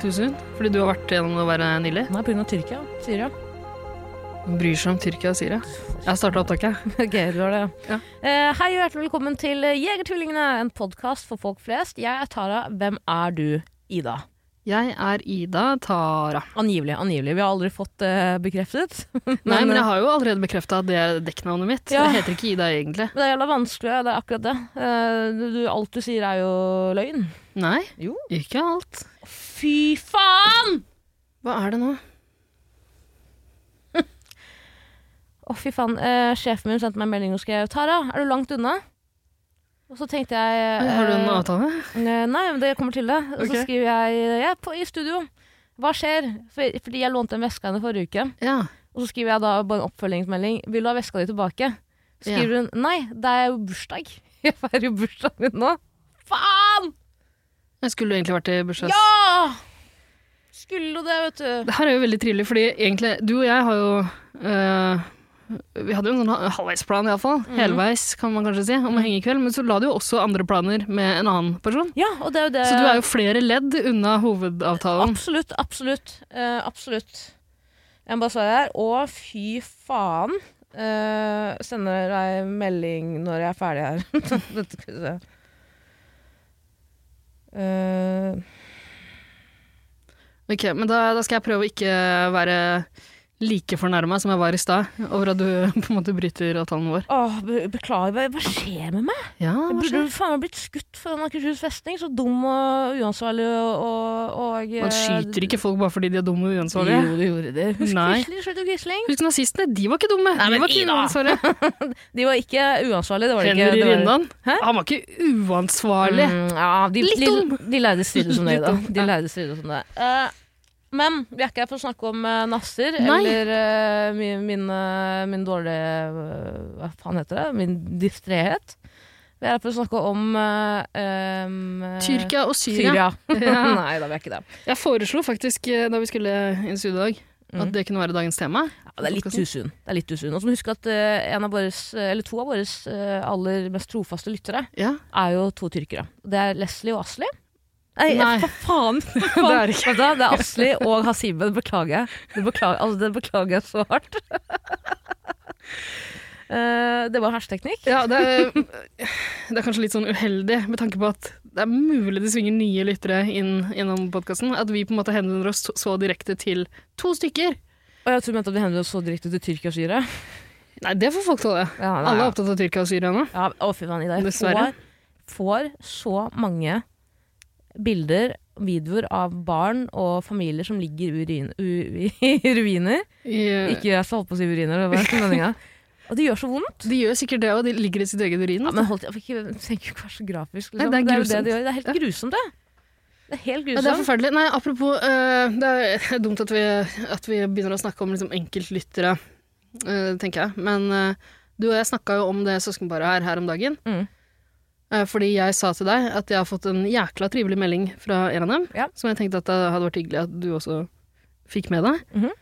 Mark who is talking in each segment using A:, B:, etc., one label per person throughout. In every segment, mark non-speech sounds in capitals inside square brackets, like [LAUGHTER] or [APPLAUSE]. A: Tusen. Fordi du har vært gjennom å være Nille.
B: Nei, pga. Tyrkia. Syria.
A: Bryr seg om Tyrkia og Syria. Jeg starta opptaket.
B: [LAUGHS] Ok, du har det.
A: Ja.
B: Eh, hei og hjertelig velkommen til eh, Jegertvillingene, en podkast for folk flest. Jeg er Tara. Hvem er du, Ida?
A: Jeg er Ida Tara.
B: Angivelig, angivelig. Vi har aldri fått eh, bekreftet.
A: [LAUGHS] Nei, men eh, jeg har jo allerede bekrefta at det er dekknavnet mitt.
B: Ja.
A: Det heter ikke Ida egentlig.
B: Men [LAUGHS] det er jævla vanskelig, ja, det er akkurat det. Eh, du, du, alt du sier er jo løgn.
A: Nei,
B: Jo.
A: ikke alt.
B: Fy faen!
A: Hva er det nå?
B: Å, fy faen. Eh, sjefen min sendte meg en melding og skrev 'Tara, er du langt unna?' Og så tenkte jeg
A: Oi, Har du en
B: eh,
A: avtale?
B: Eh, Nei, men det kommer til det. Og
A: Ok.
B: så skriver jeg jeg er på, i studio. Hva skjer? For, fordi jeg lånte en veske av henne forrige uke.
A: Ja.
B: Og så skriver jeg da bare en oppfølgingsmelding. Vil du ha veska di tilbake? Så
A: Ja.
B: skriver hun nei, det er jo bursdag. [LAUGHS] Jeg feirer jo bursdagen min nå. Faen!
A: Jeg skulle jo egentlig vært i bursdags...
B: Ja! Skulle jo det, vet du.
A: Det her er jo veldig trivelig, fordi egentlig Du og jeg har jo øh, Vi hadde jo en sånn ha- halvveisplan, iallfall. Helveis, kan man kanskje si, om å henge i kveld. Men så la du jo også andre planer med en annen person.
B: Ja, og det er jo det.
A: Så du er jo flere ledd unna hovedavtalen.
B: Absolutt, absolutt. eh, absolutt. Jeg må bare svare her. Å, fy faen. Eh, sender deg melding når jeg er ferdig her. [LAUGHS] Dette skal vi se. Eh,
A: Ok, men da, da skal jeg prøve å ikke være like fornærma som jeg var i stad, over at du [LAUGHS] på en måte bryter avtalen vår.
B: åh, be beklager, hva, hva skjer med meg?
A: Ja,
B: Jeg
A: hva
B: burde
A: skjer?
B: jo faen meg blitt skutt foran Akershus festning. Så dum og uansvarlig og, og, og eh,
A: Man skyter ikke folk bare fordi de er dumme og uansvarlige.
B: Jo, det gjorde de. Husk
A: Nei.
B: Quisling. Skjøt jo Quisling.
A: Husk nazistene, de var ikke dumme.
B: Nei,
A: de
B: men
A: var ikke
B: Ida.
A: uansvarlige.
B: De var ikke uansvarlige. Det var de ikke.
A: Henry
B: Det var-
A: Rindan,
B: Hæ?
A: han var ikke uansvarlig.
B: Mm, ja, de,
A: Litt
B: de,
A: dum.
B: De lærde strides
A: [LAUGHS]
B: om det,
A: Litt
B: da.
A: dum, ja.
B: De lærde strides om det. Eh, men vi er ikke her for å snakke om uh, nasser
A: Nei.
B: eller eh, min, min, eh, min dårlige eh, Hva faen heter det? Min distréhet. Vi er her for å snakke om eh, em, eh,
A: Tyrkia og
B: Syria.
A: Syria. [LAUGHS]
B: [LAUGHS]
A: Ja.
B: Nei da, vi er ikke det.
A: Jeg foreslo faktisk eh, da vi skulle inn i studio i dag, at det kunne være dagens tema.
B: Ja, det er litt
A: Podcasten.
B: usun. Det er litt usun. Og så må du huske at eh, en av våres, eller to av våre aller mest trofaste lyttere
A: Ja.
B: er jo to tyrkere. Det er Leslie og Asli. Nei,
A: Nei.
B: hva [LAUGHS] faen? Hva faen?
A: Det er ikke-
B: Vet du hva, det er Asli og Hasibe. Det beklager jeg. Det beklager, altså, det beklager jeg så hardt. [LAUGHS] Eh, det var hersketeknikk.
A: Ja, det er, det er kanskje litt sånn uheldig med tanke på at det er mulig det svinger nye lyttere inn innom podkasten. At vi på en måte henvender oss så- så direkte til to stykker.
B: Og jeg tror du mente at vi henvendte oss så direkte til Tyrkia og Syria.
A: Nei, det får folk tåle.
B: Ja, nei,
A: Alle er
B: ja.
A: opptatt av Tyrkia og Syria nå.
B: Ja, å, fy faen, Ida. Jeg
A: Dessverre.
B: Får, får så mange bilder, videoer av barn og familier som ligger i urin, u, i [LAUGHS] ruiner.
A: I,
B: Ikke jeg som holdt på å si uriner, det var ikke [LAUGHS] meningen. Og det gjør så vondt.
A: de gjør sikkert det, og de ligger i sitt eget urin.
B: Ja,
A: altså.
B: men holdt, jeg, ikke, jeg tenker jo ikke å være så grafisk. Liksom.
A: Nei, det er
B: jo
A: grusomt.
B: Det, de gjør. det er helt grusomt, det. Det er helt
A: Ja, det er
B: grusomt.
A: forferdelig. Nei, apropos, eh, det er dumt at vi, at vi begynner å snakke om liksom, enkeltlyttere, eh, tenker jeg. Men eh, du og jeg snakka jo om det søskenparet her her om dagen.
B: Mm.
A: Eh, fordi jeg sa til deg at jeg har fått en jækla trivelig melding fra en av dem.
B: Ja.
A: Som jeg tenkte at det hadde vært hyggelig at du også fikk med deg.
B: Mhm.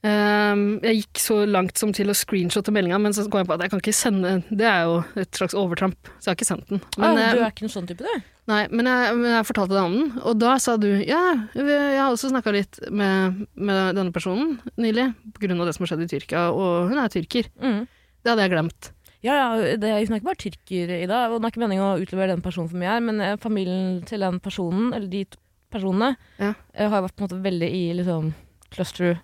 A: Eh, jeg gikk så langt som til å screenshotte meldinga, men så kom jeg på at jeg kan ikke sende Det er jo et slags overtramp, så jeg har ikke sendt den. Men,
B: ah,
A: eh,
B: du er ikke en sånn type, du.
A: Nei, men jeg, men jeg fortalte deg om den, og da sa du ja, jeg har også snakka litt med, med denne personen nylig, på grunn av det som har skjedd i Tyrkia, og hun er tyrker.
B: Mm.
A: Det hadde jeg glemt.
B: Ja, ja, det er ikke bare tyrker, Ida. Og det er ikke meningen å utlevere den personen for mye her, men eh, familien til den personen, eller de to personene,
A: Ja.
B: eh, har vært på en måte veldig i liksom, cluster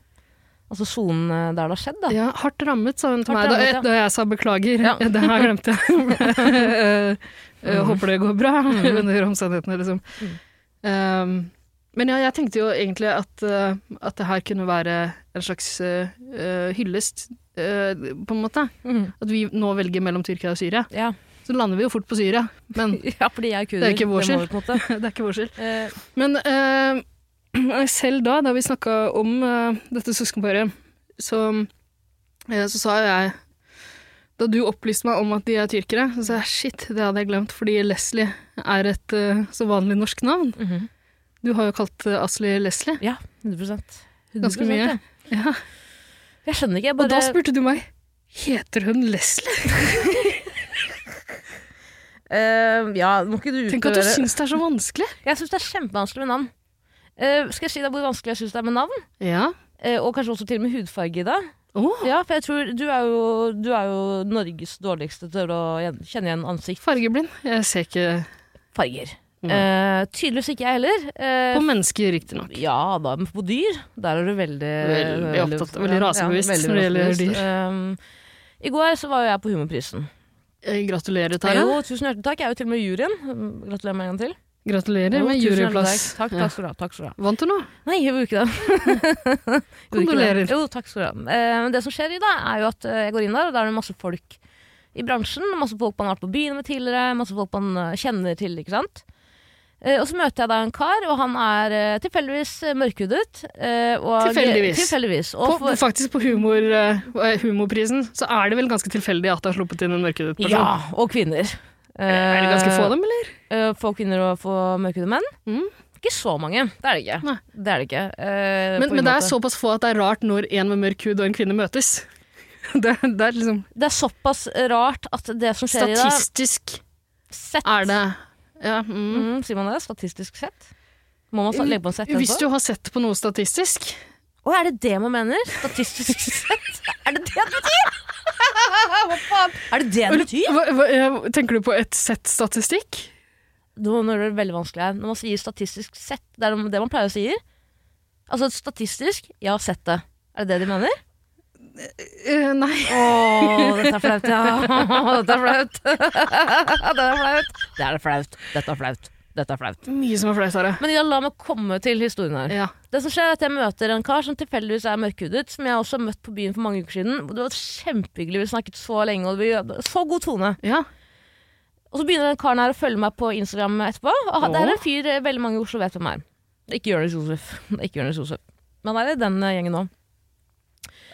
B: Altså sonen eh, der det har skjedd, da.
A: Ja, hardt rammet, sa hun til
B: Hardt
A: meg
B: rammet,
A: da,
B: ja.
A: da jeg sa beklager. [LAUGHS]
B: Ja.
A: Det her glemte
B: [LAUGHS]
A: jeg. [LAUGHS] Eh, eh, Håper det går bra
B: Mm.
A: [LAUGHS] under omstendighetene, liksom. Um, men ja, jeg tenkte jo egentlig at, eh, at det her kunne være en slags eh, eh, hyllest, eh, på en måte.
B: Mm.
A: At vi nå velger mellom Tyrkia og Syria.
B: Ja.
A: Så lander vi jo fort på Syria, men
B: [LAUGHS]
A: [LAUGHS]
B: ja, fordi jeg er kurder.
A: Det er ikke vår
B: må vi på en måte.
A: det er ikke vår skyld.
B: Eh,
A: Men eh, [CLEARS THROAT] selv da, da vi snakka om eh, dette søskenparet, så, eh, så sa jo jeg Da du opplyste meg om at de er tyrkere, så sa jeg shit, det hadde jeg glemt, fordi Leslie er et eh, så vanlig norsk navn. [LAUGHS]
B: Mhm.
A: Du har jo kalt eh, Asli Leslie.
B: Ja, 100
A: Ganske
B: 100%,
A: mye. Ja.
B: ja. Jeg skjønner ikke. Jeg
A: Og da
B: bare,
A: spurte du meg Heter hun Leslie?
B: Eh, ja, må ikke du
A: Tenk at du
B: utlevere-
A: syns det er så vanskelig.
B: Jeg syns det er kjempevanskelig med navn. Eh, skal jeg si deg hvor vanskelig jeg syns det er med navn?
A: Ja.
B: Eh, og kanskje også til og med hudfarge i det.
A: Åh,
B: Ja, for jeg tror du er jo, du er jo Norges dårligste til å gjen- kjenne igjen ansikt.
A: fargeblind. Jeg ser ikke
B: Farger.
A: Mm.
B: Eh, tydeligvis ikke jeg heller. Eh,
A: på mennesker, riktignok.
B: ja da, men på dyr Der er du veldig
A: Veldig opptatt- veldig rasebevisst
B: veldig
A: når det gjelder
B: rasebevisst.
A: dyr.
B: Um, I går så var jo jeg på Humorprisen.
A: Eh, Gratulerer, Tara.
B: Jo, tusen hjertelig takk. Jeg er jo til og med i juryen. Um, Gratulerer med en gang til.
A: Gratulerer
B: Jo,
A: med
B: tusen hjertelig
A: juryplass.
B: Takk, takk, takk skal du ha. Takk skal du ha.
A: Ja. Vant du nå?
B: Nei, jeg gjorde ikke det. Gjorde ikke
A: Kondolerer.
B: det. Jo, takk skal du ha. Eh, men det som skjer i dag, er jo at eh, jeg går inn der, og da er det masse folk i bransjen. Masse folk man har vært på byen med tidligere, masse folk man eh, kjenner til, ikke sant. Eh, og så møter jeg da en kar, og han er eh, tilfeldigvis eh, mørkhudet. eh, og-
A: Tilfeldigvis.
B: tilfeldigvis.
A: På,
B: Og for,
A: Faktisk på humor, eh, humorprisen så er det vel ganske tilfeldig at det har sluppet inn en mørkhudet person.
B: ja, og kvinner.
A: Er det ganske få av
B: Eh,
A: dem, eller?
B: eh, få kvinner og få mørkhudede menn.
A: Mm.
B: Ikke så mange, det er det ikke.
A: Nei.
B: Det er det ikke. eh, på
A: Men, men
B: ingen
A: det er
B: måte.
A: såpass få at det er rart når en med mørk hud og en kvinne møtes. [LAUGHS] Det, det er liksom
B: det er såpass rart at det som skjer i dag
A: Statistisk
B: Sett.
A: er det ja, mm.
B: Mm, sier man det? Statistisk sett? Må man sa- legge på en sett
A: Hvis
B: etterpå?
A: du har sett på noe statistisk
B: Å, er det det man mener? Statistisk [LAUGHS] sett? Er det det det betyr? [LAUGHS] Er det det det betyr?
A: hva, hva, eh, Tenker du på et sett statistikk?
B: Nå nå er det veldig vanskelig her. Når man sier statistisk sett, det er det man pleier å si. Altså statistisk, jeg har sett det. Er det det de mener?
A: Eh, nei.
B: Å, dette er flaut, ja. [LAUGHS] Dette er flaut. [LAUGHS] Dette er flaut. Det er flaut. Dette er flaut. Dette er flaut.
A: Mye som er flaut, Sara.
B: Men ja, la meg komme til historien her.
A: Ja.
B: Det som skjer er at Jeg møter en kar som tilfeldigvis er mørkhudet, som jeg også har møtt på byen for mange uker siden. Det var kjempehyggelig, vi snakket så lenge, og vi hadde så god tone.
A: ja.
B: Og så begynner den karen her å følge meg på Instagram etterpå. Og han- det er
A: Åh.
B: en fyr eh, veldig mange i Oslo vet hvem er. Ikke Jonis Josef. [LAUGHS] Ikke Jonis Josef. Men han er i den eh, gjengen nå.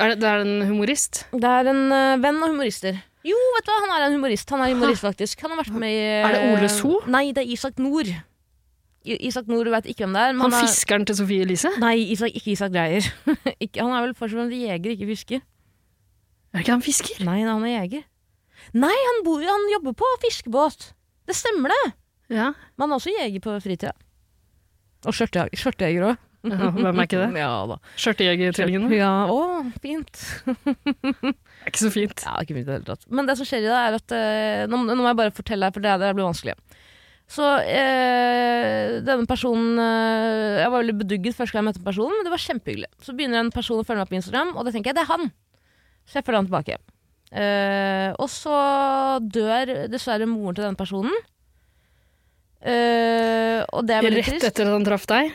A: Er det, det er en humorist?
B: Det er en eh, venn av humorister. Jo, vet du hva, han er en humorist. Han er humorist faktisk. Han har vært med i eh,
A: Er det Ole So?
B: Nei, det er Isak Nord. I, Isak Nord, du vet ikke hvem det er. men
A: Han
B: er-
A: fiskeren til Sofie Elise?
B: Nei, Isak, ikke Isak Dreyer. [LAUGHS] ikke, han er vel først og fremst jeger, ikke fisker.
A: Er det ikke han fisker?
B: Nei, han er jeger. Nei, han, bor, han jobber på fiskebåt. Det stemmer det. [LAUGHS]
A: Ja.
B: Men han er også jeger på fritida. Og skjørtejeger- skjørtejeger òg.
A: Ja, Hvem er ikke det?
B: Ja da.
A: Skjørtejegertvillingene?
B: Ja, å, fint.
A: Det er ikke så fint.
B: Ja, ikke fint i det hele tatt. Men det som skjer i dag, er at eh, nå, nå må jeg bare fortelle her, for det, det blir vanskelig. Så eh, denne personen eh, Jeg var veldig bedugget første gang jeg møtte personen, men det var kjempehyggelig. Så begynner en person å følge meg på Instagram, og da tenker jeg det er han. Så jeg følger han tilbake. Eh, og så dør dessverre moren til denne personen. Eh, og det er veldig
A: Rett
B: trist.
A: etter at han traff deg?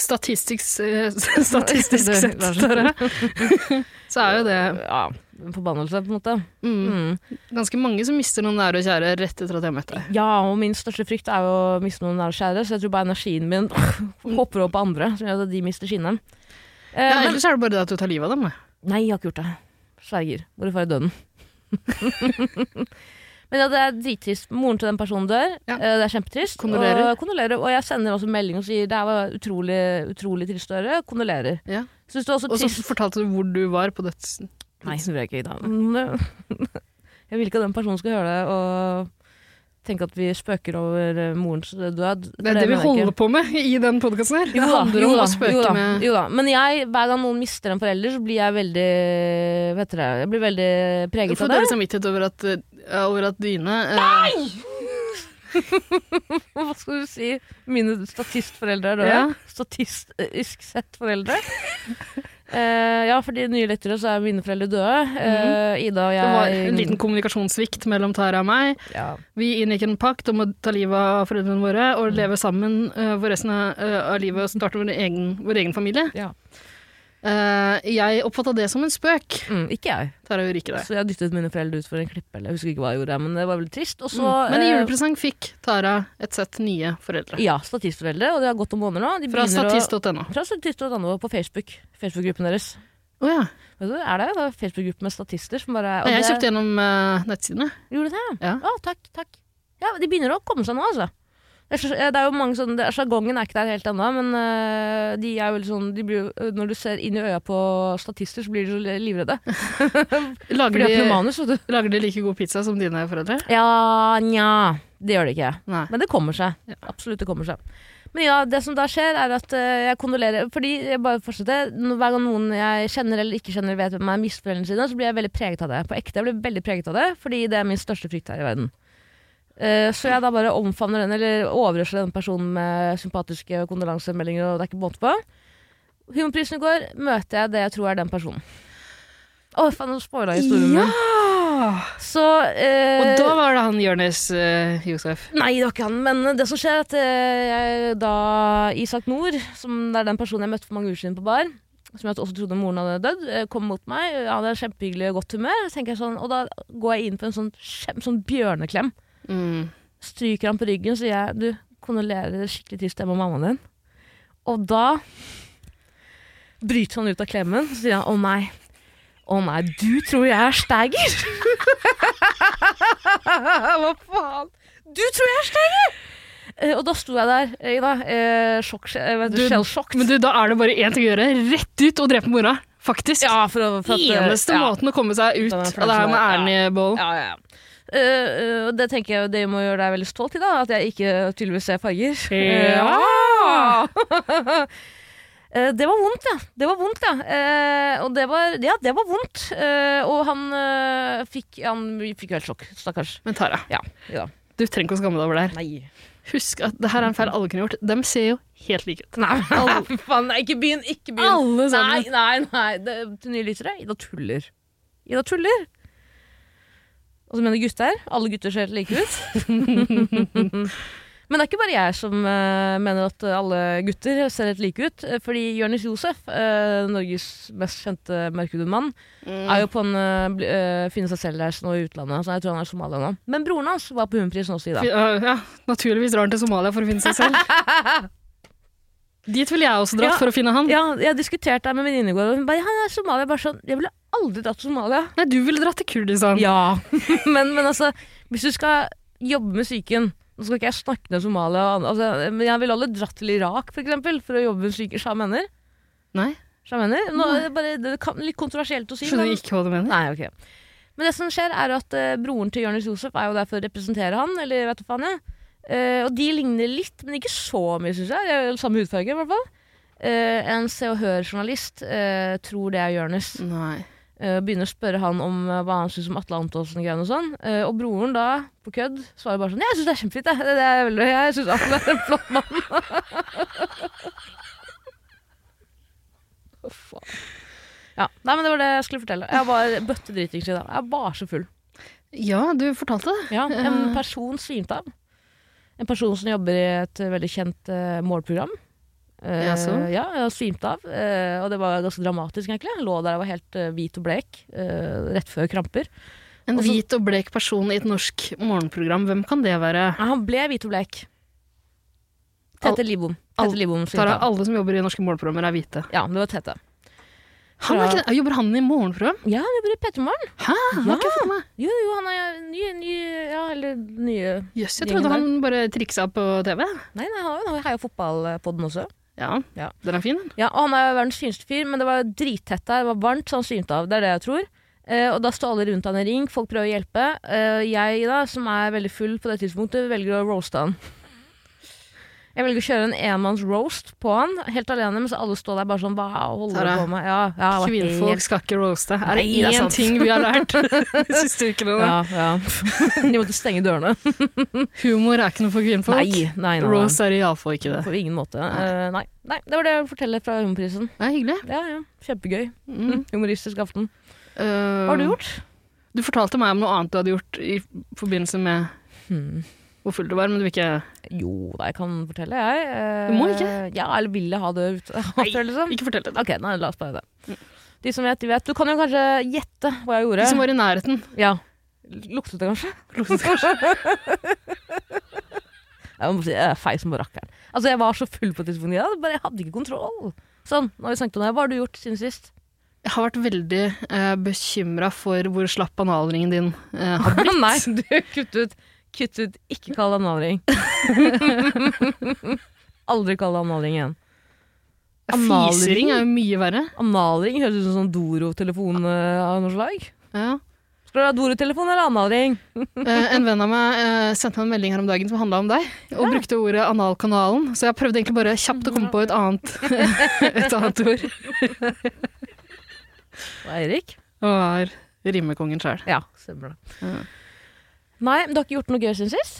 A: Statistisk, [LAUGHS] eh, statistisk
B: Det-
A: sett,
B: vær så snill.
A: Tara, så er jo det
B: [LAUGHS] Ja, en forbannelse, på en måte.
A: mm,
B: Mm.
A: ganske mange som mister noen nære og kjære rett etter at jeg møtte deg.
B: Ja, og min største frykt er jo å miste noen nære og kjære, så jeg tror bare energien min [LAUGHS] hopper over på andre, som gjør at de mister sine. Eh,
A: Ja,
B: men,
A: ellers er det bare det at du tar livet av dem. da.
B: nei, jeg har ikke gjort det. Sverger. Hvorfor er jeg døden? [LAUGHS] men ja, det er drittrist. Moren til den personen dør.
A: Ja.
B: Eh, det er kjempetrist.
A: Kondolerer.
B: Og, kondolerer. Og jeg sender også melding og sier det her var utrolig, utrolig trist å høre. Kondolerer.
A: Ja.
B: Syns du også
A: Og så
B: trist
A: fortalte du hvor du var på døds...
B: Nei, det gjorde jeg
A: [LAUGHS]
B: ikke. Da. [LAUGHS] Jeg vil ikke at den personen skal høre det og tenke at vi spøker over eh, morens død.
A: Det er det vi
B: mener jeg ikke.
A: holder på med i den podkasten her. Det
B: Jo da,
A: handler
B: jo
A: om
B: da,
A: å
B: jo
A: spøke
B: da,
A: med
B: Jo da, men jeg, hver gang noen mister en forelder, så blir jeg veldig Hva heter det? Jeg blir veldig
A: Du
B: preget
A: får
B: av det.
A: dårlig samvittighet over at, eh, over at dine Nei!
B: [LAUGHS] Hva skal du si? Mine statistforeldre er døde.
A: Ja.
B: Statistisk sett foreldre. [LAUGHS] Eh, ja, for de nye lyttere så er mine foreldre døde. Eh, Ida og jeg
A: Mhm. Det var en liten kommunikasjonssvikt mellom Tara og meg.
B: ja.
A: Vi inngikk en pakt om å ta livet av foreldrene våre
B: Mm.
A: og leve sammen eh, for resten av, eh, av livet og starte vår egen, vår egen familie.
B: Ja.
A: Eh, jeg oppfatta det som en spøk.
B: Mm, ikke jeg.
A: Tara gjorde ikke det.
B: Så jeg dyttet mine foreldre ut for en klippe. Eller jeg husker ikke hva jeg gjorde, men det var veldig trist. Og så,
A: Mm. Men i
B: eh,
A: julepresang fikk Tara et sett nye foreldre.
B: Ja, statistforeldre, og det har gått noen måneder nå. De
A: Fra
B: begynner å-
A: statist.no.
B: Fra statist.no på Facebook. Facebook-gruppen deres.
A: Å ja.
B: Vet du, er det det er Facebook-gruppe med statister som bare og
A: Nei, Jeg
B: det-
A: kjøpte gjennom eh, nettsidene.
B: Gjorde du det?
A: Ja.
B: Å, takk, takk. Ja, de begynner å komme seg nå, altså. Det er, så- det er jo mange sånne, det er- Sjargongen er ikke der helt ennå, men øh, de er jo litt sånn de blir, jo- Når du ser inn i øya på statister, så blir de så livredde. For de
A: Lager
B: har ikke noe
A: de,
B: manus, vet du.
A: lager de like god pizza som dine foreldre?
B: Ja, nja. Det gjør de ikke.
A: Nei.
B: Men det kommer seg. Absolutt, det kommer seg. Men ja, det som da skjer, er at eh, jeg kondolerer Fordi jeg bare fortsetter. Når- Hver gang noen jeg kjenner eller ikke kjenner vet hvem er misforeldrene sine, så blir jeg veldig preget av det. På ekte. Jeg blir veldig preget av det, fordi det er min største frykt her i verden. Eh, så jeg da bare omfavner den, eller overøsler den personen med sympatiske kondolansemeldinger, og det er ikke måte på. Humorprisen i går møter jeg det jeg tror er den personen. Å, faen, nå spoila jeg historien min. Så eh,
A: Og da var det han Jonis eh, Josef.
B: Nei, det var ikke han, men det som skjer er at eh, jeg da Isak Nord, som det er den personen jeg møtte for mange uker siden på bar, som jeg også trodde moren hadde dødd, eh, kom mot meg. Han hadde kjempehyggelig og godt humør. Så tenker jeg sånn, og da går jeg inn på en sånn, kjem, sånn bjørneklem.
A: Mm.
B: Stryker han på ryggen, sier jeg du kondolerer skikkelig trist hjemme med mammaen din. Og da bryter han ut av klemmen, så sier han å nei. Å nei, du tror jeg er steiger! [LAUGHS] Hva faen? Du tror jeg er steiger! Eh, og da sto jeg der, Ida, eh, sjokk, eh, vet du,
A: Du-
B: shell-shocked.
A: Men du, da er det bare én ting å gjøre. Rett ut og drepe mora. Faktisk.
B: Ja, for, å- for at, eh,
A: Eneste
B: ja.
A: måten å komme seg ut
B: Den er
A: av
B: for
A: det
B: dem
A: her
B: som
A: med
B: er-
A: æren i bollen.
B: Ja, ja, ja. Eh, eh, og det tenker jeg jo, det må gjøre deg veldig stolt i, da. At jeg ikke tydeligvis ser farger.
A: Ja.
B: [LAUGHS] Eh, det var vondt, ja. Det var vondt, ja. Eh, og det var, ja, det var vondt. Eh, og han eh, fikk Han fikk jo helt sjokk, stakkars.
A: Men Tara,
B: Ja. ja.
A: du trenger ikke å skamme deg over det her.
B: Nei.
A: Husk at det her er en feil alle kunne gjort. De ser jo helt like ut.
B: Nei, for [LAUGHS] faen. Nei, ikke begynn. Ikke begynn. Nei,
A: Alle sammen.
B: nei, nei. Det, til nye lyttere, Ida tuller. Ida tuller. Og så mener gutter. Alle gutter ser helt like ut. Men det er ikke bare jeg som eh, mener at alle gutter ser helt like ut. eh, Fordi Jonis Josef, eh, Norges mest kjente mørkhudede mann, er jo på en eh, bl- eh, finne seg selv-reise nå i utlandet. Så jeg tror han er somalier nå. Men broren hans var på Humorprisen også i dag.
A: Ja, ja, naturligvis drar han til Somalia for å finne seg
B: [LAUGHS]
A: selv. Dit ville jeg også dratt
B: Ja.
A: for å finne han.
B: Ja, jeg diskuterte det med en venninne i går, og hun bare 'han er somalier'. Jeg Bare sånn, jeg ville aldri dratt til Somalia.
A: Nei, du ville dratt til Kurdistan.
B: Ja, [LAUGHS] men, men altså Hvis du skal jobbe med psyken Nå skal ikke jeg snakke ned Somalia og an- altså, Men jeg ville aldri dratt til Irak for eksempel For å jobbe med psyken Sjamener
A: Nei,
B: Sjamener Nå er det bare det kan, litt kontroversielt å si
A: Mm. skjønner
B: men-
A: ikke hva du mener.
B: Nei, ok Men det som skjer er at eh, broren til Jørnes Josef Er jo der for å representere han Eller vet du faen jeg Eh, Og de ligner litt, men ikke så mye synes jeg De har jo Samme hudfarge i hvert fall Eh, En se og hør journalist Tror det er Jørnes
A: Nei.
B: Eh, Begynner å spørre han om eh, hva han syns om Atle Antonsen og greiene og sånn. Eh, Og broren da, på kødd, svarer bare sånn 'Jeg syns det er kjempefint, jeg. Det er veldig, jeg syns Atle er en flott mann'. [LAUGHS] Å, faen. Ja, Nei, men det var det jeg skulle fortelle. Jeg var bøtte dritings i dag. Jeg var så full.
A: Ja, du fortalte det.
B: Ja, en person svimte av. En person som jobber i et eh, veldig kjent eh, målprogram. Eh,
A: Ja, så?
B: ja, jeg svimte av, eh, og det var ganske dramatisk, egentlig. Jeg lå der og var helt eh, hvit og blek eh, rett før kramper.
A: En
B: Også-
A: hvit og blek person i et norsk morgenprogram, hvem kan det være?
B: Nei, han ble hvit og blek. Tete Lidbom.
A: Al-
B: Tete Lidbom svimte
A: Tara,
B: av.
A: alle som jobber i norske morgenprogrammer er hvite.
B: Ja, det var Tete.
A: Han er ikke det. Jobber han i morgenprogram?
B: Ja, han jobber i P3 Morgen.
A: Hæ? Han har ikke jeg fått med.
B: Jo, jo, han er ny, ny Ja, eller nye
A: Jøss, jeg
B: Gjengen
A: trodde han bare triksa på TV.
B: Nei, nei, han har jo heia fotballpodden også.
A: Ja,
B: Ja.
A: den er fin. den.
B: Ja, og han er jo verdens fineste fyr, men det var drittett der, det var varmt, så han svimte av. Det er det jeg tror. Eh, og da står alle rundt han i ring, folk prøver å hjelpe. Eh, jeg, da, som er veldig full på det tidspunktet, velger å roaste han. Jeg velger å kjøre en enmanns roast på han, helt alene, mens alle står der bare sånn Hva holder
A: Tara,
B: du på med? Ja, ja, jeg var
A: Kvinnfolk
B: helt-
A: skal ikke roaste. Er det
B: Nei, det er
A: én
B: sant.
A: ting vi har
B: [LAUGHS]
A: lært de siste ukene? da?
B: Ja, ja. [LAUGHS] De måtte stenge dørene.
A: Humor er ikke noe for kvinnfolk.
B: Nei, nei, nei. nei.
A: Roast er iallfall ikke det.
B: På ingen måte. Eh, nei. nei. Det var det jeg forteller fra Humorprisen.
A: Det er hyggelig.
B: Ja, ja. Kjempegøy.
A: Mm.
B: Humoristisk aften.
A: Eh,
B: Hva har du gjort?
A: Du fortalte meg om noe annet du hadde gjort i forbindelse med
B: Hmm.
A: hvor full du var, men du vil ikke
B: Jo da, jeg kan fortelle, jeg. Eh,
A: Du må ikke.
B: Ja, eller vil jeg ha det ut? [LAUGHS] Nei, liksom.
A: Ikke fortell det.
B: Ok, nei, la oss bare det. De som vet, de vet. Du kan jo kanskje gjette hva jeg gjorde.
A: Mm. De som var i nærheten.
B: Ja. Luktet det
A: [LAUGHS]
B: kanskje? [LAUGHS] Jeg må si, jeg er feil som bare rakkeren. Altså, jeg var så full på dysfoni, jeg, bare, jeg hadde ikke kontroll. Sånn, nå har vi snakket om det. Hva har du gjort siden sist?
A: Jeg har vært veldig eh, bekymra for hvor slapp analringen din eh, har [LAUGHS] blitt.
B: Nei, [LAUGHS] du, kutt ut. Kutt ut. Ikke kall det analring.
A: [LAUGHS]
B: [LAUGHS] Aldri kall det analring igjen. Analring?
A: Fisering er jo mye verre.
B: Analring høres ut som sånn Doro-telefon eh, av noe slag.
A: Ja.
B: Skal du ha Doro-telefon eller analring?
A: Eh, en venn av meg eh, sendte meg en melding her om dagen som handla om deg, og brukte ordet analkanalen, så jeg prøvde egentlig bare kjapt å komme på et annet, [LAUGHS] et annet ord.
B: Og Eirik?
A: Og er rimekongen sjøl.
B: Ja, stemmer det.
A: Ja.
B: Nei, men du har ikke gjort noe gøy siden sist?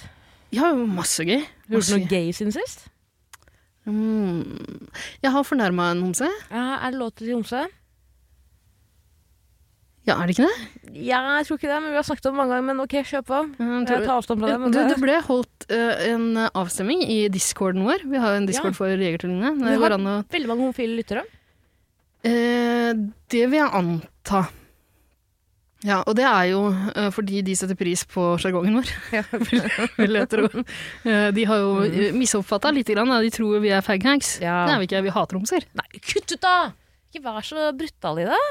A: Jeg har jo masse gøy.
B: Har du gjort
A: Masse
B: noe gøy siden sist?
A: gøy. Mm. Jeg har fornærma en homse.
B: Ja, er det lov til å si homse?
A: Ja, er det ikke det?
B: Ja, jeg tror ikke det, men vi har snakket om det mange ganger. Men ok, kjør på.
A: Mm,
B: Jeg
A: tror-
B: tar avstand fra det. Men
A: Du,
B: det,
A: det ble holdt eh, en avstemning i discorden vår. Vi har jo en discord
B: Ja.
A: for Jegertvillingene.
B: Vi
A: Det
B: har-
A: går an å
B: Veldig mange homofile lyttere.
A: Eh, det vil jeg anta. Ja, og det er jo eh, fordi de setter pris på sjargongen vår, vil, [LAUGHS] vil jeg tro. Eh, de har jo mm. misoppfatta lite grann. da. De tror vi er faghags.
B: [LAUGHS] Ja.
A: Det er vi ikke, vi hater homser.
B: Nei, kutt ut, da! Ikke vær så brutal i det.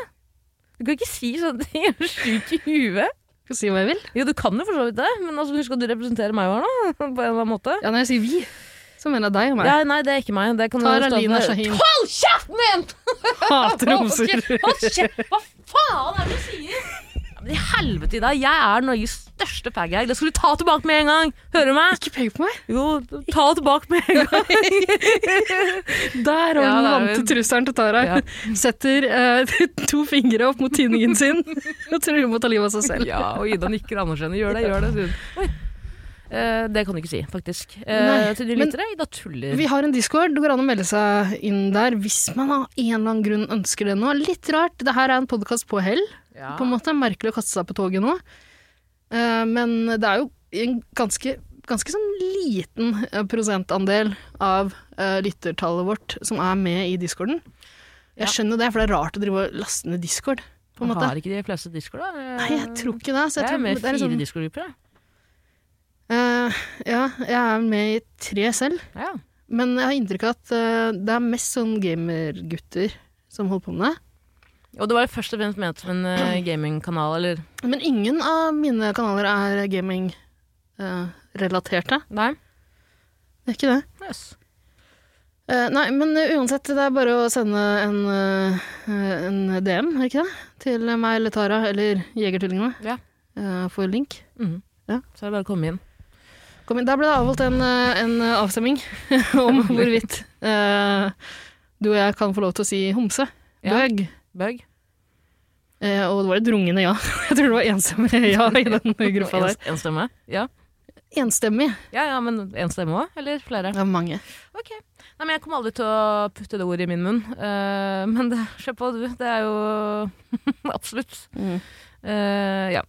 B: Du kan ikke si sånne ting. Er du sjuk i huet?
A: Skal si hva jeg vil.
B: Jo, du kan jo for så vidt det, men altså, husk at du representerer meg her nå. [LAUGHS] På en eller annen måte.
A: Ja, når jeg sier vi, så mener jeg deg og meg.
B: Ja, nei, det er ikke meg. Det kan du
A: Tara
B: stå for.
A: Lina Shahin.
B: Hold kjeften din!
A: [LAUGHS] Hater homser.
B: [LAUGHS] Ok, Hold kjeft! Hva faen er det du sier? Ja, men I helvete, Ida. Jeg er Norges største faghag. Det skal du ta tilbake med en gang. Hører du meg?
A: Ikke pek på meg.
B: Jo, ta det tilbake med en gang.
A: Der
B: Ja, det
A: har den
B: er
A: vante trusselen til Tara.
B: Ja.
A: [LAUGHS] Setter eh, [LAUGHS] to fingre opp mot tinningen
B: [LAUGHS]
A: sin og tror hun må ta livet av seg selv.
B: Ja, og Ida nikker anerkjennende. Gjør det, gjør det. sier hun. Oi. Eh, det kan du ikke si, faktisk. Eh,
A: Nei,
B: til de
A: men-
B: lyttere, Ida tuller.
A: Vi har en discord, det går an å melde seg inn der hvis man av en eller annen grunn ønsker det nå. Litt rart, det her er en podkast på hell,
B: ja.
A: på en måte. Merkelig å kaste seg på toget nå. Eh, Men det er jo en ganske, ganske sånn liten eh, prosentandel av eh, lyttertallet vårt som er med i discorden.
B: Ja.
A: Jeg skjønner det, for det er rart å drive og laste ned discord, på en måte.
B: Har ikke de fleste discoer, da? Eh,
A: Nei, jeg tror ikke det. Så
B: jeg
A: jeg,
B: er
A: tror
B: med i
A: det er
B: fire
A: liksom-
B: discogrupper. jeg.
A: Eh, ja, jeg er med i tre selv.
B: Ja.
A: Men jeg har inntrykk av at eh, det er mest sånn gamergutter som holder på med det.
B: Og det var jo først og fremst ment som en eh, gamingkanal, eller?
A: Men ingen av mine kanaler er gaming-relaterte.
B: Nei.
A: det er ikke det.
B: Yes.
A: Eh, nei, men eh, uansett, det er bare å sende en, eh, en DM, er det ikke det? Til meg eller Tara eller Jegertvillingene.
B: Ja.
A: Eh, for link.
B: Mhm.
A: Ja.
B: Så er det bare å komme inn.
A: Kom inn. Der ble det avholdt en, eh, en eh, avstemning [LAUGHS] om hvorvidt eh, du og jeg kan få lov til å si homse.
B: Ja.
A: Bøg.
B: Bøgg.
A: Eh, og det var et rungende ja. [LAUGHS] Jeg tror det var
B: [LAUGHS]
A: enstemmig ja i den gruppa der.
B: En, en stemme? Ja.
A: Enstemmig.
B: ja, ja, men én stemme òg? Eller flere?
A: Det var mange.
B: Ok. Nei, men jeg kommer aldri til å putte det ordet i min munn. Eh, men det, se på du, det er jo [LAUGHS] Absolutt. Eh, ja.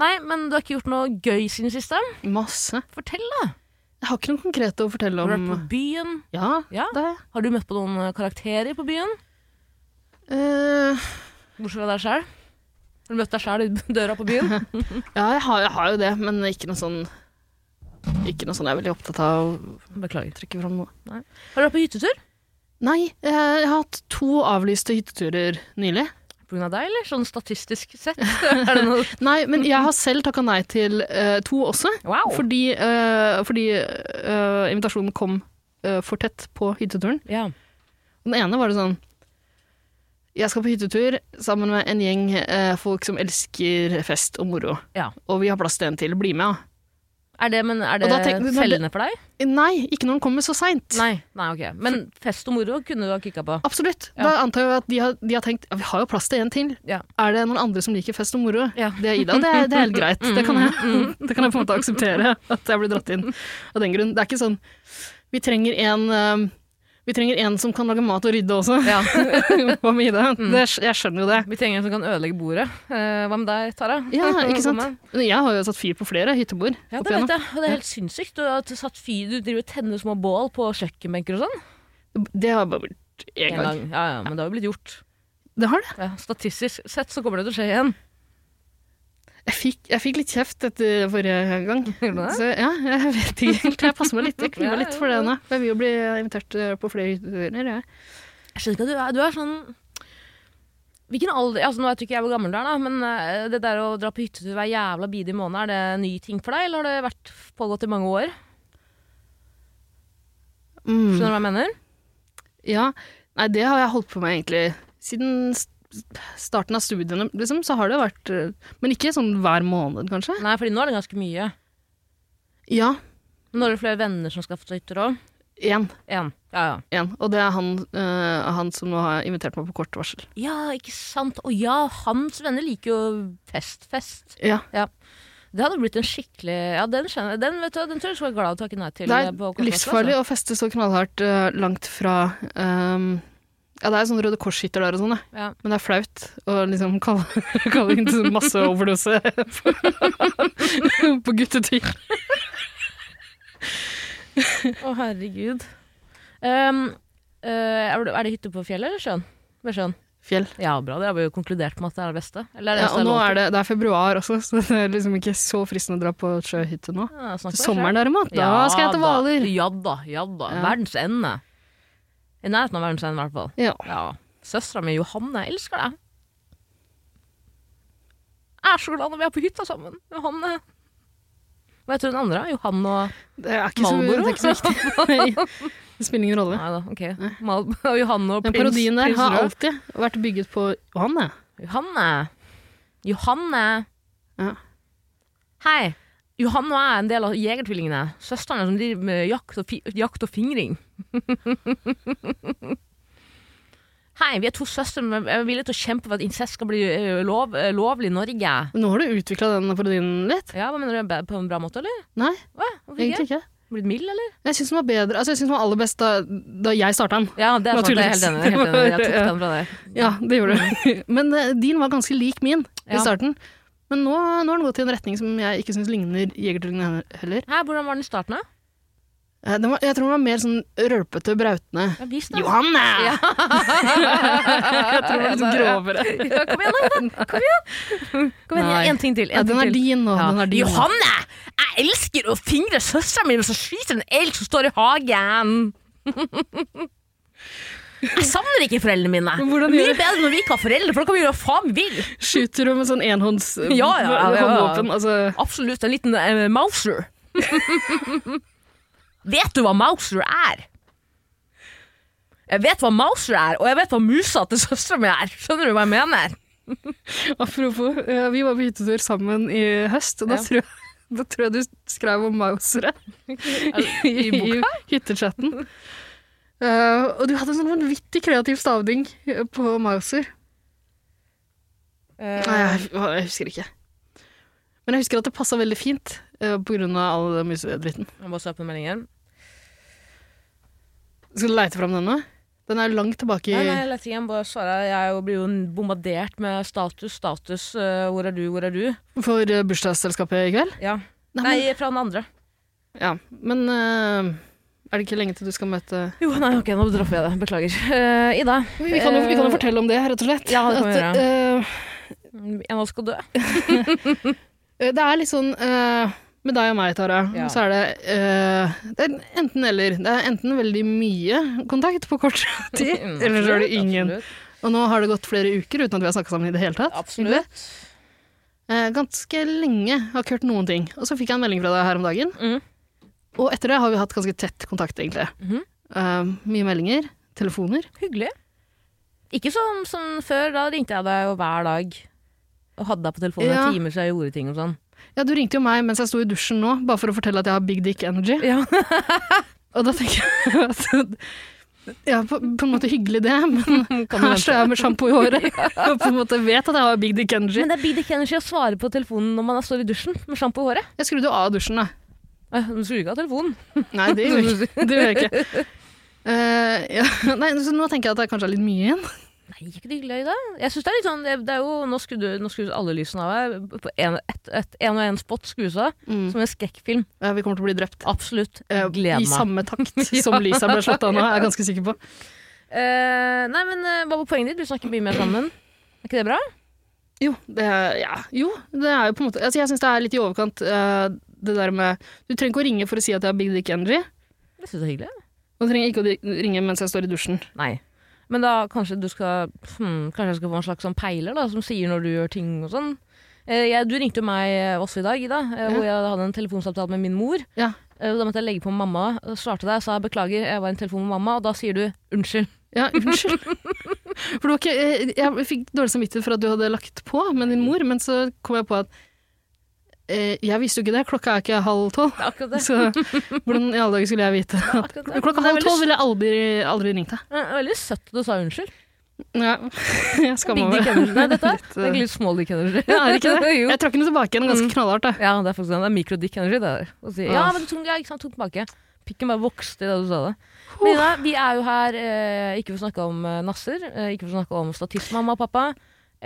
B: Nei, men du har ikke gjort noe gøy siden sist? da?
A: Masse.
B: Fortell, da!
A: Jeg har ikke noe konkret å fortelle
B: Har du vært
A: om.
B: på byen?
A: Ja,
B: Ja.
A: det er jeg.
B: Har du møtt på noen eh, karakterer på byen?
A: Eh,
B: Bortsett fra deg sjæl? Har du møtt deg sjæl i [LAUGHS] døra på byen?
A: ja, jeg har, jeg har jo det, men ikke noe sånn Ikke noe sånn jeg er veldig opptatt av å
B: Beklager.
A: trekke fram noe.
B: Har du vært på hyttetur?
A: Nei, eh, jeg har hatt to avlyste hytteturer nylig.
B: På grunn av deg, eller? Sånn statistisk [LAUGHS] sett? er det noe
A: Nei, men jeg har selv takka nei til eh, to også.
B: Wow!
A: Fordi, eh, fordi eh, invitasjonen kom eh, for tett på hytteturen.
B: Ja.
A: Den ene var det sånn Jeg skal på hyttetur sammen med en gjeng eh, folk som elsker fest og moro.
B: Ja.
A: Og vi har plass til en til. Bli med, ja.
B: Er det, men er det
A: Og da tenk- når det-
B: fellende for deg?
A: Nei, ikke når den kommer så seint.
B: Nei, nei, ok. Men fest og moro kunne du ha kikka på.
A: Absolutt.
B: Ja.
A: Da antar jeg at de har, de har tenkt ja, vi har jo plass til en til.
B: Ja.
A: Er det noen andre som liker fest og moro?
B: Ja.
A: Det er Ida. Det
B: [LAUGHS]
A: er, det er helt greit. Det kan, jeg, [LAUGHS] det kan jeg på en måte akseptere at jeg blir dratt inn av den grunn. Det er ikke sånn Vi trenger en eh, Vi trenger en som kan lage mat og rydde også. [LAUGHS]
B: Ja. [LAUGHS]
A: Hva med Ida?
B: Mm.
A: Det, jeg skjønner jo det.
B: Vi trenger en som kan ødelegge bordet. Eh, hva med deg, Tara?
A: Ja, ikke
B: Hva med?
A: sant? Jeg har jo satt fyr på flere hyttebord.
B: Ja,
A: opp
B: det vet
A: igjennom.
B: jeg. Og det er helt sinnssykt. Du har satt fyr, du driver og tenner små bål på kjøkkenbenker og sånn.
A: Det har bare vært én
B: En
A: gang.
B: gang. Ja, ja, men det har jo blitt gjort.
A: Det har det.
B: Ja, statistisk sett så kommer det til å skje igjen.
A: Jeg fikk, jeg fikk litt kjeft etter forrige gang.
B: [LAUGHS] Gjorde du det?
A: Så ja, jeg vet ikke helt. Jeg passer meg litt.
B: [LAUGHS]
A: Jeg
B: Ja,
A: kniver litt for det
B: ja, ja.
A: nå. Jeg vil jo bli invitert eh, på flere hytteturer. jeg.
B: Jeg skjønner ikke at du er, du er sånn Hvilken alder altså Nå vet jeg ikke jeg hvor gammel du er, da, men eh, det der å dra på hyttetur hver jævla bidige måned, er det en ny ting for deg, eller har det vært pågått i mange år?
A: Mm.
B: Skjønner du hva jeg mener?
A: Ja, nei, det har jeg holdt på med egentlig siden s- starten av studiene, liksom, så har det vært eh, Men ikke sånn hver måned, kanskje?
B: Nei, fordi nå er det ganske mye.
A: Ja,
B: Men nå er det flere venner som skal få ta hytter òg.
A: én.
B: Én. Ja, ja.
A: én. Og det er han, eh, han som nå har invitert meg på kort varsel.
B: Ja, ikke sant. Å ja, hans venner liker jo fest-fest.
A: Ja.
B: Det hadde blitt en skikkelig Ja, den skjønner jeg. Den, vet du, den tror jeg du skal være glad å takke nei til.
A: Det
B: eh, på
A: er
B: Kolbotn,
A: livsfarlig å feste så knallhardt eh, langt fra ehm, Ja, det er sånne Røde Kors-hytter der og sånn,
B: Altså. Ja.
A: men det er flaut å liksom [LAUGHS] kalle, kalle inn til masse overdose [LAUGHS] på, på guttetur.
B: Å, herregud. Ehm, eh, er det- er det hytte på fjellet eller sjøen? Ved sjøen.
A: Fjell.
B: Ja, bra. Det har vi jo konkludert med at det er det beste. Eller er det
A: Ja, og nå er
B: eneste
A: det, det er februar også, [LAUGHS] så det er liksom ikke så fristende å dra på sjøhytte nå.
B: lov til? Ja, snakk for deg
A: Sommeren derimot,
B: selv.
A: da
B: Ja
A: skal jeg
B: da.
A: til Hvaler.
B: Ja da, ja da.
A: Ja.
B: Verdens ende. I nærheten av verdens ende, i hvert fall.
A: Ja.
B: Ja. Søstera mi Johanne, jeg elsker deg. Jeg er så glad når vi er på hytta sammen. Johanne. Hva heter hun andre? Johan og
A: Det er ikke så,
B: Malboro?
A: det er ikke så viktig.
B: [LAUGHS]
A: Nei, det spiller ingen rolle.
B: Nei da, ok. Mal og Johanne og
A: Den
B: prins
A: parodien der
B: prins
A: har
B: Rød.
A: alltid vært bygget på Johanne.
B: Johanne. Johanne.
A: Ja.
B: Hei. Johanne og jeg er en del av Jegertvillingene. Søstrene som driver med jakt og, fi jakt og fingring. [LAUGHS] Hei, vi er to søstre, men vi er villige til å kjempe for at incest skal bli ø, lov, ø, lovlig i Norge.
A: Nå har du utvikla den parodien litt.
B: Ja, hva mener du? På en bra måte, eller?
A: Nei,
B: Hva? Hvorfor ikke?
A: egentlig ikke.
B: Blitt mild, eller?
A: Jeg syns den var bedre Altså, jeg synes den var aller best da, da jeg starta den.
B: Ja, det er sant. Jeg er
A: Naturligvis.
B: helt enig. jeg er Helt enig. Jeg tok den fra deg.
A: Ja, det gjorde du. [LAUGHS] Men eh, din var ganske lik min
B: Mm. Ja.
A: i starten. Men nå, nå har den gått i en retning som jeg ikke syns ligner Jegertvillingene heller.
B: Hei, hvordan var den i starten, da?
A: Eh, Den var, jeg tror den var mer sånn rølpete, brautende.
B: Ja, vis den.
A: Johanne!
B: Ja.
A: jeg tror den var litt grovere.
B: Ja, kom igjen, da. Kom igjen. Kom igjen.
A: Nei.
B: En ting til.
A: Ja,
B: En
A: den er
B: ting til.
A: din nå. Den er din. nå.
B: Johanne! Jeg elsker å fingre søstera mi mens hun skyter en elg som står i hagen. [LAUGHS] Jeg savner ikke foreldrene mine.
A: Men hvordan
B: Mye
A: gjør-
B: bedre når vi ikke har foreldre, for da kan vi gjøre hva faen vi vil.
A: Skyter du med sånn enhånds
B: Ja, ja, ja, ja.
A: håndvåpen? Altså,
B: Absolutt en liten eh, mouser. [LAUGHS] vet du hva mouser er? Jeg vet hva mouser er, og jeg vet hva musa til søstera mi er. Skjønner du hva jeg mener?
A: apropos, eh, vi var på hyttetur sammen i høst, og da,
B: Ja.
A: tror, jeg- da tror jeg du skrev om mausere i, i, [LAUGHS] hyttechatten. Eh, og du hadde en sånn vanvittig kreativ stavning eh, på mauser. Nei,
B: Ah,
A: jeg, jeg husker ikke. Men jeg husker at det passa veldig fint eh, på grunn av all den musedritten.
B: Jeg må se på meldingen.
A: Skal du leite fram den nå? Den er langt tilbake i
B: Nei, nei, jeg, igjen, bare svarer. jeg er jo- blir jo bombardert med status, status, eh, hvor er du, hvor er du?
A: for eh, bursdagsselskapet i kveld.
B: Ja.
A: Nei, men,
B: Nei, fra den andre.
A: ja, men eh, er det ikke lenge til du skal møte
B: Jo, nei, ok, nå drapper jeg det. Beklager. Eh, Ida,
A: Vi kan, jo, vi kan jo fortelle om det, rett og slett.
B: Ja, det kan vi
A: At,
B: en av oss skal dø.
A: eh, det er litt sånn eh, Med deg og meg, Tara,
B: Ja.
A: så er det, eh, det er enten eller. Det er enten veldig mye kontakt på kort tid,
B: [LAUGHS]
A: [LAUGHS]
B: Mm,
A: eller så er det
B: absolutt,
A: ingen.
B: Absolutt.
A: Og nå har det gått flere uker uten at vi har snakka sammen i det hele tatt. egentlig.
B: absolutt.
A: Eh, ganske lenge har ikke hørt noen ting. Og så fikk jeg en melding fra deg her om dagen.
B: Mm.
A: Og etter det har vi hatt ganske tett kontakt, egentlig.
B: Mhm.
A: Eh, mye meldinger, telefoner.
B: Hyggelig. Ikke som, som før, da ringte jeg deg jo hver dag og hadde deg på telefonen
A: Ja.
B: i timer så jeg gjorde ting og sånn.
A: Ja, du ringte jo meg mens jeg sto i dusjen nå, bare for å fortelle at jeg har big dick energy.
B: Ja.
A: Og da tenker jeg [LAUGHS] at ja, på, på en måte hyggelig
B: [LAUGHS]
A: det, men her står jeg med sjampo i håret [LAUGHS] og på en måte vet at jeg har big dick energy.
B: [LAUGHS] Men det er big dick energy å svare på telefonen når man står i dusjen med sjampo i håret.
A: Jeg skrudde jo av dusjen, da.
B: Eh, Du skulle ikke ha telefonen. [LAUGHS]
A: Nei, det gjør jeg ikke. Det gjør jeg ikke. Eh, ja. [LAUGHS] Nei, så nå tenker jeg at det kanskje er litt mye igjen.
B: Nei, gikk det hyggelig i dag? Jeg synes det er litt sånn, det, det er jo, Nå skrudde nå skrudde alle lysene av her. På en, et, et, en og en spot skrus av. Som en skrekkfilm.
A: Ja, vi kommer til å bli drept.
B: Absolutt.
A: Eh,
B: Gleder meg.
A: I samme takt [LAUGHS] som Lisa ble slått av nå, er jeg ganske sikker på.
B: Eh, nei, men eh, hva var poenget ditt? Du snakker mye mer sammen. Er ikke det bra?
A: Jo, det er, ja. jo, det er jo på en måte altså, Jeg syns det er litt i overkant, eh, det der med Du trenger ikke å ringe for å si at jeg har big dick energy.
B: Jeg synes det er hyggelig.
A: Og du trenger ikke å di- ringe mens jeg står i dusjen.
B: Nei. Men da kanskje du skal hmm, Kanskje jeg skal få en slags sånn peiler da som sier når du gjør ting og sånn. Eh, jeg, du ringte jo meg eh, også i dag, Ida, eh,
A: Ja.
B: hvor jeg hadde en telefonsamtale med min mor.
A: Ja.
B: Eh, og da måtte jeg legge på mamma. og Svarte deg, sa jeg beklager, jeg var i en telefon med mamma, og da sier du unnskyld. [LAUGHS]
A: Ja, [LAUGHS] unnskyld. For det var ikke, eh, jeg fikk dårlig samvittighet for at du hadde lagt på med din mor, men så kom jeg på at eh, jeg visste jo ikke det, klokka er ikke halv tolv.
B: Det er akkurat det.
A: Så hvordan i alle dager skulle jeg vite at
B: Akkurat det.
A: Klokka
B: Det er
A: halv
B: veldig
A: tolv ville jeg aldri, aldri ringt deg.
B: Det er veldig søtt at du sa unnskyld.
A: Ja, [LAUGHS] jeg
B: Big
A: skammer
B: dick
A: meg.
B: energy. Nei, dette er-
A: [LAUGHS] Litt, eh.
B: det er ikke litt small dick energy.
A: Ja, er det
B: [LAUGHS]
A: ikke [LAUGHS] det?
B: jo.
A: Jeg trakk henne tilbake igjen ganske knallhardt. da.
B: Ja, det er faktisk det. Det er mikrodick energy. Det der. Å si, ja,
A: Ja.
B: men du tok, ja, ikke sant, tok tilbake. Pikken bare vokste i det du sa det. Men Ida, vi er jo her eh, ikke for å snakke om eh, nasser, eh, ikke for å snakke om statist, mamma og pappa,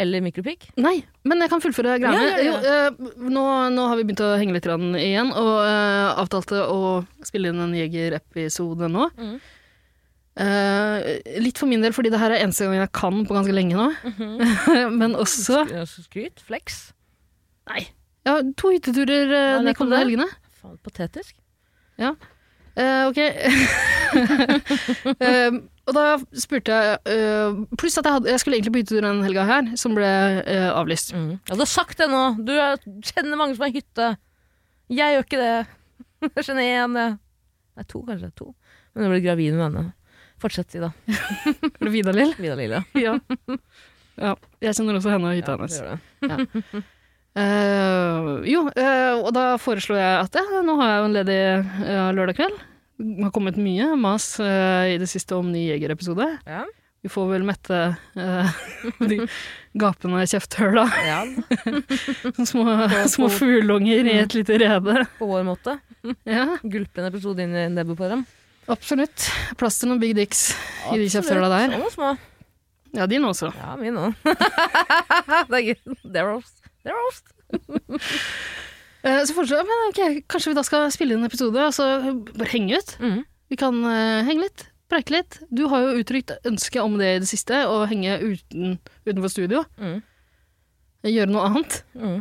B: eller mikropikk.
A: Nei, men jeg kan fullføre greiene.
B: Ja, ja,
A: Jo, eh, nå, nå har vi begynt å henge litt grann igjen, og eh, avtalte å spille inn en Jeger-episode nå.
B: Mm.
A: Eh, litt for min del, fordi det her er eneste gang jeg kan på ganske lenge nå. [LAUGHS]
B: Mhm.
A: men også
B: Eh, Skryt, flex.
A: Nei. Ja, to hytteturer eh,
B: Ja, det
A: de
B: kan du.
A: kommende helgene.
B: Faen, patetisk.
A: Eh, ok. [LAUGHS] Eh, og da spurte jeg eh, Pluss at jeg, hadde, jeg skulle egentlig på hyttetur den helga her, som ble eh, avlyst.
B: Mm. Ja, du har sagt det nå! Du er- kjenner mange som har hytte. Jeg gjør ikke det. [LAUGHS] Jeg kjenner én, jeg. Nei, to kanskje. To. Men jeg ble gravid med henne. Fortsett, Ida.
A: Var det Vidar Lill?
B: Vida Lille. [LAUGHS]
A: ja. ja. Jeg kjenner også henne og hytta hennes.
B: det gjør det.
A: Eh, jo, eh, og da foreslo jeg at ja, nå har jeg jo en ledig eh, lørdag kveld. Det har kommet mye mas eh, i det siste om ny Jeger-episode.
B: Ja.
A: Vi får vel mette eh, [LAUGHS] de gapende kjefthøla [LAUGHS]
B: Ja,
A: som små, små fuglunger i
B: Mm.
A: et lite
B: [LAUGHS]
A: rede.
B: på vår måte.
A: Ja,
B: Gulpe en episode inn i nebbet på dem.
A: absolutt. Plass til noen big dicks i de kjefthøla der.
B: Sånne små.
A: Ja, din også.
B: Ja, mine òg. [LAUGHS] det er gøy. Det er roast. Det er roast.
A: Eh, så foreslo jeg men ok, kanskje vi da skal spille inn en episode og så bare henge ut.
B: Mm.
A: Vi kan eh, henge litt, preike litt. Du har jo uttrykt ønske om det i det siste, å henge uten, utenfor studio. eh,
B: Mm.
A: Gjøre noe annet.
B: Mm.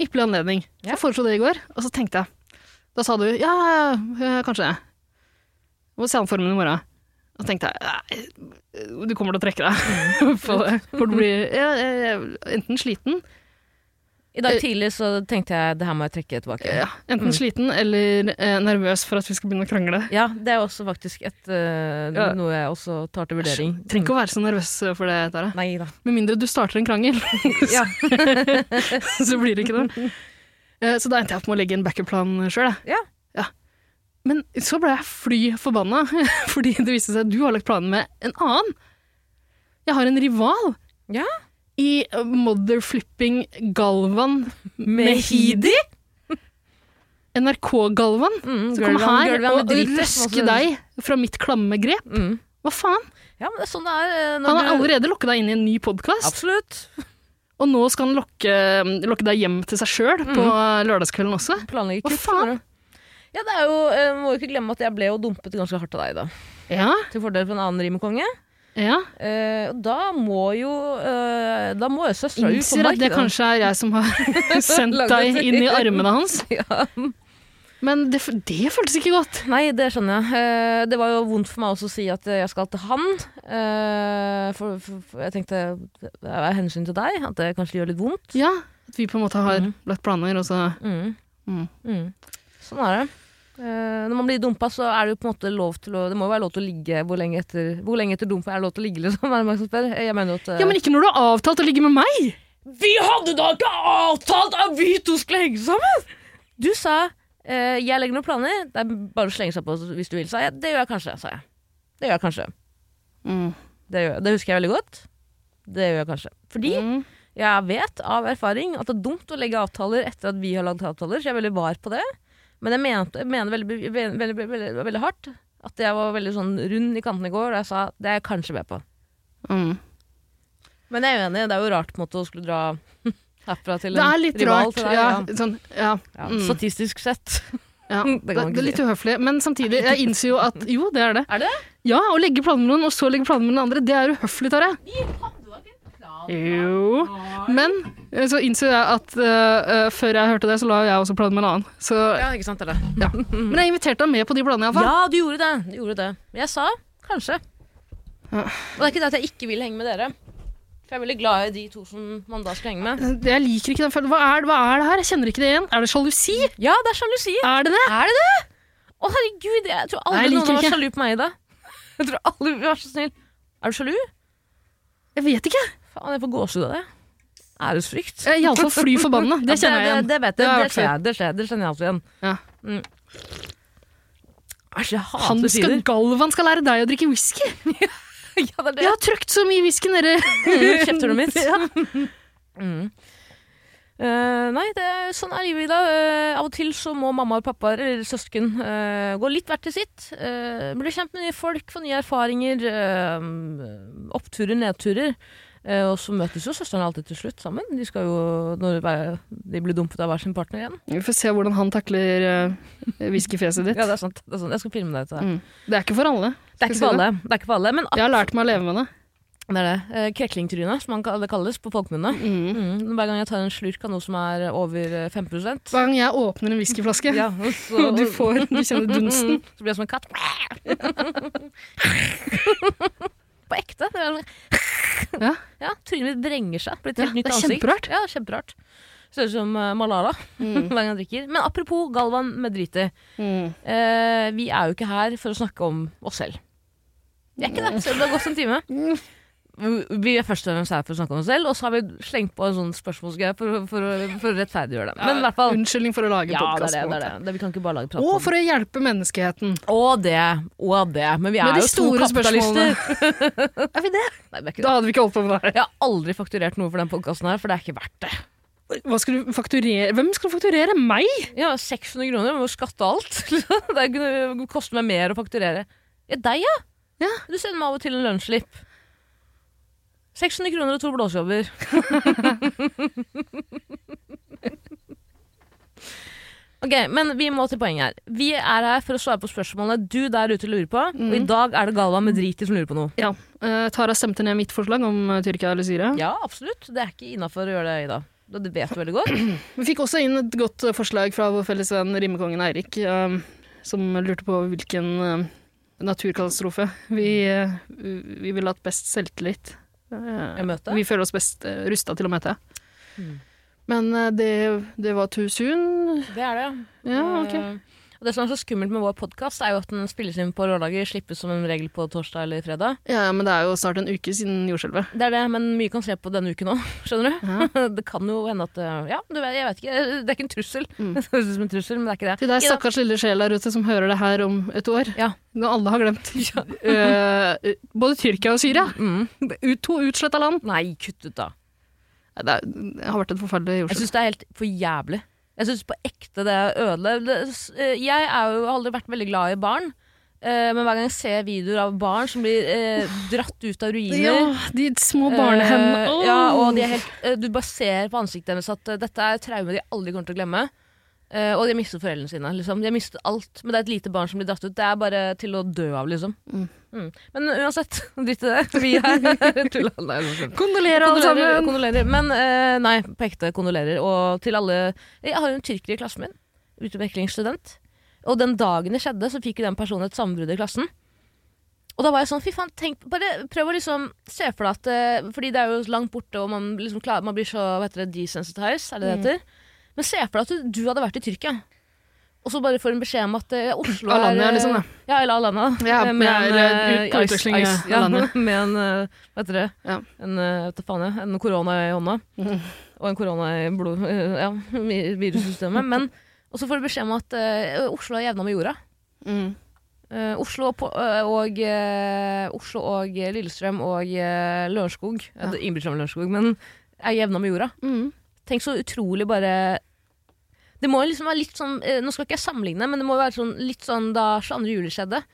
A: Ikke bli anledning.
B: Ja.
A: Jeg foreslo det i går, og så tenkte jeg. Da sa du ja, eh, kanskje. Må se an formen i morgen. Og så tenkte jeg nei, du kommer til å
B: [LAUGHS]
A: trekke deg. [LAUGHS] på det. For du blir eh, eh, enten sliten,
B: I dag tidlig så tenkte jeg det her må jeg trekke tilbake.
A: Eh. ja, enten sliten eller eh, nervøs for at vi skal begynne å krangle.
B: Ja, det er også faktisk et, eh,
A: Ja.
B: noe jeg også tar til vurdering.
A: Trenger ikke å være så nervøs for det. Tara.
B: Nei da.
A: Med mindre du starter en krangel. [LAUGHS]
B: Ja.
A: så blir det ikke noe. Eh, Så da endte jeg opp med å legge en backup-plan sjøl.
B: Ja.
A: Men så ble jeg fly forbanna, [LAUGHS] fordi det viste seg at du har lagt planen med en annen. Jeg har en rival
B: Ja.
A: i motherflipping Galvan Mehidi. NRK-Galvan.
B: Mm,
A: Som kom
B: Gulvan-
A: her
B: Gulvan
A: og
B: med driten, som også-
A: røske deg fra mitt klamme grep.
B: Mm.
A: Hva faen?
B: Ja, men det er sånn det er. eh, når
A: Han har
B: du-
A: allerede lokket deg inn i en ny podkast,
B: Absolutt.
A: og nå skal han lokke, lokke deg hjem til seg sjøl på
B: Mhm.
A: lørdagskvelden også.
B: Planlegger
A: Hva
B: kutt.
A: faen?
B: skjønner du. Ja, det er jo, eh, Må jo ikke glemme at jeg ble jo dumpet ganske hardt av deg, da.
A: Ja,
B: Til fordel for en annen rimekonge.
A: ja.
B: Eh, og da må jo eh, Da må jo søstera ut på
A: Innser at det
B: markedet.
A: kanskje er jeg
B: [LAUGHS]
A: som har sendt
B: Lagd
A: deg
B: et-
A: inn i armene hans.
B: [LAUGHS] Ja.
A: Men det, f- det føltes ikke godt.
B: Nei, det skjønner jeg. Eh, det var jo vondt for meg også å si at eh, jeg skal til han. Eh, for, for, for jeg tenkte det er av hensyn til deg, at det kanskje gjør litt vondt.
A: Ja, At vi på en måte har
B: Mhm.
A: lagt planer, og så
B: Mm.
A: Mm.
B: Mm. Sånn er det. Eh, når man blir dumpa, så er det jo på en måte lov til å Det må jo være lov til å ligge hvor lenge etter, hvor lenge etter dumpa er det lov til å ligge, liksom. Er det mange som spør? Jeg mener jo at eh,
A: Ja, men ikke når du har avtalt å ligge med meg!
B: Vi hadde da ikke avtalt at vi to skulle henge sammen! Du sa eh, jeg legger noen planer, det er bare å slenge seg på hvis du vil, sa jeg. Det gjør jeg kanskje, sa jeg. Det gjør jeg kanskje.
A: Mm,
B: Det, gjør jeg. det husker jeg veldig godt. Det gjør jeg kanskje. Fordi
A: Mm.
B: jeg vet av erfaring at det er dumt å legge avtaler etter at vi har lagd avtaler, så jeg er veldig var på det. Men jeg mente- mener veldig, veldig, veldig, veldig, veldig hardt At jeg var veldig sånn rund i kantene i går, og jeg sa det er jeg kanskje med på.
A: Mm.
B: Men jeg er uenig, det er jo rart på en måte å skulle dra [LAUGHS] herfra til en
A: Det er litt
B: rival
A: rart.
B: til deg.
A: ja,
B: ja.
A: sånn, ja.
B: Ja,
A: Mm.
B: Statistisk sett.
A: Ja,
B: Det kan
A: det,
B: man ikke
A: det er litt uhøflig, men samtidig, jeg innser jo
B: [LAUGHS]
A: at jo, det er det.
B: Er det
A: Ja, å legge planer med noen, og så legge planer med den andre, det er uhøflig, Tarjei. Jo. Men eh, så innså jeg at eh, eh, før jeg hørte det, så la jeg også planer med en annen. Så,
B: Ja, ikke sant, eller?
A: ja. Men jeg inviterte deg med på de planene, iallfall.
B: Ja, du gjorde det. Du gjorde det. Men Jeg sa kanskje.
A: Ja.
B: Og det er ikke det at jeg ikke vil henge med dere. For jeg er veldig glad i de to som man da skal henge med.
A: Eh, Jeg liker ikke den følelsen. Hva er, hva er det her? Jeg kjenner ikke det igjen. Er det sjalusi?
B: Ja, det er sjalusi.
A: Er det det?
B: Er det det? Å, herregud, jeg tror
A: Nei,
B: aldri
A: jeg liker
B: noen har
A: ikke.
B: vært sjalu på meg i dag. Jeg tror aldri, vær så snill. Er du sjalu?
A: Jeg vet ikke.
B: Faen, jeg får gåsehud av det. Æresfrykt.
A: Jeg er iallfall fly forbanna. Det kjenner jeg
B: Ja,
A: igjen.
B: Det, det vet
A: Det
B: jeg.
A: har
B: Det,
A: jeg
B: skjer, det skjer. Det kjenner jeg også igjen.
A: Ja.
B: Mm. Æsj, jeg
A: Han
B: hater
A: skal,
B: sider.
A: Galvan skal lære deg å drikke whisky.
B: [LAUGHS] Ja, det er
A: Jeg har trøkt så mye whisky nedi
B: Kjøpte du
A: [LAUGHS]
B: mitt?
A: Ja.
B: Mm. Eh, nei, det er, sånn er livet, Ida. Eh, av og til så må mamma og pappa eller søsken eh, gå litt hvert til sitt. Uh, bli kjent med nye folk, få nye erfaringer. eh, oppturer, nedturer. Eh, og så møtes jo søstrene alltid til slutt sammen. De skal jo, når hver- de blir dumpet av hver sin partner igjen.
A: Vi får se hvordan han takler eh, whiskyfjeset ditt.
B: Ja, det er sant. Det er sant. Jeg skal filme deg til det.
A: Mm. Det er ikke for alle.
B: Det er ikke for alle. Det er ikke for alle men
A: Jeg har lært meg å leve med det.
B: det er det. Eh, Kreklingtryne, som man kall- det kalles på folkemunne.
A: Mm.
B: Mm. Hver gang jeg tar en slurk av noe som er over eh, 5
A: Hver gang jeg åpner en whiskyflaske,
B: Ja, og så,
A: [LAUGHS]
B: Mm,
A: og du får Du kjenner
B: [LAUGHS]
A: dunsten.
B: Så blir jeg som en katt. På ekte. Det er, sånn-
A: Ja.
B: ja, Trynet mitt vrenger seg. Blir et helt
A: Ja,
B: nytt
A: det er
B: ansikt.
A: kjemperart.
B: Ja, det er kjemperart. Ser ut som eh, Malala [LAUGHS] hver gang jeg drikker. Men apropos Galvan Medriti.
A: Mm.
B: Eh, vi er jo ikke her for å snakke om oss selv. Vi er ikke det, selv om det har gått en time. Vi er først og fremst her for å snakke om oss selv, og så har vi slengt på en sånn spørsmålsgreie for, for, for, for å rettferdiggjøre det. Men i hvert fall
A: Unnskyldning for å lage
B: ja, det er
A: podkast.
B: det, det er det. det. Vi kan ikke bare lage prat
A: og for å hjelpe menneskeheten.
B: Og det, og det. Men vi er
A: Med de
B: jo to
A: store
B: kapitalister.
A: Er vi det?
B: Nei, vi [LAUGHS] er ikke det.
A: Da hadde vi ikke holdt på med det her.
B: Jeg har aldri fakturert noe for den podkasten her, for det er ikke verdt det.
A: Hva skal du fakturere? Hvem skal fakturere? Meg?
B: Ja, 600 kroner, vi må skatte alt. [LAUGHS] det er ikke- det koster meg mer å fakturere. Ja, deg, ja.
A: Ja.
B: Du sender meg av og til en lønnsslipp. 600 kroner og to blåsejobber. [LAUGHS] Ok, men vi må til poenget her. Vi er her for å svare på spørsmålene du der ute lurer på. Og i dag er det Galvan Medriti som lurer på noe.
A: Ja. eh, Tara stemte ned mitt forslag om eh, Tyrkia eller Syria.
B: Ja, absolutt. Det er ikke innafor å gjøre det i dag. Det det vet du veldig godt.
A: Vi fikk også inn et godt eh, forslag fra vår felles venn rimekongen Eirik, eh, som lurte på hvilken eh, naturkatastrofe vi, eh, vi ville hatt best selvtillit. Eh,
B: Jeg møter.
A: vi føler oss best uh, rusta til å møte.
B: Mm.
A: Men eh, det, det var too soon.
B: Det er det,
A: Ja, ok.
B: Eh, Og det som er så skummelt med vår podkast, er jo at den spilles inn på lørdager, slippes som en regel på torsdag eller fredag.
A: Ja, men det er jo snart en uke siden jordskjelvet.
B: Det er det, men mye kan skje på denne uken òg, [LAUGHS] skjønner du.
A: Ja.
B: Det kan jo hende at eh, Ja, du vet, jeg vet ikke. Det er ikke en trussel.
A: Mm.
B: [LAUGHS] Det høres ut som en trussel, men det er ikke det.
A: [LAUGHS] Til deg
B: Ida,
A: stakkars lille sjel der ute som hører det her om et år,
B: Ja.
A: når alle
B: [LAUGHS]
A: har glemt [LAUGHS] eh, både Tyrkia og Syria.
B: Mm.
A: Det er ut- To utsletta land.
B: Nei, kutt ut, da.
A: Nei, Det, er, det har vært et forferdelig
B: Jeg
A: jordskjelv.
B: syns det er helt for jævlig. Jeg syns på ekte det er ødeleggende. Det- s- eh, Jeg er jo, har aldri vært veldig glad i barn. eh, Men hver gang jeg ser videoer av barn som blir eh, dratt ut av ruiner
A: Ja, de små barnehendene.
B: Eh,
A: Åh!
B: ja, og de er helt, eh, du bare ser på ansiktet deres at eh, dette er traume de aldri kommer til å glemme. Eh, og de har mistet foreldrene sine. Liksom. De har mistet alt. Men det er et lite barn som blir dratt ut. Det er bare til å dø av, liksom.
A: Mm.
B: Mm. Men uansett, [LAUGHS] dritt i det. Vi er [LAUGHS] tulla. Nei, det var slemt.
A: Kondolerer, alle
B: Kondolerer,
A: sammen!
B: kondolerer. Men eh, nei, på ekte kondolerer. Og til alle Jeg har en tyrker i klassen min. Utvekslingsstudent. Og den dagen det skjedde, så fikk jo den personen et sammenbrudd i klassen. Og da var jeg sånn, fy faen, tenk, bare prøv å liksom se for deg at eh, Fordi det er jo langt borte, og man, liksom klarer, man blir så hva heter det, desensitized, er det
A: Mm.
B: det heter? Men se for deg at du, du hadde vært i Tyrkia, og så bare får en beskjed om at eh, Oslo
A: Alanya,
B: er eh,
A: liksom, da.
B: Ja, eller Alanya. eh,
A: Ja, jeg
B: en,
A: er,
B: eh,
A: ut- på
B: ice-
A: utveksling i
B: ice- ja,
A: Alanya.
B: [LAUGHS] Med en eh, Hva heter det?
A: Ja.
B: En, eh, vet du faen, jeg, en korona i hånda.
A: [LAUGHS] Mhm.
B: Og en korona i blod... eh, Ja, i virussystemet. Men, og så får du beskjed om at eh, Oslo er jevna med jorda.
A: Mm.
B: Eh, Oslo, og, på- eh, og, eh, Oslo og eh, Lillestrøm og eh, Lørenskog ja.
A: Ja.
B: det Innbiller seg med Lørenskog, men er jevna med jorda.
A: Mm.
B: Tenk så utrolig bare Det må jo liksom være litt sånn eh, Nå skal ikke jeg sammenligne, men det må jo være sånn, litt sånn da 22. juli skjedde.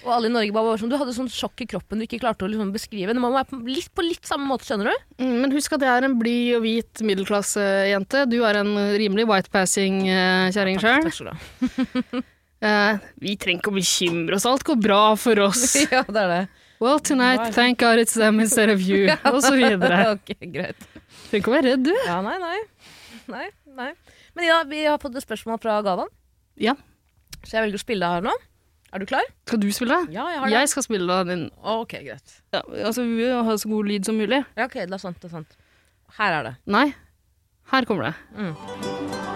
B: Og alle i Norge bare var sånn Du hadde sånn sjokk i kroppen du ikke klarte å liksom beskrive. Det må være på litt, på litt samme måte, skjønner du?
A: Mm, Men husk at jeg er en blid og hvit middelklassejente. Du er en rimelig whitepassing-kjerring sjøl. Eh,
B: Takk skal du ha.
A: [LAUGHS]
B: [LAUGHS]
A: Vi trenger ikke å bekymre oss, alt går bra for oss.
B: [LAUGHS] Ja, det er det.
A: Well, tonight, thank God it's them instead of
B: [LAUGHS]
A: you, og så videre.
B: ok, greit.
A: Trenger ikke å være redd, du.
B: Ja, nei, nei. Nei, nei. Men Ida, vi har fått et spørsmål fra Gavan,
A: Ja.
B: så jeg velger å spille det her nå. Er du klar?
A: Skal du spille?
B: Ja, jeg
A: Jeg skal spille da din.
B: Ok, greit.
A: Ja, altså, vi vil ha så god lyd som mulig.
B: Ja, ok, det er sant, det er sant. Her er det.
A: Nei, her kommer det.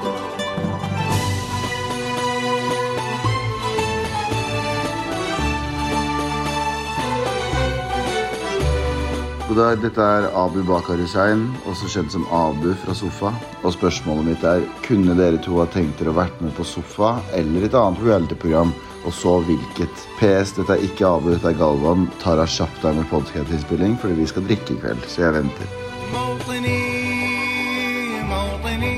C: God dag, dette er Abu Bakar Hussein, også kjent som Abu fra Sofa. Og spørsmålet mitt er, kunne dere to ha tenkt dere å vært med på Sofa eller et annet reality-program, og så hvilket? PS, dette er ikke Abu, dette er Galvan. Tara kjapt deg med podcast-innspilling, fordi vi skal drikke i kveld, så jeg venter.
D: موطني موطني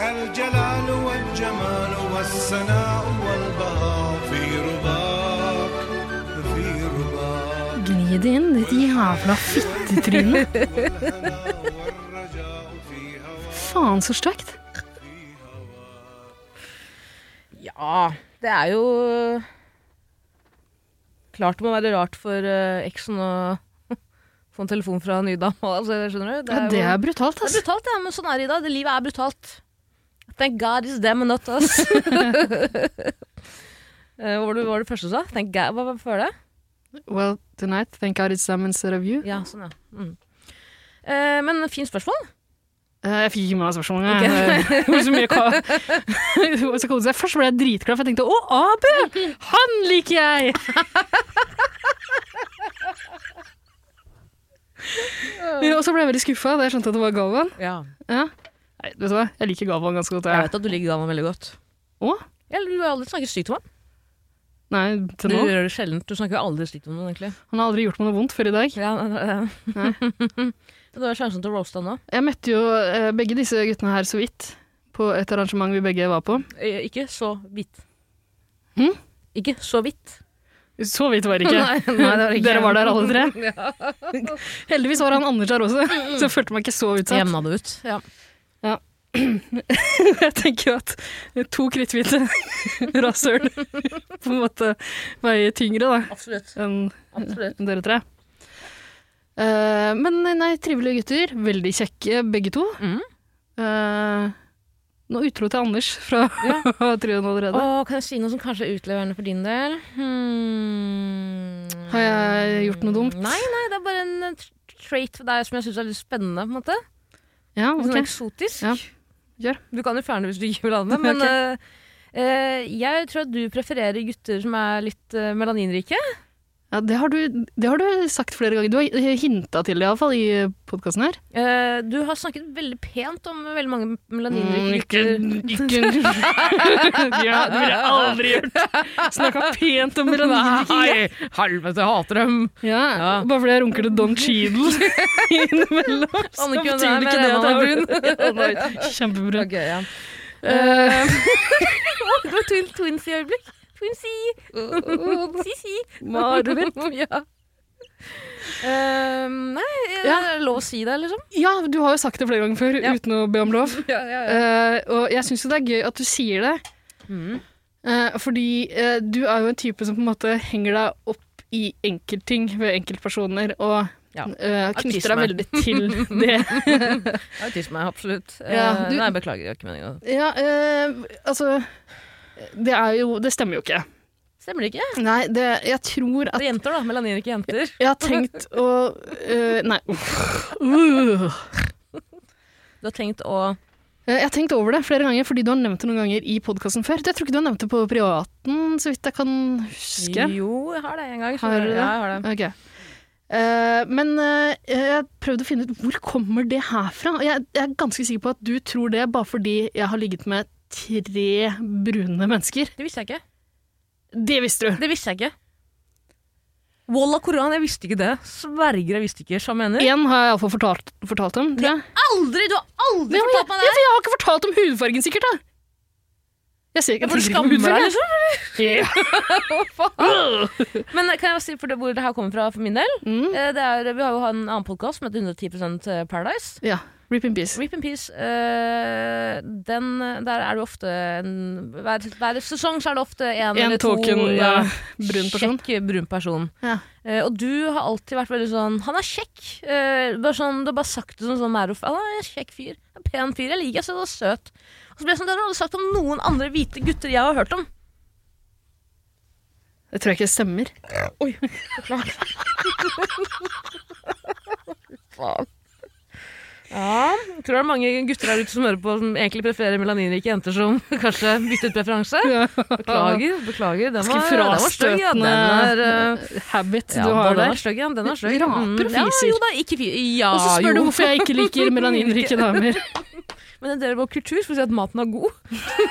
D: الجلال والجمال والسناء والبهاء في رباك في رباك
A: Gni det inn, ditt jævla fittetryne.
B: [LAUGHS]
D: والهنا والرجاء في هواك
A: Faen, så stygt.
B: Ja, det er jo Klart det må være rart for eh, eksen å [LAUGHS] få en telefon fra en ny dame. Altså, skjønner du?
A: Ja, det
B: jo-
A: er brutalt,
B: det er
A: ass.
B: brutalt, ja, men sånn er det i dag. Det livet er brutalt. Thank God it's them and not
A: [LAUGHS]
B: us. Eh, Hva var det, hva var det første du sa? Thank God, hva var før det?
A: Well, tonight, thank God it's them instead of you.
B: Ja, sånn, ja. Mm. Eh, men fint spørsmål.
A: Eh, Jeg fikk ikke med meg spørsmålet. Okay. Det var så mye ka- [LAUGHS] Det var så kaotisk. Jeg Først ble jeg dritglad, for jeg tenkte 'Å, Abu! Han liker
B: [LAUGHS]
A: jeg!' Men- Og så ble jeg veldig skuffa da jeg skjønte at det var Galvan. Ja. Nei, vet du hva? Jeg liker Galvan ganske godt.
B: Jeg
A: Jeg.
B: vet at du liker Gavan veldig godt.
A: Å?
B: Ja, du har aldri snakket stygt om ham.
A: Nei,
B: Du
A: til nå.
B: gjør det sjelden. Du snakker jo aldri stygt om noen, egentlig.
A: Han har aldri gjort meg noe vondt før i dag.
B: Ja, [LAUGHS] Du har sjansen til å roaste han nå.
A: Jeg møtte jo eh, begge disse guttene her så vidt på et arrangement vi begge var på.
B: Eh, Ikke så vidt.
A: Hm?
B: Ikke så [LAUGHS] vidt.
A: Så vidt var det ikke. Dere var der alle tre. [LAUGHS] Heldigvis var han Anders her også, så jeg følte meg ikke så utsatt.
B: Jevna det ut. Ja.
A: [LAUGHS] Jeg tenker jo at to kritthvite [LAUGHS] rasshøl [LAUGHS] på en måte veier tyngre da,
B: Absolutt.
A: enn
B: Absolutt.
A: enn dere tre. Eh, men nei, trivelige gutter. Veldig kjekke begge to.
B: Mm.
A: Eh, nå utro til Anders [LAUGHS] fra trioen allerede.
B: Åh, kan jeg si noe som kanskje er utleverende for din del? Hmm.
A: Har jeg gjort noe dumt?
B: Nei, nei, det er bare en eh, tr- trait for deg som jeg syns er litt spennende. på en måte.
A: Ja,
B: Litt
A: ok.
B: Sånn eksotisk.
A: Ja, gjør.
B: Du kan jo fjerne det hvis du ikke vil ha det,
A: [LAUGHS]
B: men eh, eh, jeg tror at du prefererer gutter som er litt eh, melaninrike.
A: Ja, det, har du, det har du sagt flere ganger. Du har hinta til det iallfall i podkasten her.
B: Eh, du har snakket veldig pent om veldig mange melaninrike gutter.
A: Mm, ikke ja, Det ville jeg aldri gjort. Snakka pent om Nei,
B: helvete, jeg hater dem!
A: Ja, Bare fordi jeg runker til Don Cheadle [LAUGHS] innimellom, så
B: Anniken,
A: betyr
B: det er
A: det ikke
B: med
A: det
B: en
A: at jeg
B: annen
A: er brun. Ja, [LAUGHS] nei, Kjempebrun.
B: Ok, ja.
A: Eh,
B: [LAUGHS] Det var twin, twins i øyeblikk. Twins i [LAUGHS] Si-si.
A: Mareritt.
B: [LAUGHS] ja. Eh, nei, er det
A: Ja.
B: lov å si det, liksom?
A: ja, du har jo sagt det flere ganger før
B: Ja.
A: uten å be om lov.
B: [LAUGHS] Ja, ja,
A: Eh, og jeg syns jo det er gøy at du sier det,
B: Mm.
A: eh, fordi eh, du er jo en type som på en måte henger deg opp i enkeltting ved enkeltpersoner, og
B: Ja.
A: eh, knytter deg
B: Autisme.
A: veldig til det.
B: Autisme, absolutt.
A: Ja,
B: Eh,
A: du-
B: Nei, beklager, det var ikke meningen.
A: Ja, eh, altså det, er jo, det stemmer jo ikke.
B: Stemmer det ikke?
A: Nei, det, jeg tror at
B: Det er jenter, da. Melanin er ikke jenter.
A: Jeg har tenkt å eh, Nei. Uh.
B: Du har tenkt å
A: Eh, Jeg har tenkt over det flere ganger, fordi du har nevnt det noen ganger i podkasten før. Jeg tror ikke du har nevnt det på privaten, så vidt jeg kan huske.
B: Jo, jeg har det en gang. så-
A: Har du det?
B: Ja, jeg har det.
A: Ok. Eh, men eh, jeg prøvde å finne ut hvor kommer det her fra. Og Jeg, jeg er ganske sikker på at du tror det bare fordi jeg har ligget med tre brune mennesker.
B: Det visste jeg ikke.
A: Det visste du.
B: Det visste jeg ikke. Wallah Koran, jeg visste ikke det. Sverger, jeg visste ikke. Sjamener.
A: Én har jeg iallfall fortalt, fortalt om. Tror jeg.
B: Aldri! Du har aldri
A: Ja, men
B: fortalt meg det!
A: Jeg har ikke fortalt om hudfargen, sikkert. da Jeg ser ikke
B: For du
A: tigre på
B: skammer
A: hummer,
B: deg,
A: jeg.
B: liksom?
A: [LAUGHS] Ja.
B: Men kan jeg bare si for det, hvor det her kommer fra for min del? Eh, Det er, vi har jo en annen podkast som heter 110 eh, Paradise.
A: ja. Rip in peace.
B: Rip in peace. eh, den, der er det ofte en, hver, hver sesong så er det ofte en,
A: En
B: eller to
A: token
B: ja,
A: eh, brun person.
B: Kjekk brun person.
A: Ja.
B: Eh, og du har alltid vært veldig sånn Han er kjekk. Eh, bare sånn, du har bare sagt det som sånn Merof. Han er en kjekk fyr. En pen fyr. Jeg liker ham, og søt. Og så ble jeg sånn, Det har du aldri sagt om noen andre hvite gutter jeg har hørt om.
A: Det tror jeg ikke stemmer.
B: Ja, jeg tror det er mange gutter der ute som hører på, som egentlig prefererer melaninrike jenter som [LAUGHS] kanskje bytter ut preferanse. Beklager, beklager. Den var, den var stygg, ja. Den er, eh,
A: habit
B: ja,
A: du
B: den
A: har
B: er
A: der.
B: stygg, ja. Den er stygg.
A: Raper og
B: Ja,
A: fiser.
B: jo da, ikke fi... Ja,
A: Og så spør
B: jo.
A: du hvorfor jeg ikke liker melaninrike damer.
B: Men en del av vår kultur skal si at maten er god.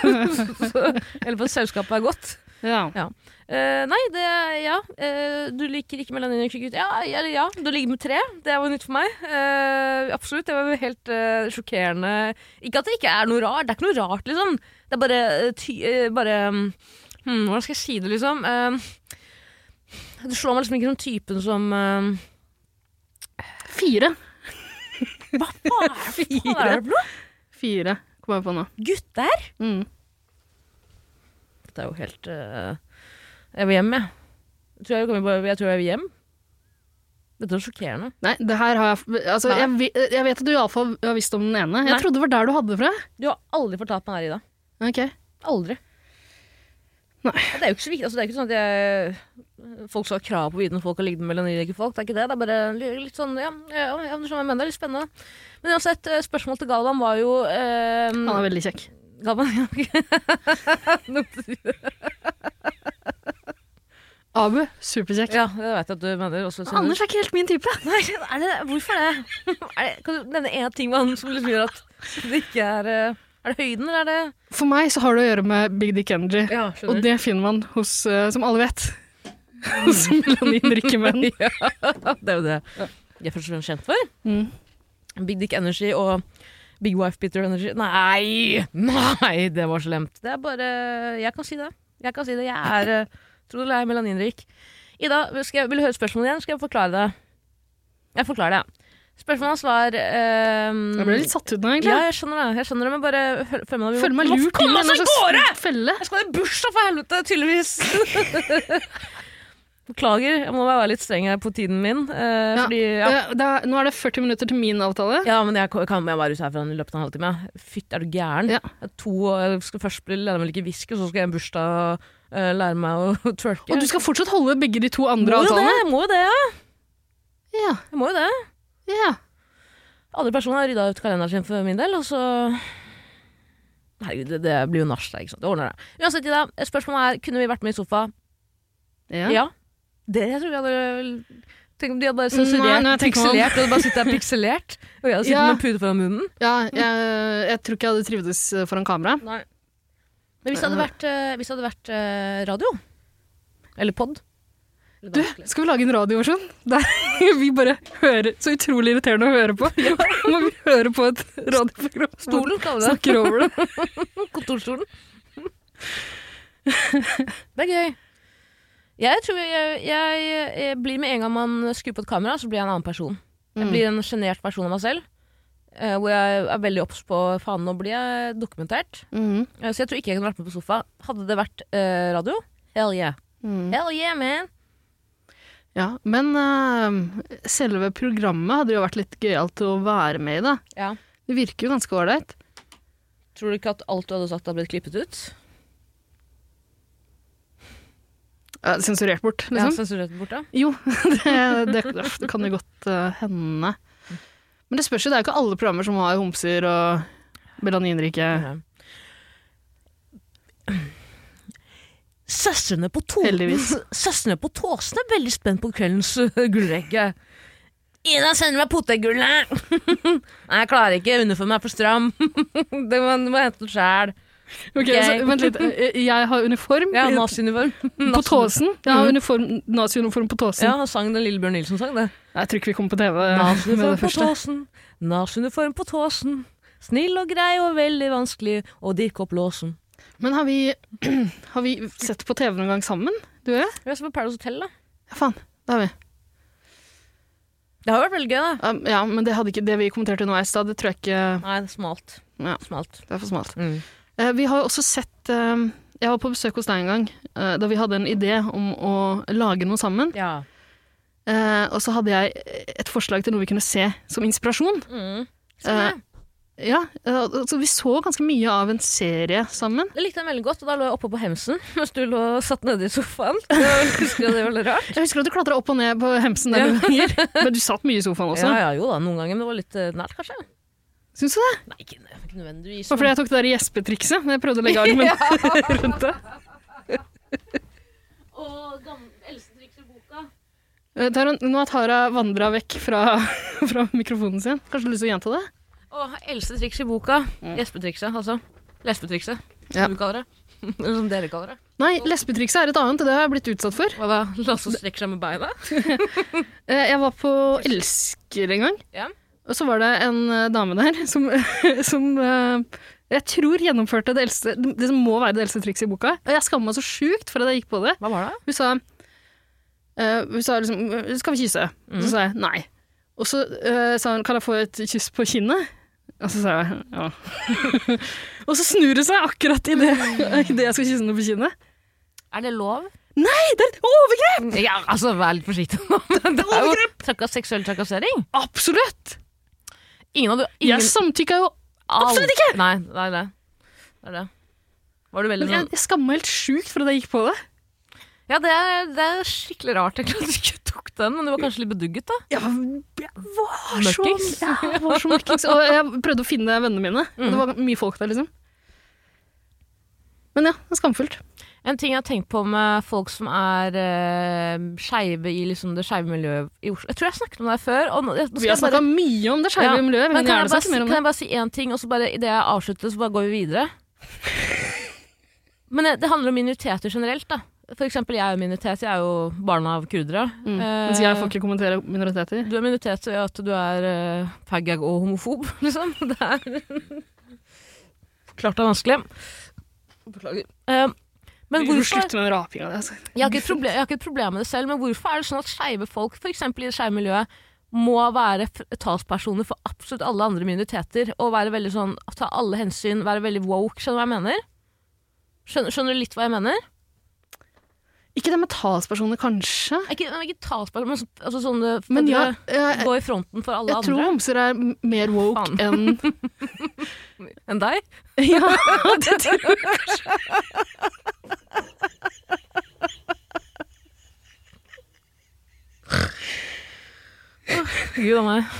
B: [LAUGHS] så, eller på at selskapet er godt.
A: Ja.
B: Eh, nei, det Ja. eh, du liker ikke melaninrike gutter. Ja, eller ja. Du ligger med tre. Det var nytt for meg. Eh, absolutt. Det var jo helt eh, sjokkerende. Ikke at det ikke er noe rart. Det er ikke noe rart, liksom. Det er bare, eh, ty eh, bare mm, hmm, Hvordan skal jeg si det, liksom? Eh, du slår meg liksom ikke som typen som eh,
A: Fire.
B: Hva faen er det for noe?
A: Fire, kom jeg på nå.
B: Gutter?
A: Mm.
B: Det er jo helt eh, Jeg vil hjem, jeg. Jeg tror jeg, kommer bare, jeg tror jeg vil hjem. Dette var sjokkerende.
A: Nei, det her har jeg altså,
B: Nei.
A: jeg, vi- jeg vet at du iallfall har visst om den ene. Jeg
B: Nei.
A: trodde det var der du hadde det fra.
B: Du har aldri fortalt meg det her, Ida.
A: Ok.
B: Aldri.
A: Nei.
B: Ja, Det er jo ikke så viktig. Altså, det er ikke sånn at jeg, folk skal ha krav på å vite når folk har ligget med melaninrike folk. Det er ikke det. Det er bare li- litt sånn Ja, ja, ja du skjønner hva jeg mener. Det er litt spennende. Men uansett, eh, spørsmålet til Galvan var jo eh,
A: Han er veldig kjekk.
B: Galvan, [LAUGHS] ja, ok. Nå-
A: Abu, superkjekk.
B: ja, det vet jeg at du mener. Også, siden-
A: Anders er ikke helt min type.
B: [LAUGHS] Nei, er det, hvorfor det? [LAUGHS] Er det? Kan du nevne én ting med han som liksom gjør at det ikke er eh, Er det høyden, eller er det
A: For meg så har det å gjøre med Big Dick Energy.
B: Ja,
A: Og det finner man hos, eh, som alle vet, [LAUGHS] hos melaninrike
B: [LAUGHS]
A: menn.
B: Det er jo det jeg er først og fremst kjent for.
A: Mm.
B: Big Dick Energy og Big Wife Bitter Energy. Nei! Nei, det var slemt. Det er bare Jeg kan si det. Jeg kan si det. Jeg er eh, Tro det eller ei, melaninrik. Ida, skal jeg, vil du høre spørsmålet igjen? Skal jeg forklare det? Jeg forklarer det. Spørsmålet hans var ehm,
A: Jeg ble litt satt ut nå, egentlig.
B: Ja, jeg skjønner det. Jeg skjønner det, men bare følg følg med. da. Vi må-
A: Føler
B: vi
A: meg
B: må
A: lurt
B: Komme
A: inn altså. i
B: oss
A: en
B: av gårde!
A: slags felle.
B: Jeg skal i bursdag, for helvete,
A: [LAUGHS]
B: tydeligvis! Beklager, jeg må være litt streng her på tiden min. eh,
A: Ja,
B: Fordi, ja.
A: Eh, det er- nå er det 40 minutter til min avtale.
B: [LAUGHS] ja, men jeg ko- kan jeg være ute herfra i løpet av en halvtime. Fytt, er du gæren?
A: Ja.
B: Jeg er To, og jeg skal først bli lære meg å like whisky, og så skal jeg i en bursdag og eh, lære meg å [LAUGHS] twerke.
A: Og du skal fortsatt holde begge de to andre
B: må jo det,
A: avtalene?
B: jeg må jo det, ja.
A: Ja,
B: Jeg må jo det.
A: ja.
B: Andre personer har rydda ut kalenderen sin for min del, og så Herregud, det, det blir jo nach, da, ikke sant. Det ordner det. Uansett, Ida, spørsmålet er kunne vi vært med i sofa?
A: ja.
B: Ja. Det jeg tror jeg hadde Tenk om de hadde bare
A: Nei,
B: sensurert
A: nei, jeg tenker på-
B: pikselert, og du bare sitter der pikselert, og jeg hadde sittet
A: Ja.
B: med en pute foran munnen.
A: Ja, jeg, jeg tror ikke jeg hadde trivdes eh, foran kamera.
B: Men hvis det hadde vært, eh, hvis det hadde vært eh, radio Eller pod
A: Du, skal vi lage en radioversjon? [LAUGHS] Der vi bare hører Så utrolig irriterende å
B: [LAUGHS]
A: høre på. [LAUGHS] Må vi høre på et radioprogram?
B: Stolen, kaller vi det.
A: Snakker over det.
B: Kontorstolen. [LAUGHS] Det er gøy. Jeg tror jeg, jeg, jeg blir med en gang man skrur på et kamera, så blir jeg en annen person. [LAUGHS] Jeg blir en sjenert versjon av meg selv. eh, hvor jeg er veldig obs på Faen, nå blir jeg dokumentert.
A: Mhm.
B: Eh, Så jeg tror ikke jeg kunne vært med på sofa. Hadde det vært eh, radio? Hell yeah. Hell yeah, man!
A: mm. Ja, men eh, selve programmet hadde jo vært litt gøyalt å være med i, da.
B: Ja.
A: Det virker jo ganske ålreit.
B: Tror du ikke at alt du hadde sagt hadde blitt klippet ut?
A: Ja, sensurert bort,
B: Ja,
A: liksom.
B: sensurert bort, ja.
A: Jo, [LAUGHS] det, det, det kan jo godt eh, hende.
B: Mm.
A: Men det spørs jo, det er jo ikke alle programmer som har homser og melaninrike
B: Søstrene på, to
A: Heldigvis.
B: [LAUGHS] Søstrene på Tåsen er veldig spent på kveldens øh, gullrekke. Ida, send meg potetgullet! [LAUGHS] Nei, jeg klarer ikke. Uniformen er for stram. [LAUGHS] det må, du må hente den sjæl.
A: Ok, så, vent litt. Eh, Jeg har uniform
B: [LAUGHS] Ja, naziuniform.
A: på Tåsen. Jeg har uniform, nazi-uniform på
B: Ja,
A: Tåsen.
B: han sang den Lillebjørn Nilsen sang, [LAUGHS] det.
A: Jeg tror ikke vi kommer på TV eh, med
B: Naziuniform
A: det
B: på
A: første.
B: tåsen, naziuniform på tåsen. Snill og grei og veldig vanskelig, og dikk opp låsen.
A: Men har vi, [CLEARS THROAT] har vi sett på TV noen gang sammen, du og jeg?
B: Vi har sett på Paradise Hotel, da.
A: Ja, faen. Det har vi.
B: Det har jo vært veldig gøy, da.
A: Ja, Ja, men det, hadde ikke, det vi kommenterte nå i stad, det tror jeg ikke
B: Nei, det er smalt.
A: Ja.
B: Smalt.
A: Det er for smalt.
B: Mm.
A: Eh, Vi har jo også sett eh, Jeg var på besøk hos deg en gang, eh, da vi hadde en idé om å lage noe sammen.
B: Ja.
A: Eh, Og så hadde jeg et forslag til noe vi kunne se som inspirasjon.
B: Mm.
A: Eh,
B: jeg.
A: ja, eh, og så Vi så ganske mye av en serie sammen.
B: Jeg likte den veldig godt, og da lå jeg oppe på hemsen [LAUGHS] mens du lå og satt nede i sofaen. [LAUGHS] Jeg husker at det var veldig rart.
A: Jeg husker at du klatra opp og ned på hemsen der noen ganger, men du satt mye i sofaen også.
B: Ja, ja, jo da, noen ganger, men det var litt eh, nært, kanskje.
A: Syns du det?
B: Nei, ikke, ikke nødvendigvis.
A: Det var fordi jeg tok det der gjespetrikset når jeg prøvde å
B: [LAUGHS]
A: legge armen [LAUGHS] rundt det.
B: Og eldste triks i boka.
A: Eh, Taran, nå har Tara vandra vekk fra, [LAUGHS] fra mikrofonen sin. Kanskje du har lyst til å gjenta det?
B: Og eldste triks i boka. Gjespetrikset, altså. Lesbetrikset,
A: Mm. Ja.
B: som du kaller det. [LAUGHS] Eller som dere kaller det.
A: Nei, lesbetrikset er et annet, og det har jeg blitt utsatt for.
B: Hva da? Lasse strekker seg med beina?
A: Eh, Jeg var på Elsker en gang,
B: Ja.
A: og så var det en eh, dame der som, [LAUGHS] som eh, jeg tror gjennomførte det eldste, det som må være det eldste trikset i boka. Og jeg skammer meg så sjukt for at jeg gikk på det.
B: Hva var det?
A: Hun sa, eh, hun sa liksom, skal vi kysse? Så sa jeg nei. Og så eh, sa hun, kan jeg få et kyss på kinnet? Og så sa jeg ja. [LAUGHS] og så snur hun seg akkurat i det, [LAUGHS] i det jeg skal kysse henne på kinnet.
B: Er det lov?
A: Nei, det er et overgrep!
B: Ja, altså, vær litt forsiktig nå. [LAUGHS] men Det er jo trakka- seksuell trakassering.
A: Absolutt!
B: Ingen av du... Ingen...
A: Jeg samtykka jo
B: Au.
A: absolutt ikke!
B: Nei, nei, nei. Det er det. Var du veldig
A: Men jeg,
B: sånn
A: jeg skammer meg helt sjukt for at jeg gikk på det.
B: Ja, det er, det er skikkelig rart egentlig at du ikke tok den, men du var kanskje litt bedugget, da?
A: Jeg var, jeg var så
B: Mørkings?
A: ja, jeg var [LAUGHS] så mørkings. Og jeg prøvde å finne vennene mine. og Det var mye folk der, liksom. Men ja, det er skamfullt.
B: En ting jeg har tenkt på med folk som er uh, skeive i liksom det skeive miljøet i Oslo Jeg tror jeg snakket om det her før. Og nå, jeg, nå skal
A: Vi har
B: jeg bare-
A: snakka mye om det skeive
B: Ja,
A: miljøet.
B: Men kan
A: Men
B: jeg,
A: gjerne
B: bare,
A: snakke
B: si-
A: mer om
B: kan
A: det.
B: jeg bare si én ting, og så bare idet jeg avslutter, så bare går vi videre? Men det, det handler om minoriteter generelt, da. For eksempel, jeg er jo minoritet, jeg er jo barn av kurdere.
A: Mm.
B: Eh,
A: Mens jeg får ikke kommentere minoriteter.
B: Du er minoritet ved at du er uh, faggag og homofob, [LAUGHS] liksom. Det er Klart det er vanskelig. Beklager. Eh, men
A: Du må
B: hvorfor
A: slutte med den rapinga di. Altså.
B: jeg har, ikke et proble- jeg har ikke et problem med det selv, men hvorfor er det sånn at skeive folk, f.eks. i det skeive miljøet, må være f- talspersoner for absolutt alle andre minoriteter? Og være veldig sånn, ta alle hensyn, være veldig woke. Skjønner du hva jeg mener? Skjønner, skjønner du litt hva jeg mener?
A: Ikke det med talspersoner, kanskje.
B: Er Ikke, er ikke talspersoner, men så, altså sånn det-
A: Men
B: at
A: ja,
B: du
A: jeg,
B: Gå i fronten for alle
A: jeg tror
B: andre
A: homser er m- mer woke
B: Faen.
A: enn
B: enn deg.
A: [LAUGHS] Ja, det tror jeg
B: Gud a meg.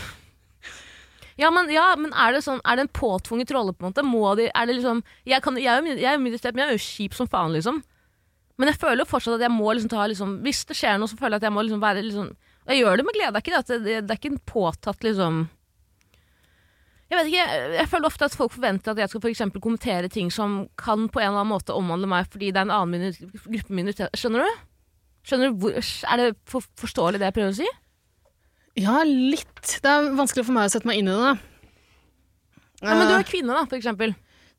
B: Ja men, ja, men er det sånn Er det en påtvunget rolle, på en måte? Må de, er det liksom Jeg, kan, jeg er jo min- jeg er jo minoritet, men jeg er jo kjip som faen, liksom. Men jeg føler jo fortsatt at jeg må liksom ta liksom Hvis det skjer noe, så føler jeg at jeg må liksom være liksom Og jeg gjør det med glede. Det er ikke det at det, det er ikke en påtatt liksom jeg vet ikke, jeg, jeg føler ofte at folk forventer at jeg skal for eksempel kommentere ting som kan på en eller annen måte omhandle meg fordi det er en annen minor gruppe minoritet. Skjønner du? Skjønner du hvor, er det for, forståelig det jeg prøver å si?
A: Ja, litt. Det er vanskelig for meg å sette meg inn i det.
B: Ja,
A: Eh.
B: men du er kvinne, da, for eksempel.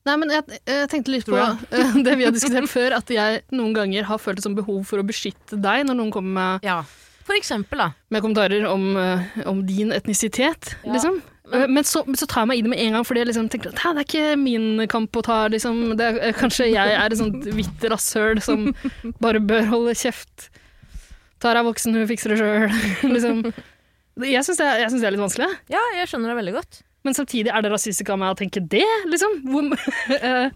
A: Nei, men jeg, jeg tenkte litt på
B: Tror
A: eh, det vi har diskutert før, at jeg noen ganger har følt et sånt behov for å beskytte deg når noen kommer med,
B: Ja. For eksempel, da.
A: med kommentarer om, eh, om din etnisitet,
B: Ja.
A: liksom. Eh, Men så, så tar jeg meg i det med en gang, fordi jeg liksom tenker at «Hæ, det er ikke min kamp å ta. Liksom. Det er, eh, kanskje jeg er et sånt hvitt rasshøl som
B: [LAUGHS]
A: bare bør holde kjeft. Tara er voksen, hun fikser det sjøl. [LAUGHS] liksom. Jeg syns det, er- jeg synes det er litt vanskelig.
B: Ja, jeg skjønner det veldig godt.
A: Men samtidig er det rasistisk av meg å tenke det, liksom. Hvor, [LAUGHS] eh,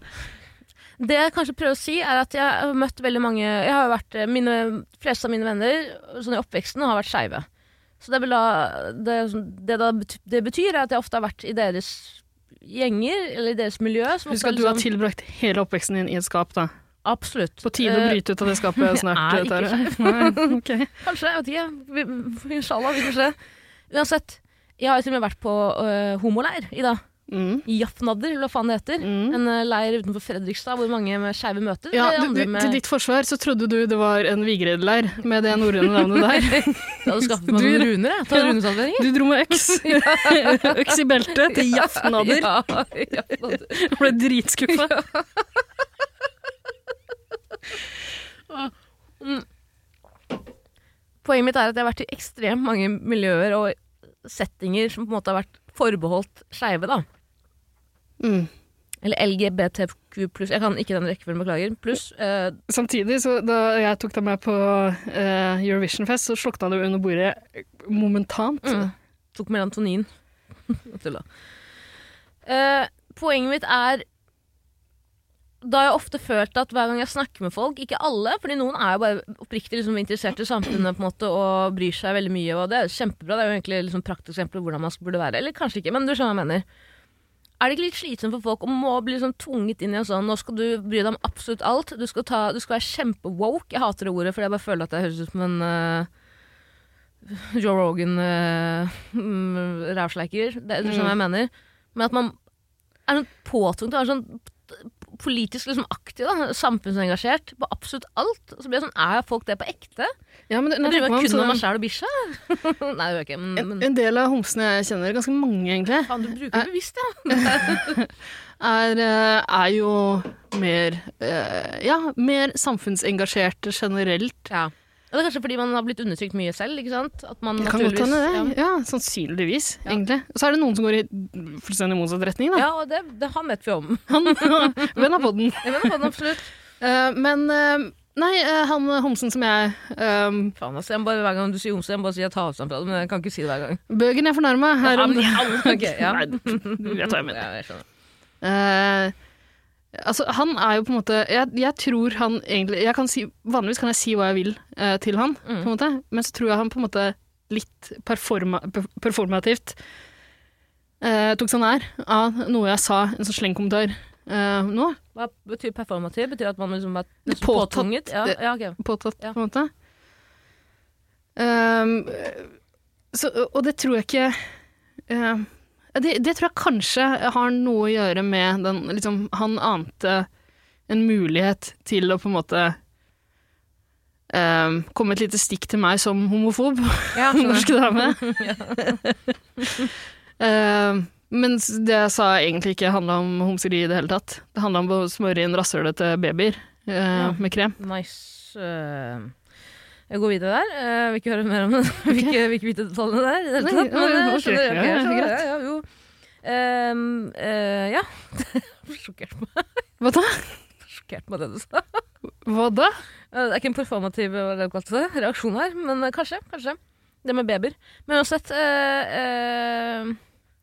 B: Det jeg kanskje prøver å si, er at jeg har møtt veldig mange Jeg har jo vært eh, mine, fleste av mine venner sånn i oppveksten har vært skeive. Så det, vil da, det, det, da, bety- det betyr er at jeg ofte har vært i deres gjenger, eller i deres miljø. Som
A: Husk
B: ofte liksom,
A: at du har tilbrakt hele oppveksten din i et skap, da.
B: Absolutt.
A: På tide å
B: Eh,
A: bryte ut av det skapet snart.
B: jeg [LAUGHS] er ikke
A: Tara. [LAUGHS] Ok.
B: Kanskje, jeg vet ikke. Vi- Inshallah, vi får se. Uansett, jeg har jo til og med vært på øh, homoleir i dag.
A: Mm.
B: I Jafnadder, eller hva faen det heter.
A: Mm.
B: En øh, leir utenfor Fredrikstad hvor mange med skeive møter.
A: Ja,
B: eller
A: du,
B: andre
A: du,
B: med-
A: til ditt forsvar så trodde du det var en Vigred-leir med det norrøne
B: [LAUGHS]
A: navnet der.
B: Jeg hadde skaffet meg
A: Du-
B: noen runer, jeg. Ta [LAUGHS]
A: Ja.
B: runesalveringer.
A: Du dro med øks. [LAUGHS] øks i beltet til Jafnader
B: Ja, ja,
A: og ble dritskuffa.
B: Poenget mitt er at jeg har vært i ekstremt mange miljøer og settinger som på en måte har vært forbeholdt skeive, da.
A: Mm.
B: Eller LGBTQ pluss. Jeg kan ikke den rekkefølgen, beklager. Pluss eh,
A: Samtidig, så da jeg tok deg med på eh, Eurovision-fest, så slukna du under bordet momentant.
B: Mm. tok melatonin. [LAUGHS] Tulla. Eh, poenget mitt er da har jeg ofte følt at hver gang jeg snakker med folk, ikke alle, fordi noen er jo bare oppriktig liksom, interessert i samfunnet på en måte, og bryr seg veldig mye, og det er kjempebra. Det er jo egentlig liksom, prakteksempel på hvordan man burde være. Eller kanskje ikke, men du skjønner hva jeg mener. Er det ikke litt slitsomt for folk å må bli liksom, tvunget inn i en sånn Nå skal du bry deg om absolutt alt. Du skal, ta, du skal være kjempewoke. Jeg hater det ordet, fordi jeg bare føler at det høres ut som en eh, Joe Rogan uh, rævsleiker. Det er det som
A: Mm.
B: jeg mener. Men at man er sånn påtvunget å være sånn politisk liksom aktiv, da, samfunnsengasjert på absolutt alt. Og så blir jeg sånn, Er folk det på ekte?
A: Ja, men,
B: Jeg
A: nå
B: driver
A: tenker man
B: kun om meg
A: sånn-
B: sjæl og bikkja. [LAUGHS] Nei, det gjør jeg ikke. Men,
A: en,
B: men
A: en del av homsene jeg kjenner, ganske mange egentlig,
B: faen, du bruker det bevisst, ja.
A: er, eh, er jo mer, eh, ja, mer samfunnsengasjerte generelt.
B: ja. Og det er kanskje fordi man har blitt undertrykt mye selv. ikke sant? At man
A: Det kan godt hende det.
B: naturligvis-
A: Mm, Ja, sannsynligvis, egentlig. Og så er det noen som går i fullstendig motsatt
B: Ja,
A: retning, da.
B: ja og det, det, han vet vi om.
A: Han, venn av podden.
B: Jeg mener på den absolutt.
A: [LAUGHS] Eh, men, eh, nei, eh, han homsen som jeg, eh,
B: Faen, altså, jeg må bare, Hver gang du sier homse, jeg må bare si jeg tar avstand fra det. Men jeg kan ikke si det hver gang.
A: bøgen jeg fornærma her om...
B: Ja, men- ja, ok, ja.
A: [LAUGHS] Nei, du vet hva jeg mener.
B: Ja, jeg skjønner.
A: Eh, altså, han er jo på en måte Jeg, jeg tror han egentlig jeg kan si, Vanligvis kan jeg si hva jeg vil eh, til han, på en måte, men så tror jeg han på en måte litt performa, per- performativt eh, tok seg nær av noe jeg sa, en sånn slengkommentar eh, nå,
B: Hva betyr performativ? Betyr det at man liksom er
A: Det er påtatt.
B: påtvunget? Ja,
A: Det-
B: ja, ok.
A: påtatt,
B: Ja.
A: på en måte. Eh, så, og det tror jeg ikke eh, det, det tror jeg kanskje har noe å gjøre med den liksom, Han ante en mulighet til å på en måte eh, komme et lite stikk til meg som homofob, [LAUGHS]
B: [LAUGHS] Ja,
A: norske dame.
B: [LAUGHS]
A: [LAUGHS] Eh, mens det jeg sa egentlig ikke handla om homseri i det hele tatt. Det handla om å smøre inn rasshølete babyer eh,
B: Ja.
A: med krem.
B: Nice. eh, jeg går videre der. Eh, vil ikke høre mer om det. [LAUGHS] vil, ikke, vil ikke vite detaljene der. i det hele
A: Nei,
B: tatt, Men
A: ja,
B: eh,
A: ok.
B: skjønner jeg, ok,
A: Ja, ja,
B: skjønner jeg,
A: greit.
B: ja, jo. Ehm, eh, ja. [LAUGHS] sjokkert, meg,
A: Hva da?
B: sjokkert meg det du sa.
A: Hva da?
B: Eh, Det er ikke en performativ hva det kalles, reaksjon her, men eh, kanskje. kanskje. Det med babyer. Men uansett eh, eh,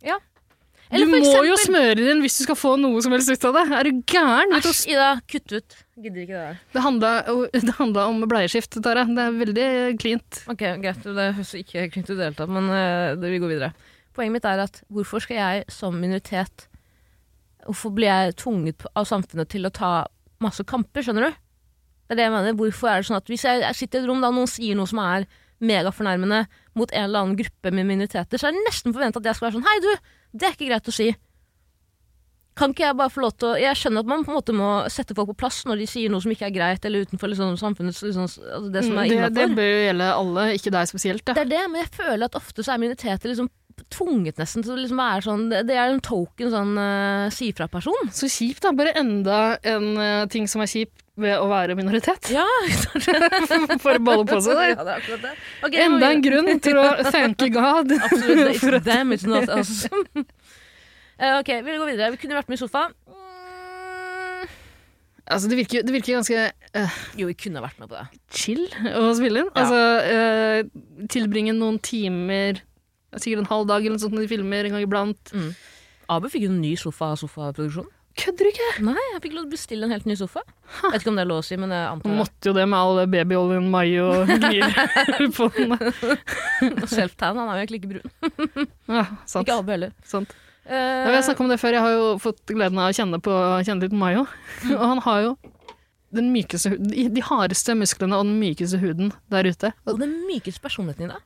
B: Ja.
A: du må jo smøre det inn hvis du skal få noe som helst ut av det. Er du gæren? Vet du,
B: Æsj, Ida. Kutt ut. Gidder ikke det der.
A: det handla, det handla om bleieskift, Tara. Det er veldig cleant.
B: Ok, greit. Det høres ikke klint ut i det hele tatt, men eh, det, vi går videre. Poenget mitt er at hvorfor skal jeg som minoritet Hvorfor blir jeg tvunget p- av samfunnet til å ta masse kamper, skjønner du? Det er det jeg mener. Hvorfor er det sånn at hvis jeg, jeg sitter i et rom da noen sier noe som er megafornærmende mot en eller annen gruppe med minoriteter, så er det nesten forventa at jeg skal være sånn Hei, du! Det er ikke greit å si. Kan ikke jeg bare få lov til å Jeg skjønner at man på en måte må sette folk på plass når de sier noe som ikke er greit, eller utenfor liksom, samfunnets liksom, altså Det som er
A: Mm, det, det
B: innafor.
A: bør jo gjelde alle, ikke deg spesielt. Da.
B: Det er det, men jeg føler at ofte så er minoriteter liksom tvunget nesten til å liksom være sånn Det det er en token sånn eh, si-fra-person.
A: Så kjipt, da. Bare enda en eh, ting som er kjipt ved å være
B: [LAUGHS]
A: minoritet.
B: Ja,
A: [LAUGHS] For å balle på seg der.
B: det er akkurat det. Ok, jeg må
A: Enda
B: videre.
A: en grunn
B: [LAUGHS]
A: til å thanke God.
B: Absolutt. It's damn, it's not us. altså. [LAUGHS] Eh, ok, vi går videre. Vi kunne vært med i sofa. Mm,
A: Altså, det virker, det virker ganske eh,
B: jo, vi kunne vært med på det.
A: chill å spille inn.
B: Ja.
A: Altså, eh, tilbringe noen timer, sikkert en halv dag eller noe sånt når de filmer en gang iblant.
B: Abu fikk jo en ny sofa av sofaproduksjon.
A: Kødder du ikke?
B: Nei, jeg fikk lov til å bestille en helt ny sofa. Vet ikke om det er lov å si, men jeg
A: Man
B: antar det.
A: måtte jo det med all det babyoljen, mai
B: [LAUGHS]
A: og glir [LAUGHS] på den. da.
B: Self-tan, han er jo egentlig ikke brun.
A: Ja, sant.
B: Ikke Abu heller.
A: sant.
B: Eh,
A: Ja, vi har snakket om det før. Jeg har jo fått gleden av å kjenne, på, kjenne litt
B: [LAUGHS]
A: på Mayo. Og han har jo den mykeste, huden- de de hardeste musklene og den mykeste huden der ute.
B: og den mykeste personligheten i deg.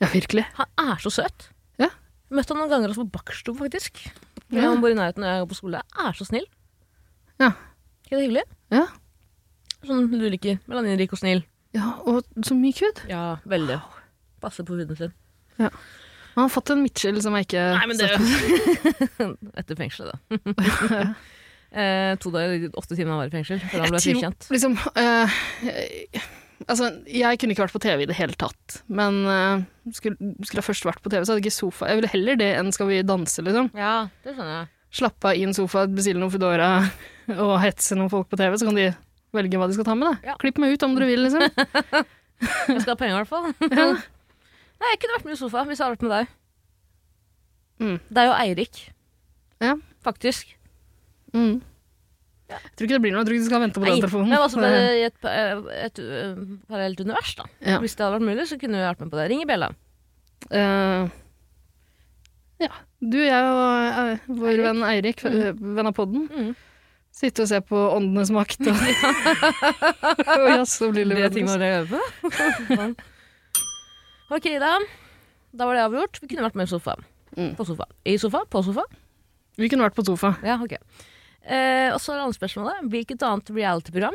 A: Ja, virkelig.
B: Han er så søt.
A: Ja.
B: Møtte han noen ganger også på Bakkstov, faktisk.
A: Ja.
B: Han bor i nærheten når jeg går på skole. Er så snill.
A: Ja.
B: Ikke det hyggelig?
A: Ja.
B: Sånn du liker. Melaninrik og snill.
A: ja og så myk hud.
B: Ja, veldig. Passer på huden sin.
A: Han har fått en midtskill som jeg ikke [LAUGHS]
B: Nei, men det Etter fengselet, da. Eh, to dager, åtte timer han var i fengsel før han ble
A: Jeg tror-
B: frikjent.
A: Liksom, eh, eh, altså, jeg kunne ikke vært på TV i det hele tatt, men eh, skulle, skulle jeg først vært på TV, så hadde ikke sofa Jeg ville heller det enn Skal vi danse, liksom.
B: Ja, det skjønner jeg.
A: Slappe av i en sofa, bestille noen Foodora [LAUGHS] og hetse noen folk på TV, så kan de velge hva de skal ta med. Da.
B: Ja.
A: Klipp meg ut om dere vil, liksom.
B: [LAUGHS] Jeg skal ha penger i hvert fall. [LAUGHS]
A: Ja.
B: Nei, jeg kunne vært med i sofa hvis jeg hadde vært med deg.
A: Mm.
B: Deg og Eirik.
A: Ja.
B: Faktisk.
A: Mm. Jeg tror ikke det blir noe, jeg tror ikke du skal vente på
B: Nei,
A: den telefonen.
B: Men altså bare
A: Det-
B: i et, pa- eh, et eh, parallelt univers, da.
A: Ja.
B: Hvis det hadde vært mulig, så kunne vi vært med på det. Ring i bjella.
A: Eh, ja. Du, jeg og eh, vår venn Eirik, eh, venn av podden,
B: Mm.
A: sitte og se på Åndenes
B: [LAUGHS]
A: makt [LAUGHS] og, og jazz og Lille Venus.
B: var det jeg [LAUGHS] øver på. ok, da. Da var det avgjort. Vi kunne vært med i sofa.
A: Mm.
B: På sofa. I sofa, på sofa.
A: Vi kunne vært på sofa.
B: Ja, ok. Eh, og så er landspørsmålet. Hvilket annet reality-program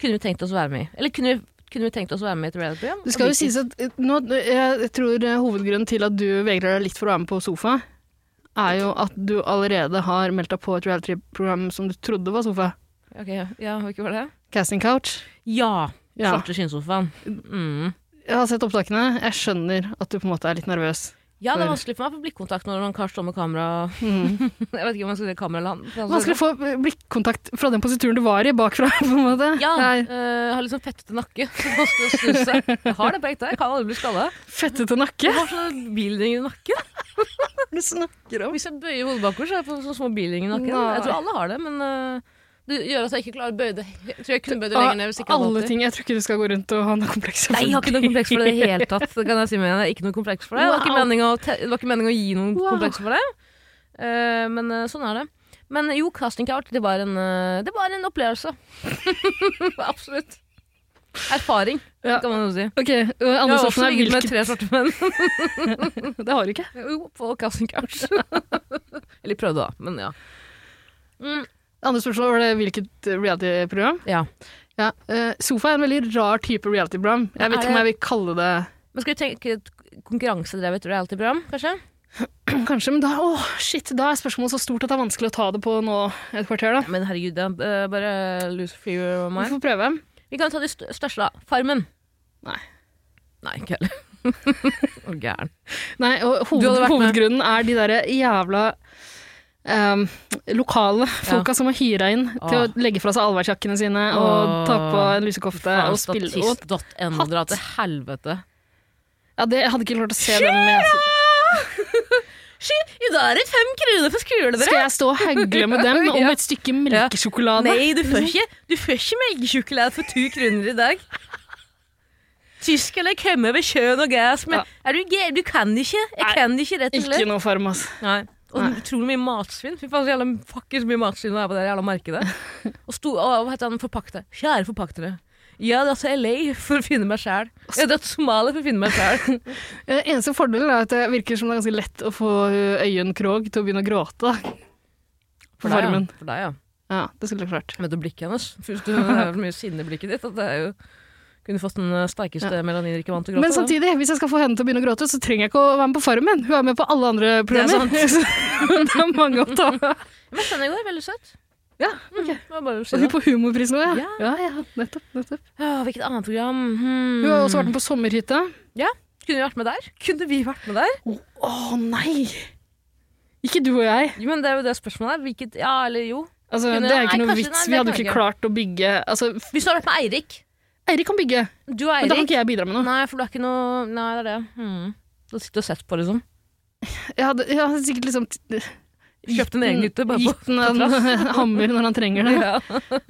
B: kunne vi tenkt oss å være med i? Eller kunne vi, kunne vi tenkt oss å være med i et reality-program?
A: Det skal
B: Og
A: jo sies
B: hvilket-
A: at eh, nå, jeg tror eh, hovedgrunnen til at du vegrer deg litt for å være med på sofa, er jo at du allerede har meldt deg på et reality-program som du trodde var sofa.
B: Ok, ja, hvilket var det?
A: Casting Couch.
B: Ja!
A: Ja.
B: Svarte skinnsofaen. Mm.
A: Jeg har sett opptakene. Jeg skjønner at du på en måte er litt nervøs.
B: Ja, det er
A: For-
B: vanskelig for meg å få blikkontakt når noen kar står med kamera.
A: Mm.
B: [LAUGHS] Jeg vet ikke om jeg skal si Sånn kamera eller han.
A: [LAUGHS] Vanskelig å få blikkontakt fra den posituren du var i, bakfra. [LAUGHS] på en måte.
B: Ja,
A: Det er
B: eh, har litt sånn fettete nakke. [LAUGHS] så Vanskelig å snu seg. Jeg har det på ekte. Jeg kan aldri bli skada.
A: Fettete nakke.
B: Jeg har sånne bilringer i nakken.
A: Hva er det du snakker om?
B: Hvis jeg bøyer hodet bakover, så har jeg på sånne små bilringer i nakken.
A: Nei.
B: Jeg tror alle har det, men eh, det gjør at jeg ikke klarer å bøye det. Jeg tror jeg kunne bøyd det lenger ned hvis
A: Av
B: ikke jeg hadde
A: alle
B: holdt i.
A: ting. Jeg tror ikke du skal gå rundt og ha noe kompleks.
B: Nei, jeg har ikke noe kompleks for det i det hele tatt. Det kan jeg si med en gang. Jeg har Ikke noe kompleks for det. Det var ikke
A: Wow.
B: meningen å, te det var ikke meningen å gi noen
A: Wow.
B: kompleks for det. Eh, men eh, sånn er det. Men jo, casting couch, det var en, eh, det var en opplevelse. [LAUGHS] Absolutt. Erfaring,
A: Ja.
B: kan man jo si.
A: Ok, øh,
B: Jeg
A: Anne
B: har
A: Soffen
B: også
A: er
B: ligget med
A: hvilket
B: tre svarte menn. [LAUGHS]
A: Det har du ikke.
B: Jo, på casting couch. [LAUGHS] Eller prøvde, da. Men ja. Mm,
A: Andre spørsmål var det hvilket øh, reality-program?
B: ja.
A: Ja. øh, sofa er en veldig rar type reality-program. Jeg vet
B: Er
A: ikke om
B: det-
A: jeg vil kalle det [CLEARS THROAT]
B: Men skal vi tenke et konkurransedrevet reality-program, kanskje?
A: Kanskje, men da, åh, shit, da er spørsmålet så stort at det er vanskelig å ta det på nå et kvarter. da.
B: Men herregud, det er eh, bare lose fear of
A: Vi
B: mine.
A: får prøve.
B: Vi kan ta de st største, da. Farmen.
A: Nei.
B: Nei, ikke heller. [LAUGHS] Å, gæren.
A: Nei, og
B: Du
A: hoved,
B: hadde vært med.
A: Hovedgrunnen er de derre jævla ehm, lokale folka som har hyra inn til å
B: Åh.
A: legge fra seg allværsjakkene sine og
B: Åh.
A: ta på en lusekofte
B: Faen,
A: og spille og,
B: Statist.no, dra til helvete.
A: ja, det, Jeg hadde ikke klart å se den med
B: Sky, i dag er det fem kroner for
A: Skal
B: skolebrød!
A: jeg stå og hagle med dem
B: [LAUGHS]
A: om et stykke melkesjokolade?
B: Nei, du får ikke, du får ikke melkesjokolade for to kroner i dag. Tyskerne kommer ved sjøen og gass, men
A: Ja.
B: er du, gæren? du kan ikke. Jeg
A: Nei,
B: kan ikke, rett og slett.
A: Ikke noe farm, ass.
B: Nei. Og
A: Nei.
B: utrolig mye matsvinn. Fy faen, så jævla fuckings mye matsvinn det er på det jævla markedet. Og sto, å, hva heter han forpakter? Kjære forpaktere. Jeg har dratt til LA for å finne meg sjæl. Jeg har dratt til Somalia for å finne meg sjæl.
A: Eh, Eneste fordelen er at det virker som det er ganske lett å få eh, Øyunn Krogh til å begynne å gråte. da. På
B: deg, ja.
A: farmen.
B: For deg, ja.
A: Ja, det skulle jeg klart.
B: Jeg vet du blikket hennes. Først, du har så mye sinne i blikket ditt at det er jo Kunne fått den eh, sterkeste melaninrike vann til å gråte.
A: Men
B: da.
A: samtidig, hvis jeg skal få henne til å begynne å gråte, så trenger jeg ikke å være med på Farmen. Hun er med på alle andre
B: er
A: programmer. [LAUGHS] Så det er mange å ta
B: [LAUGHS]
A: av.
B: Men jeg skjønner i går. Veldig søt.
A: Ja,
B: Mm, det var bare å si
A: Og hun
B: det.
A: på Humorprisen òg, ja.
B: Ja.
A: ja. Ja, nettopp. nettopp.
B: Åh, hvilket annet program? Hmm.
A: Hun har også vært med på Sommerhytta.
B: Kunne vi vært med der? Kunne vi vært med der?
A: Å å, nei! Ikke du og jeg.
B: Jo, men det er jo det spørsmålet her. Hvilket Ja, eller jo.
A: Altså,
B: Kunne-
A: det er
B: nei,
A: ikke noe
B: kanskje- nei,
A: vits. Vi hadde
B: det
A: jo
B: kan
A: ikke klart å bygge Altså,
B: Hvis du hadde vært med Eirik
A: Eirik kan bygge,
B: Du og
A: men da kan
B: Eirik
A: ikke jeg bidra med noe.
B: Nei, for du er ikke noe Nei, det er det. Hmm. Du sitter og sett på, liksom.
A: Jeg hadde, jeg hadde sikkert liksom t-
B: Kjøpt en egen hytte, bare på-
A: gitt en en [LAUGHS] hammer når han trenger det.
B: Ja. [LAUGHS]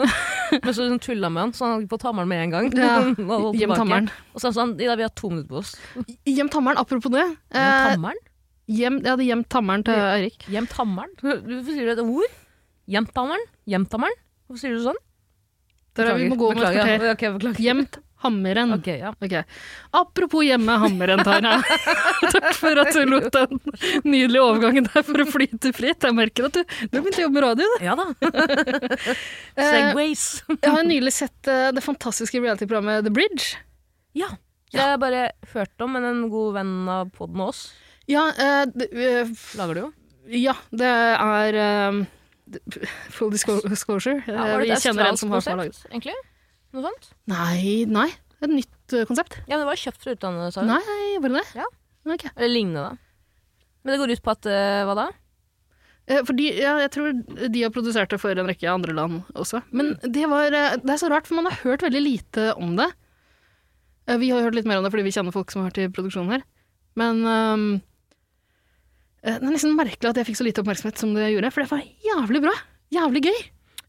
B: Men så hun tulla med han, så han hadde fått hammeren med en gang.
A: Ja.
B: [LAUGHS] Han holdt
A: Gjemt
B: tilbake.
A: hammeren.
B: Og så sa han i dag vi har to minutter på oss.
A: Gjemt hammeren, apropos det. Eh,
B: Gjemt hammeren?
A: gjem, jeg hadde gjemt hammeren til Eirik.
B: Gjemt hammeren? Hvorfor sier du et ord? Gjemt hammeren? Gjemt hammeren? Hvorfor sier du sånn?
A: Der er vi må gå Mm. om et
B: Beklager.
A: kvarter.
B: Beklager. Ok, beklager.
A: Gjemt hammeren.
B: Ok, ja.
A: Ok. Apropos hjemme hammeren,
B: [LAUGHS]
A: Tara. Takk for at du lot den nydelige overgangen der for å flyte fritt. Jeg merker at du, du har begynt å jobbe med radio.
B: ja da.
A: da. [LAUGHS] Eh,
B: Segways. [LAUGHS]
A: jeg har nylig sett eh, det fantastiske reality-programmet The Bridge.
B: Ja. Det har jeg bare hørt om, men en god venn av podden og oss
A: Ja, eh, det, eh,
B: lager det jo.
A: ja det er eh, Full disclo- disclosure.
B: Ja,
A: Eh,
B: var det
A: vi
B: et
A: kjenner en
B: australsk
A: som har som har laget
B: konsept, egentlig? Noe sånt?
A: Nei, nei. Et nytt eh, konsept.
B: Ja, men det var kjøpt fra utlandet, sa hun.
A: Nei, var det det?
B: Ja.
A: Ok.
B: Eller lignende. Men det går ut på at eh, Hva da?
A: Eh, For de, ja, jeg tror de har produsert det for en rekke andre land også. Men det, var, eh, det er så rart, for man har hørt veldig lite om det. Eh, Vi har hørt litt mer om det fordi vi kjenner folk som har vært i produksjonen her. Men ehm, eh, det er nesten merkelig at jeg fikk så lite oppmerksomhet som det gjorde, for det var jævlig bra. Jævlig gøy.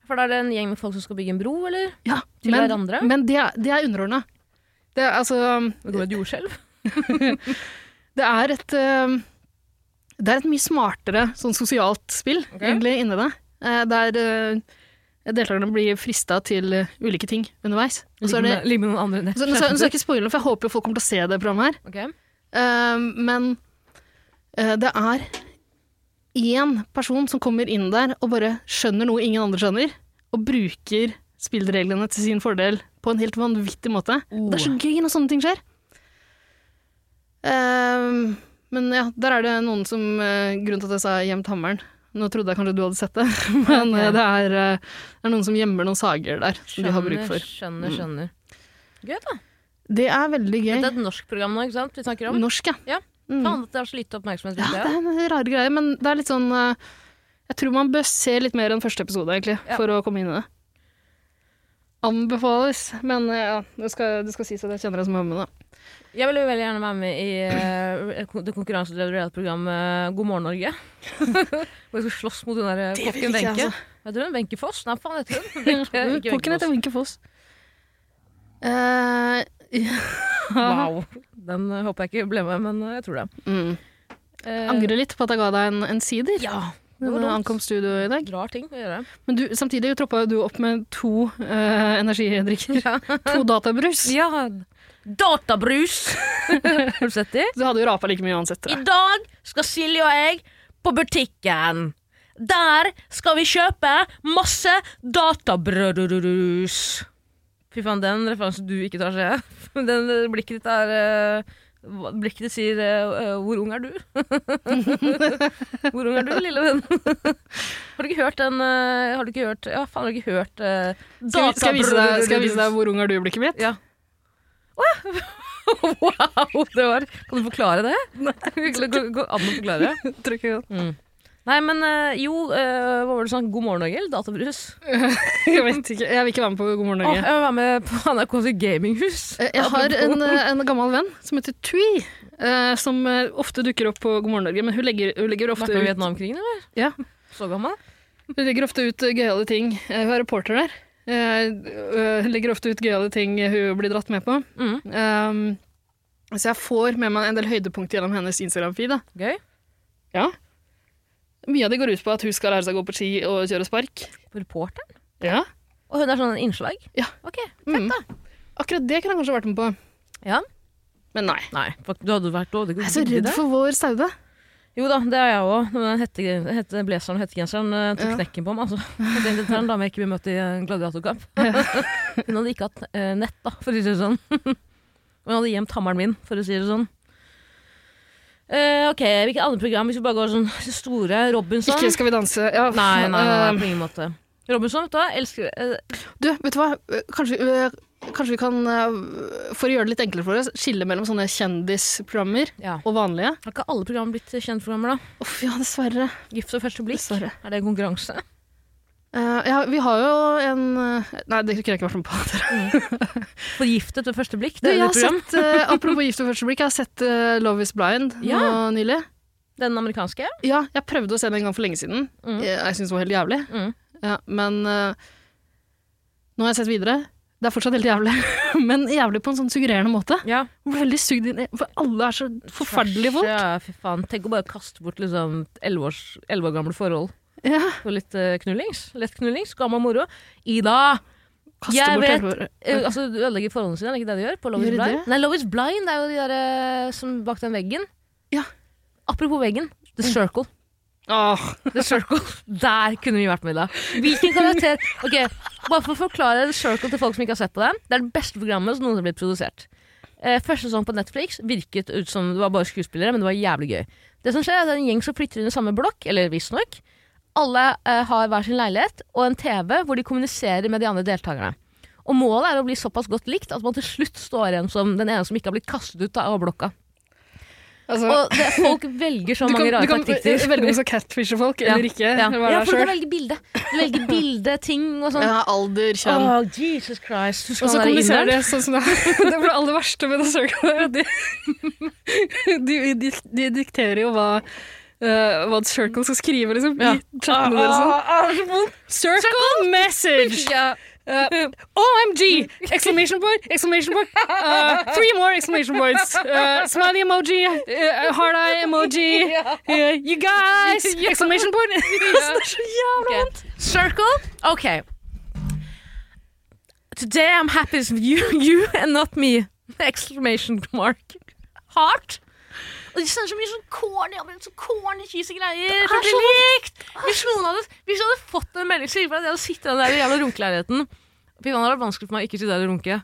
B: For da er det en gjeng med folk som skal bygge en bro, eller?
A: Ja,
B: Til
A: men,
B: hverandre?
A: Men det, er- det er underordna. Det er altså
B: Det går et jordskjelv.
A: Det er et eh, Det er et mye smartere sånn sosialt spill, egentlig, inni det. Eh, Der eh, deltakerne blir frista til eh, ulike ting underveis. Og så er det
B: Ligg med noen andre nett.
A: så, nå skal nå skal jeg ikke spoile, for jeg håper jo folk kommer til å se det programmet her.
B: [LAUGHS] Ok.
A: Eh, Men eh, det er én person som kommer inn der og bare skjønner noe ingen andre skjønner, og bruker spillreglene til sin fordel på en helt vanvittig måte. Det er så gøy når sånne ting skjer. Ehm, men ja, der er det noen som eh, Grunnen til at jeg sa 'gjemt hammeren' Nå trodde jeg kanskje du hadde sett det, [LAUGHS] men eh, det, er, eh, det er noen som gjemmer noen sager der som de har bruk for. Mm.
B: Skjønner, skjønner. Gøy, da.
A: Det er veldig gøy.
B: Dette er et norsk program nå, ikke sant? Vi snakker om.
A: Norsk, ja.
B: Ja.
A: Mm.
B: Faen at det har så lite oppmerksomhet.
A: Ja,
B: rundt
A: det er en rar greie, men det er litt sånn eh, Jeg tror man bør se litt mer enn første episode, egentlig,
B: Ja.
A: for å komme inn i det. Anbefales, men eh, ja, det skal, det skal sies at jeg kjenner deg som mamma, da.
B: Jeg ville jo veldig gjerne være med i eh, kon- det konkurransedrevne reality-programmet God morgen, Norge. [LAUGHS] Hvor jeg skal slåss mot hun der eh,
A: Det vil
B: kokken
A: ikke jeg,
B: Wenche.
A: altså.
B: Heter hun Wenche Foss? Nei, faen heter hun Wenche- ikke Wenche
A: Pokken heter Wenche Foss. Eh, [LAUGHS]
B: Foss. Wow. Den eh, håper jeg ikke ble med, men eh, jeg tror det.
A: mm.
B: Eh,
A: Angrer litt på at jeg ga deg en, en sider.
B: Ja. Det
A: Når
B: var
A: du
B: dumt.
A: ankom studio i dag.
B: Rar ting å [LAUGHS] gjøre.
A: Men du, samtidig troppa jo du opp med to eh, energidrikker.
B: [LAUGHS]
A: to databrus.
B: Ja.
A: [LAUGHS]
B: Databrus! Har du sett det?
A: Du hadde jo rapa like mye uansett.
B: I dag skal Silje og jeg på butikken. Der skal vi kjøpe masse databrødrus. Fy faen, den referansen du ikke tar, ser jeg. [LAUGHS] Den eh, blikket ditt er eh, hva- Blikket ditt sier eh, eh, 'hvor ung er du'? [LAUGHS] Hvor ung er du, lille venn? [LAUGHS] har du ikke hørt den eh, Har du ikke hørt Ja, faen, har du ikke hørt uh,
A: Skal, vi- skal, jeg vise deg, skal jeg vise deg hvor ung er du-blikket mitt?
B: Ja. [LAUGHS] Wow, det var Kan du forklare det? Nei. Går går an å forklare? Mm.
A: Tror ikke det.
B: Nei, men eh, jo, eh, hva var det sånn? God morgen, Norge? Eller databrus?
A: [LAUGHS] Jeg vet ikke. Jeg vil ikke være med på God morgen
B: Åh, jeg
A: Norge.
B: vil være med på NRK sitt gaminghus.
A: Eh, Jeg har en,
B: [LAUGHS]
A: eh, en gammel venn som heter Tui, eh, som eh, ofte dukker opp på God morgen Norge. Men hun legger, hun legger ofte
B: Snakker vi
A: ut,
B: Vietnamkrigen, eller?
A: ja,
B: Så gammel?
A: hun legger ofte ut eh, gøyale ting. Eh, Hun er reporter der. Eh, eh, Hun legger ofte ut gøyale ting hun blir dratt med på.
B: Mm.
A: Um, så jeg får med meg en del høydepunkter gjennom hennes Instagram-feed. da.
B: Gøy.
A: Mye av det går ut på at hun skal lære seg å gå på ski og kjøre spark.
B: Reporteren?
A: Ja.
B: Og hun er sånn en innslag?
A: Ja.
B: Ok, fett
A: Mm.
B: da.
A: Akkurat det kunne jeg kanskje vært med på.
B: Ja.
A: Men nei.
B: Nei, fuck, du hadde vært dårlig.
A: Jeg er så redd for vår saude.
B: Jo da, det er jeg òg. Den hette, hette blazeren og hettegenseren eh, tok
A: Ja.
B: knekken på meg. Altså. Det er en dame jeg ikke vil møte i en gladiatorkamp. [LAUGHS] Hun hadde ikke hatt eh, nett, da, for å si det sånn. [LAUGHS] Og hun hadde gjemt hammeren min, for å si det sånn. Eh, ok, Hvilke andre program? Hvis vi bare går sånn store Robinson
A: Ikke skal vi danse. Ja,
B: Sånn. nei, nei, nei, nei,
A: um,
B: på ingen måte. Robinson, vet du hva. Elsker eh,
A: Du, vet du hva? Kanskje, øh, kanskje vi kan, øh, for å gjøre det litt enklere for oss, skille mellom sånne kjendisprogrammer
B: Ja.
A: og vanlige.
B: Har ikke alle program blitt kjentprogrammer, da?
A: Uff, ja, dessverre.
B: Gift ved første blikk?
A: Dessverre.
B: Er det en konkurranse?
A: Eh, ja, vi har jo en øh, Nei, det kunne jeg ikke vært med på. [LAUGHS] dere.
B: Forgiftet ved første blikk?
A: Du,
B: Det er
A: jeg
B: jo
A: har
B: et program.
A: sett, øh, [LAUGHS] apropos Gift ved første blikk, jeg har sett øh, Love is blind
B: Ja.
A: nå nylig.
B: Den amerikanske?
A: Ja, jeg prøvde å se den en gang for lenge siden.
B: Mm.
A: Jeg, jeg syns den var helt jævlig.
B: Mm.
A: Ja, men øh, nå har jeg sett videre. Det er fortsatt helt jævlig, [LAUGHS] men jævlig på en sånn suggererende måte.
B: Ja.
A: Jeg ble veldig sugd inn i For alle er så forferdelige folk.
B: Ja, fy faen. Tenk å bare kaste bort liksom elleve års- elleve år gamle forhold
A: Ja.
B: for litt eh, knullings. Lett knullings, gammel moro. Ida!
A: Kaste
B: Jeg
A: bort
B: vet-
A: hele håret.
B: eh, altså, du ødelegger forholdene sine, er det ikke det du gjør? På Love
A: Gjør
B: is
A: de
B: Blind?
A: det?
B: Nei, Love is Blind er jo de der eh, som bak den veggen.
A: Ja.
B: Apropos veggen. The Circle.
A: Åh,
B: The Circle. Der kunne vi vært med i dag. Hvilken karakter Ok, Bare for å forklare The Circle til folk som ikke har sett på den. Det er det beste programmet som noensinne har blitt produsert. Eh, første sesong på Netflix virket ut som det var bare skuespillere, men det var jævlig gøy. Det som skjer er at det er en gjeng som flytter inn i samme blokk, eller visstnok. Alle eh, har hver sin leilighet og en TV hvor de kommuniserer med de andre deltakerne. Og målet er å bli såpass godt likt at man til slutt står igjen som den ene som ikke har blitt kastet ut av blokka.
A: Altså,
B: Og det, folk velger så
A: du kan,
B: mange
A: du
B: rare
A: kan eh,
B: taktikker.
A: velge om du [LAUGHS] skal catfishe folk
B: Ja.
A: eller ikke.
B: Ja,
A: eller være
B: ja
A: deg
B: for du kan
A: selv.
B: velge bilde. Du velger bilde, ting og sånn.
A: Ja, alder,
B: Åh,
A: kjønn.
B: Jesus Christ. Husker
A: Og
B: han
A: så
B: der
A: kommuniserer
B: inderen?
A: de sånn [LAUGHS] som det er. Det var det aller verste med det søket. der, at De, de, de, de dikterer jo hva eh, hva Circle skal skrive, liksom.
B: Ja.
A: I chattene deres. sånn. Circle, message!
B: [LAUGHS] Ja.
A: Eh, OMG! Exclamation point, exclamation point. eh, three more exclamation points. Eh, smiley emoji, eh, hard eye
B: [LAUGHS]
A: emoji. eh, you guys! Exclamation point. det er så
B: [LAUGHS]
A: jævla
B: Ok. Circle. Okay. Today I'm happy it's you, you and not me. Exclamation mark. Heart. Og de sender så mye sånn corny, men så corny cheesy greier. Så
A: er
B: det blir likt. Hvis noen hadde, hvis jeg hadde fått en melding, så gikk det at jeg hadde sittet i den der jævla runkeleiligheten. Fy faen, det hadde vært vanskelig for meg å ikke sitte der og runke.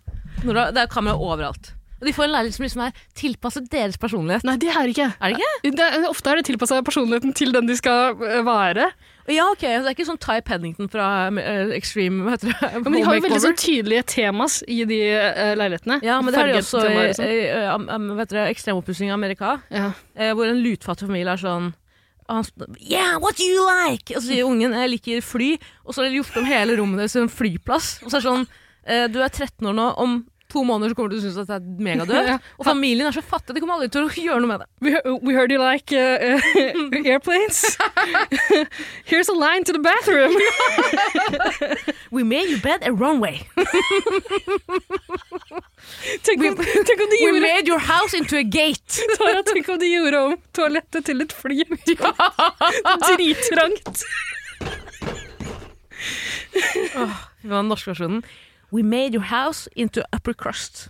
B: Når det er- det er kamera overalt. Og de får en leilighet som liksom er tilpasset deres personlighet.
A: Nei, det er det ikke.
B: Er det ikke?
A: Det er, ofte er det tilpassa personligheten til den de skal eh, være.
B: Ja, ok. Det er ikke sånn Ty Paddington fra eh, Extreme, hva heter det?
A: Ja, Men de har
B: Home
A: jo veldig
B: Makeover.
A: sånn tydelige temas i de eh, leilighetene.
B: Ja, men det har de
A: Farget
B: også eh,
A: temaer og
B: i, i,
A: sånn.
B: i am- am- vet dere, ekstremoppussing i Amerika,
A: Ja.
B: eh, hvor en lutfattig familie er sånn og han spør, Yeah, what do you like? Og så sier ungen jeg liker fly, og så har de gjort om hele rommet deres til en flyplass. Og så er det sånn eh, Du er 13 år nå, om to måneder så kommer du til å synes at det er [LAUGHS] megadøvt.
A: Ja.
B: Og familien er så fattig, de kommer aldri til å gjøre noe med det.
A: We, we heard you like uh, [LAUGHS]
B: [LAUGHS]
A: uh, airplanes. [LAUGHS] Here's a line to the bathroom.
B: We made your bed a runway.
A: tenk, om, tenk, om de
B: We
A: gjorde,
B: made your house into a [LAUGHS] gate.
A: Tara, tenk om de gjorde om toalettet til et [LAUGHS] fly. Drittrangt.
B: Det var den norske versjonen. We made your house into upper crust.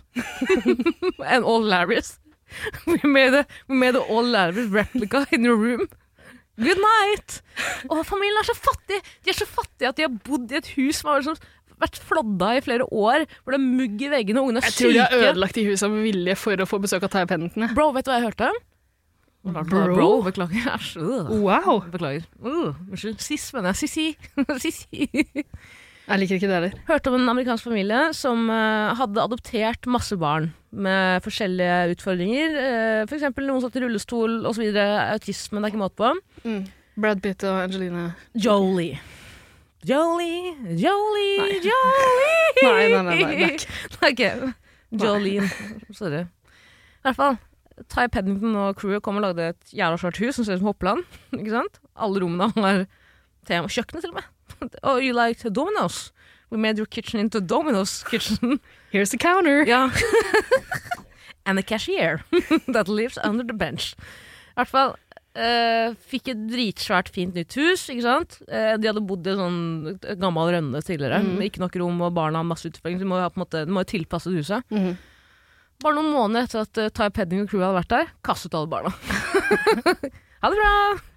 B: [LAUGHS] And all Larrys. [LAUGHS] We made, a, we made a all Larrys replica in your room. Good night! Og familien er så fattig. De er så fattige at de har bodd i et hus som har liksom vært flodda i flere år, hvor det er mugg i veggene, og ungene er
A: Jeg tror de har
B: syke.
A: ødelagt de husa med vilje for å få besøk av Taya Pendleton. jeg.
B: Bro, vet du hva jeg hørte?
A: Bro?
B: Bro beklager. Æsj.
A: Oh.
B: øh.
A: Wow!
B: Beklager. Uh, unnskyld. Sis, mener jeg. [LAUGHS] Sissi. Sissi.
A: Jeg liker ikke det heller.
B: Hørte om en amerikansk familie som eh, hadde adoptert masse barn med forskjellige utfordringer. Eh, for eksempel noen satt i rullestol osv. Autisme, det er ikke måte på.
A: Mm. Brad Pitt og Angelina.
B: Jolie. Jolie, Jolie,
A: Nei.
B: Jolie
A: [LAUGHS] Nei, nei, nei, nei, det er
B: [LAUGHS] Ok. Jolene. Sorry. I hvert fall. Ty Pennington og crewet kom og lagde et jævla svært hus som ser ut som Hoppeland. [LAUGHS] Ikke sant? Alle rommene [LAUGHS] har tema. Kjøkkenet, til og med. [LAUGHS] Oh, you liked Domino's? We made your kitchen into Domino's kitchen.
A: Here's the counter.
B: Ja. [LAUGHS] And a cashier [LAUGHS] that lives under the bench. I hvert fall eh, fikk et dritsvært fint nytt hus, ikke sant. Eh, de hadde bodd i sånn gammel rønne tidligere. med Ikke nok rom, og barna har masse utfordringer, så de må jo ha på en måte, de må jo tilpasse det huset.
A: Mhm.
B: Bare noen måneder etter at uh, Ty Pedding og crewet hadde vært der, kastet alle barna. [LAUGHS] ha det bra!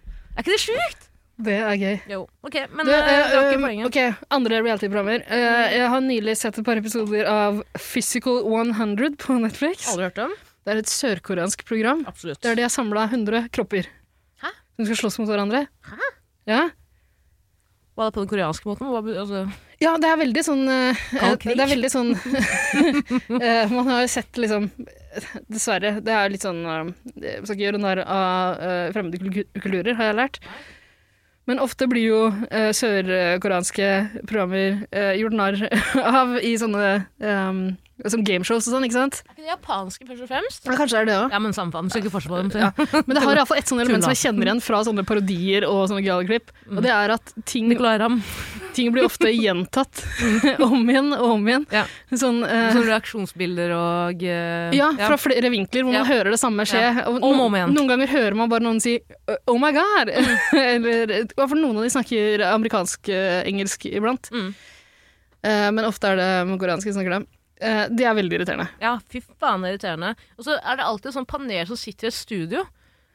B: Er ikke det sjukt?
A: Det er gøy.
B: Jo. Ok, men
A: Du,
B: eh, det var
A: eh,
B: ikke poenget.
A: ok, andre reality-programmer. Eh, jeg har nylig sett et par episoder av Physical 100 på Netflix.
B: Aldri hørt om?
A: Det er et sørkoreansk program
B: Absolutt.
A: der de har samla 100 kropper.
B: Hæ?
A: Som skal slåss mot hverandre.
B: Hæ?
A: Ja.
B: Var det på den koreanske måten? Hva, be- altså,
A: ja, det er veldig sånn eh,
B: Kald krig.
A: Det er veldig [LAUGHS] sånn eh, Man har jo sett liksom Dessverre, det er litt sånn eh, Jeg skal ikke gjøre narr av eh, fremmede kulku- kulturer, har jeg lært. Men ofte blir jo eh, sørkoreanske programmer eh, gjort narr [LAUGHS] av i sånne eh, Som gameshows og sånn, ikke sant?
B: er ikke det japanske, først og fremst?
A: Ja, kanskje er det òg.
B: Ja, men samme faen. Skal ikke forske på dem. så-
A: Ja. Men det har iallfall et sånt element som
B: Tulla.
A: jeg kjenner igjen fra sånne parodier og sånne gale klipp. Og det er at ting,
B: Nicolay Ramm.
A: ting blir ofte gjentatt [LAUGHS] om igjen og om igjen.
B: Ja.
A: Sånn, eh,
B: Sånne reaksjonsbilder og eh,
A: ja, fra flere vinkler hvor man
B: Ja.
A: hører det samme skje.
B: Ja.
A: Og
B: Om og
A: no-
B: om igjen. Mm.
A: Noen ganger hører man bare noen si «Uh, 'oh my god'. [LAUGHS] Eller i hvert fall noen av de snakker amerikansk-engelsk iblant.
B: Mm.
A: Eh, men ofte er det koreansk de snakker det. Eh, det er veldig irriterende.
B: Ja, fy faen, det er irriterende. Og så er det alltid et sånt panel som sitter i et studio.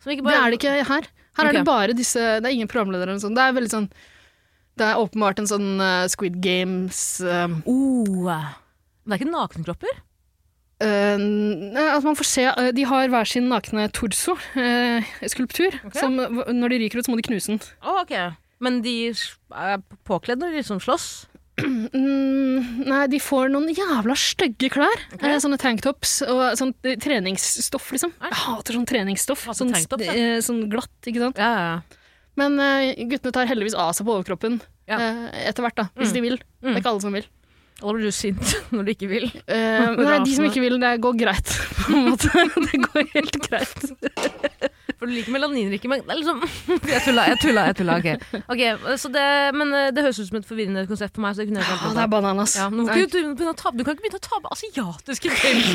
B: Som ikke
A: Det
B: bare,
A: er det ikke her. Her
B: Ok.
A: er det bare disse Det er ingen programledere eller noe sånt. Det er veldig sånn Det er åpenbart en sånn eh, Squid Games eh,
B: Oh. Men det er ikke nakenkropper?
A: eh, nei, At man får se eh, De har hver sin nakne torso-skulptur.
B: Ok.
A: Som v- når de ryker ut, så må de knuse den.
B: Å, ok. Men de er påkledd når de liksom slåss.
A: Mm, nei, de får noen jævla stygge klær. Eh, Sånne tanktops og sånn eh, treningsstoff, liksom. Jeg hater sånn treningsstoff.
B: Hater
A: Sånn,
B: tanktops, ja.
A: eh, sånn glatt, ikke sant.
B: Ja, ja, ja.
A: Men eh, guttene tar heldigvis av seg på overkroppen
B: Ja. Mm.
A: eh, etter hvert, da. Hvis de vil. Det er ikke alle som vil.
B: Og da blir du sint [LAUGHS] når du ikke vil. [LAUGHS]
A: Eh, nei, de som
B: Rasende.
A: ikke vil, det går greit, [LAUGHS] på en måte. Det går helt greit.
B: [LAUGHS] For du liker melaninrike men det er liksom [LAUGHS] Jeg tulla, jeg tulla. jeg tulla, ok. Ok, så det, Men eh, det høres ut som et forvirrende konsept for meg. så det kunne jeg
A: Ja,
B: ikke
A: Ah, det er bananas.
B: ja, men du, kan
A: Nei.
B: ikke begynne å ta- du kan ikke begynne å ta med asiatiske film.
A: [LAUGHS]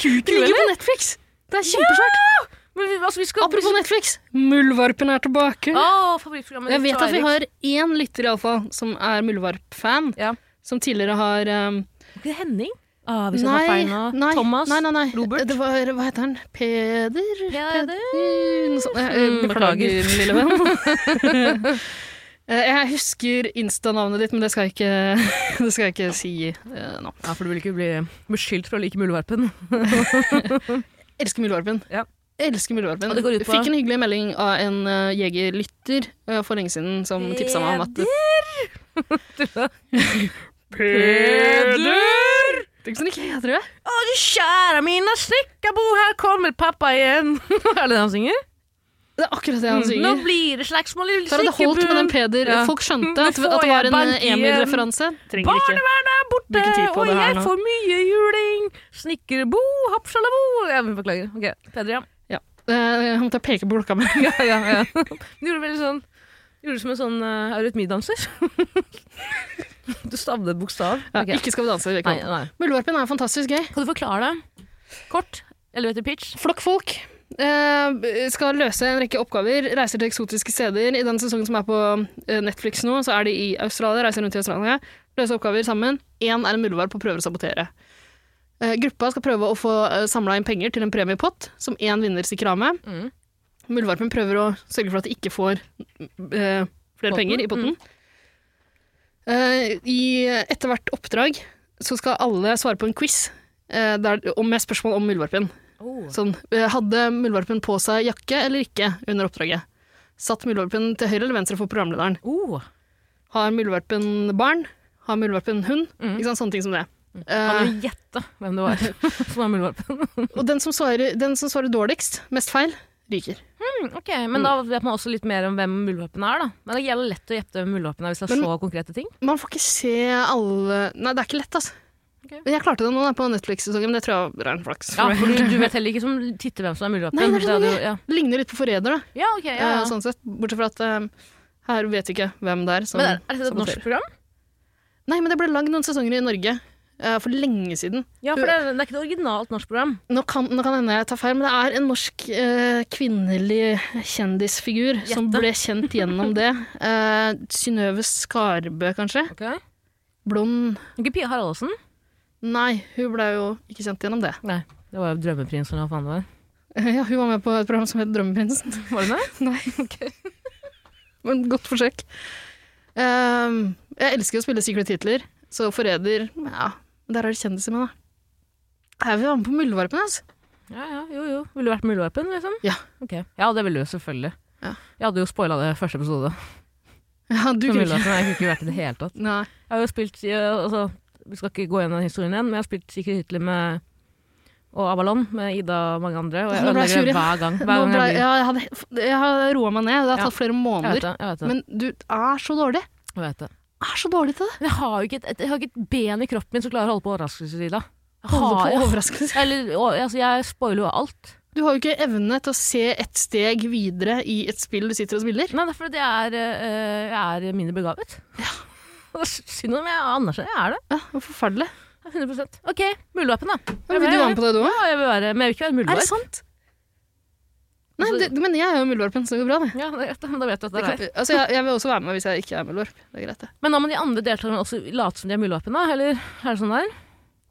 B: så-
A: Det ligger på Netflix! Det er kjempesvært.
B: Men vi, altså, vi skal
A: Apropos Netflix, Muldvarpen er tilbake.
B: Å, favorittprogrammet
A: Jeg
B: ditt
A: vet
B: og
A: at vi
B: Eiriks.
A: har én lytter iallfall som er muldvarp-fan.
B: Ja.
A: Som tidligere har um,
B: Var ikke det Henning? Ah, hvis jeg tar feil nå.
A: nei,
B: Thomas?
A: nei, nei, nei.
B: Robert?
A: Det var, hva heter han? Peder?
B: Peder?
A: Noe sånt. Jeg, jeg,
B: Mm, beklager.
A: beklager, lille
B: [LAUGHS]
A: venn. [LAUGHS] Eh, jeg husker instanavnet ditt, men det skal jeg ikke, [LAUGHS] det skal jeg ikke si eh, nå.
B: Ja, for du vil ikke bli beskyldt for å like muldvarpen.
A: Elsker muldvarpen.
B: Ja.
A: Elsker muldvarpen.
B: Og det går ut på-
A: Fikk en hyggelig melding av en eh, jegerlytter eh, for lenge siden som tipsa meg om at
B: [LAUGHS] Peder!
A: Tenk sånn ikke heter det.
B: Å, du kjære mine snickerbo, her kommer pappa igjen! [LAUGHS] er det det han synger?
A: Det er akkurat det han
B: Nå
A: synger.
B: blir det slagsmål i
A: Så hadde det holdt med den
B: snickerbu.
A: Peder.
B: Ja.
A: Folk skjønte
B: Nå
A: at,
B: får
A: at det var
B: jeg
A: en
B: bank
A: eh, Emil-referanse. Trenger ikke.
B: Barnevernet er borte,
A: Bruker tid på
B: og
A: det her
B: jeg
A: nå.
B: får mye juling! Snickerbo, hoppsjalabo Ja, men beklager. Ok, Peder, ja.
A: Eh, Jeg måtte peke på klokka mi.
B: ja, ja, ja. Du gjorde veldig sånn Gjorde det som en sånn uh, arytmidanser. [LAUGHS] du stavde et bokstav. [LAUGHS] Ok.
A: Ikke skal vi danse. det vil jeg ikke
B: Nei,
A: ha.
B: nei.
A: Muldvarpen er fantastisk gøy.
B: Kan du forklare det? Kort? Elevator pitch?
A: Flokkfolk eh, skal løse en rekke oppgaver, reiser til eksotiske steder. I den sesongen som er på eh, Netflix nå, så er de i Australia, reiser rundt i Australia, løser oppgaver sammen. Én er en muldvarp og prøver å sabotere. Eh, gruppa skal prøve å få uh, samla inn penger til en premiepott som én vinner stikker av med.
B: Mm.
A: Muldvarpen prøver å sørge for at de ikke får eh, flere
B: Potten, Mm.
A: penger i potten. Eh, I etter hvert oppdrag så skal alle svare på en quiz eh, der, om, med spørsmål om muldvarpen.
B: Oh.
A: Sånn, eh, hadde muldvarpen på seg jakke eller ikke under oppdraget? Satt muldvarpen til høyre eller venstre for programlederen?
B: Oh.
A: Har muldvarpen barn? Har muldvarpen hund? Ikke sant, sånne ting som det.
B: Kan
A: Eh,
B: Mm. du gjette hvem det var [LAUGHS] som var muldvarpen?
A: og den som, svarer, den som svarer dårligst, mest feil, ryker.
B: Ok, Men da vet man også litt mer om hvem muldvarpen er, da. Men det er jævla lett å gjette hvem muldvarpen er hvis det er
A: Men-
B: så konkrete ting.
A: Man får ikke se alle Nei, det er ikke lett, altså.
B: Ok.
A: Men jeg klarte det nå da, på Netflix-sesongen, men det tror jeg var ren flaks.
B: Ja,
A: for meg.
B: for du, [LAUGHS] du vet heller ikke som titter hvem som er muldvarpen.
A: Nei, det er sånn
B: hadde
A: det-
B: jo- ja.
A: [LAUGHS] Ligner litt på Forræder, da.
B: ja, ok. Ja,
A: eh,
B: ja.
A: Sånn sett. Bortsett fra at eh, her vet vi ikke hvem det er. Som,
B: Men er, er dette et norsk
A: saboterer.
B: program?
A: Nei, men det ble lagd noen sesonger i Norge eh, for lenge siden.
B: Ja, for det er, det er ikke et originalt norsk program.
A: Nå kan, nå kan hende jeg tar feil, men det er en norsk eh, kvinnelig kjendisfigur som
B: Gjette.
A: ble kjent gjennom det. Eh, Synnøve Skarbø, kanskje?
B: Okay.
A: Blond
B: Ikke Pia Haraldsen?
A: Nei, hun ble jo ikke kjent gjennom det. [LAUGHS]
B: Nei, det var jo Drømmeprinsen eller hva faen det [LAUGHS] var.
A: ja, hun var med på et program som het Drømmeprinsen. [LAUGHS]
B: Var det det?
A: Nei, ok. men godt forsøk. Eh, jeg elsker å spille sikre titler, så Forræder Ja, der er det kjendiser med, da. Jeg vil være med på Muldvarpen, altså.
B: Ja, ja, jo, jo. Ville du vært muldvarpen, liksom?
A: Ja.
B: Ok. ja, det ville du selvfølgelig.
A: Ja.
B: Jeg hadde jo spoila det første episode. som
A: Ja, du kunne ikke
B: muldvarpen, Jeg kunne ikke vært i det hele tatt.
A: Nei.
B: Jeg har jo spilt eh, altså, Vi skal ikke gå gjennom den historien igjen, men jeg har spilt Secret Hitler med og Avalon med Ida og mange andre, og jeg
A: Nå ble
B: ødelegger
A: jeg sur
B: det
A: igjen.
B: hver gang. Hver
A: Nå
B: gang
A: ble,
B: jeg, blir.
A: ja, jeg, hadde, jeg har roa meg ned. Det har
B: Ja.
A: tatt flere
B: jeg vet
A: måneder.
B: det. Jeg vet det.
A: Men du er så dårlig.
B: jeg vet det.
A: Er så dårlig til det.
B: Men jeg har jo ikke et, et, jeg har ikke et ben i kroppen min som klarer å holde på overraskelser, Ida. Jeg
A: Holde
B: har-
A: på
B: jeg-
A: overraskelse.
B: Eller, å, altså, jeg spoiler jo alt.
A: Du har jo ikke evne til å se et steg videre i et spill du sitter og spiller.
B: Nei, det er fordi jeg er, øh, jeg er mindre begavet. [LAUGHS] Ja. Synd om jeg anerkjenner jeg er det.
A: Ja, det er Forferdelig.
B: Jeg er 100 OK, muldvarpen, da.
A: Ja, vil du være med på det, du òg?
B: Ja, jeg vil være, men jeg vil ikke være
A: Er det
B: muldvarp.
A: sant? Nei,
B: Altså-
A: men det, men jeg er jo muldvarpen, så det går bra, det.
B: Ja, det er greit, da. da vet du at
A: det
B: det er
A: kan,
B: deg.
A: altså, jeg, jeg vil også være med hvis jeg ikke er muldvarp. Det er greit, det.
B: Men da må de andre deltakerne også late som de er muldvarpen, da? Eller er det sånn der?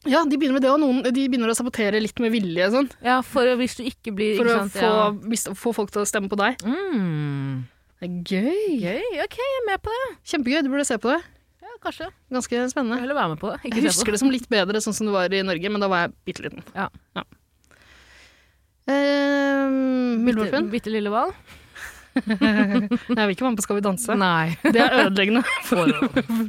A: Ja, de begynner med det, og noen de begynner å sabotere litt med vilje sånn,
B: Ja, for hvis du ikke blir
A: for
B: ikke
A: å
B: sant,
A: få, mis- få folk til å stemme på deg.
B: ja. mm.
A: Det er gøy.
B: Gøy. OK, jeg er med på det.
A: Kjempegøy. Du burde se på det.
B: Ja, kanskje.
A: Ganske spennende.
B: Jeg vil være med på det. Ikke
A: Jeg husker det som litt bedre sånn som det var i Norge, men da var jeg bitte liten.
B: Ja.
A: Eh, Muldvarpen? Ehm,
B: Bitte, bitte lille hval.
A: Nei, jeg vil ikke være med på Skal vi danse.
E: Nei.
A: Det er ødeleggende [LAUGHS] for,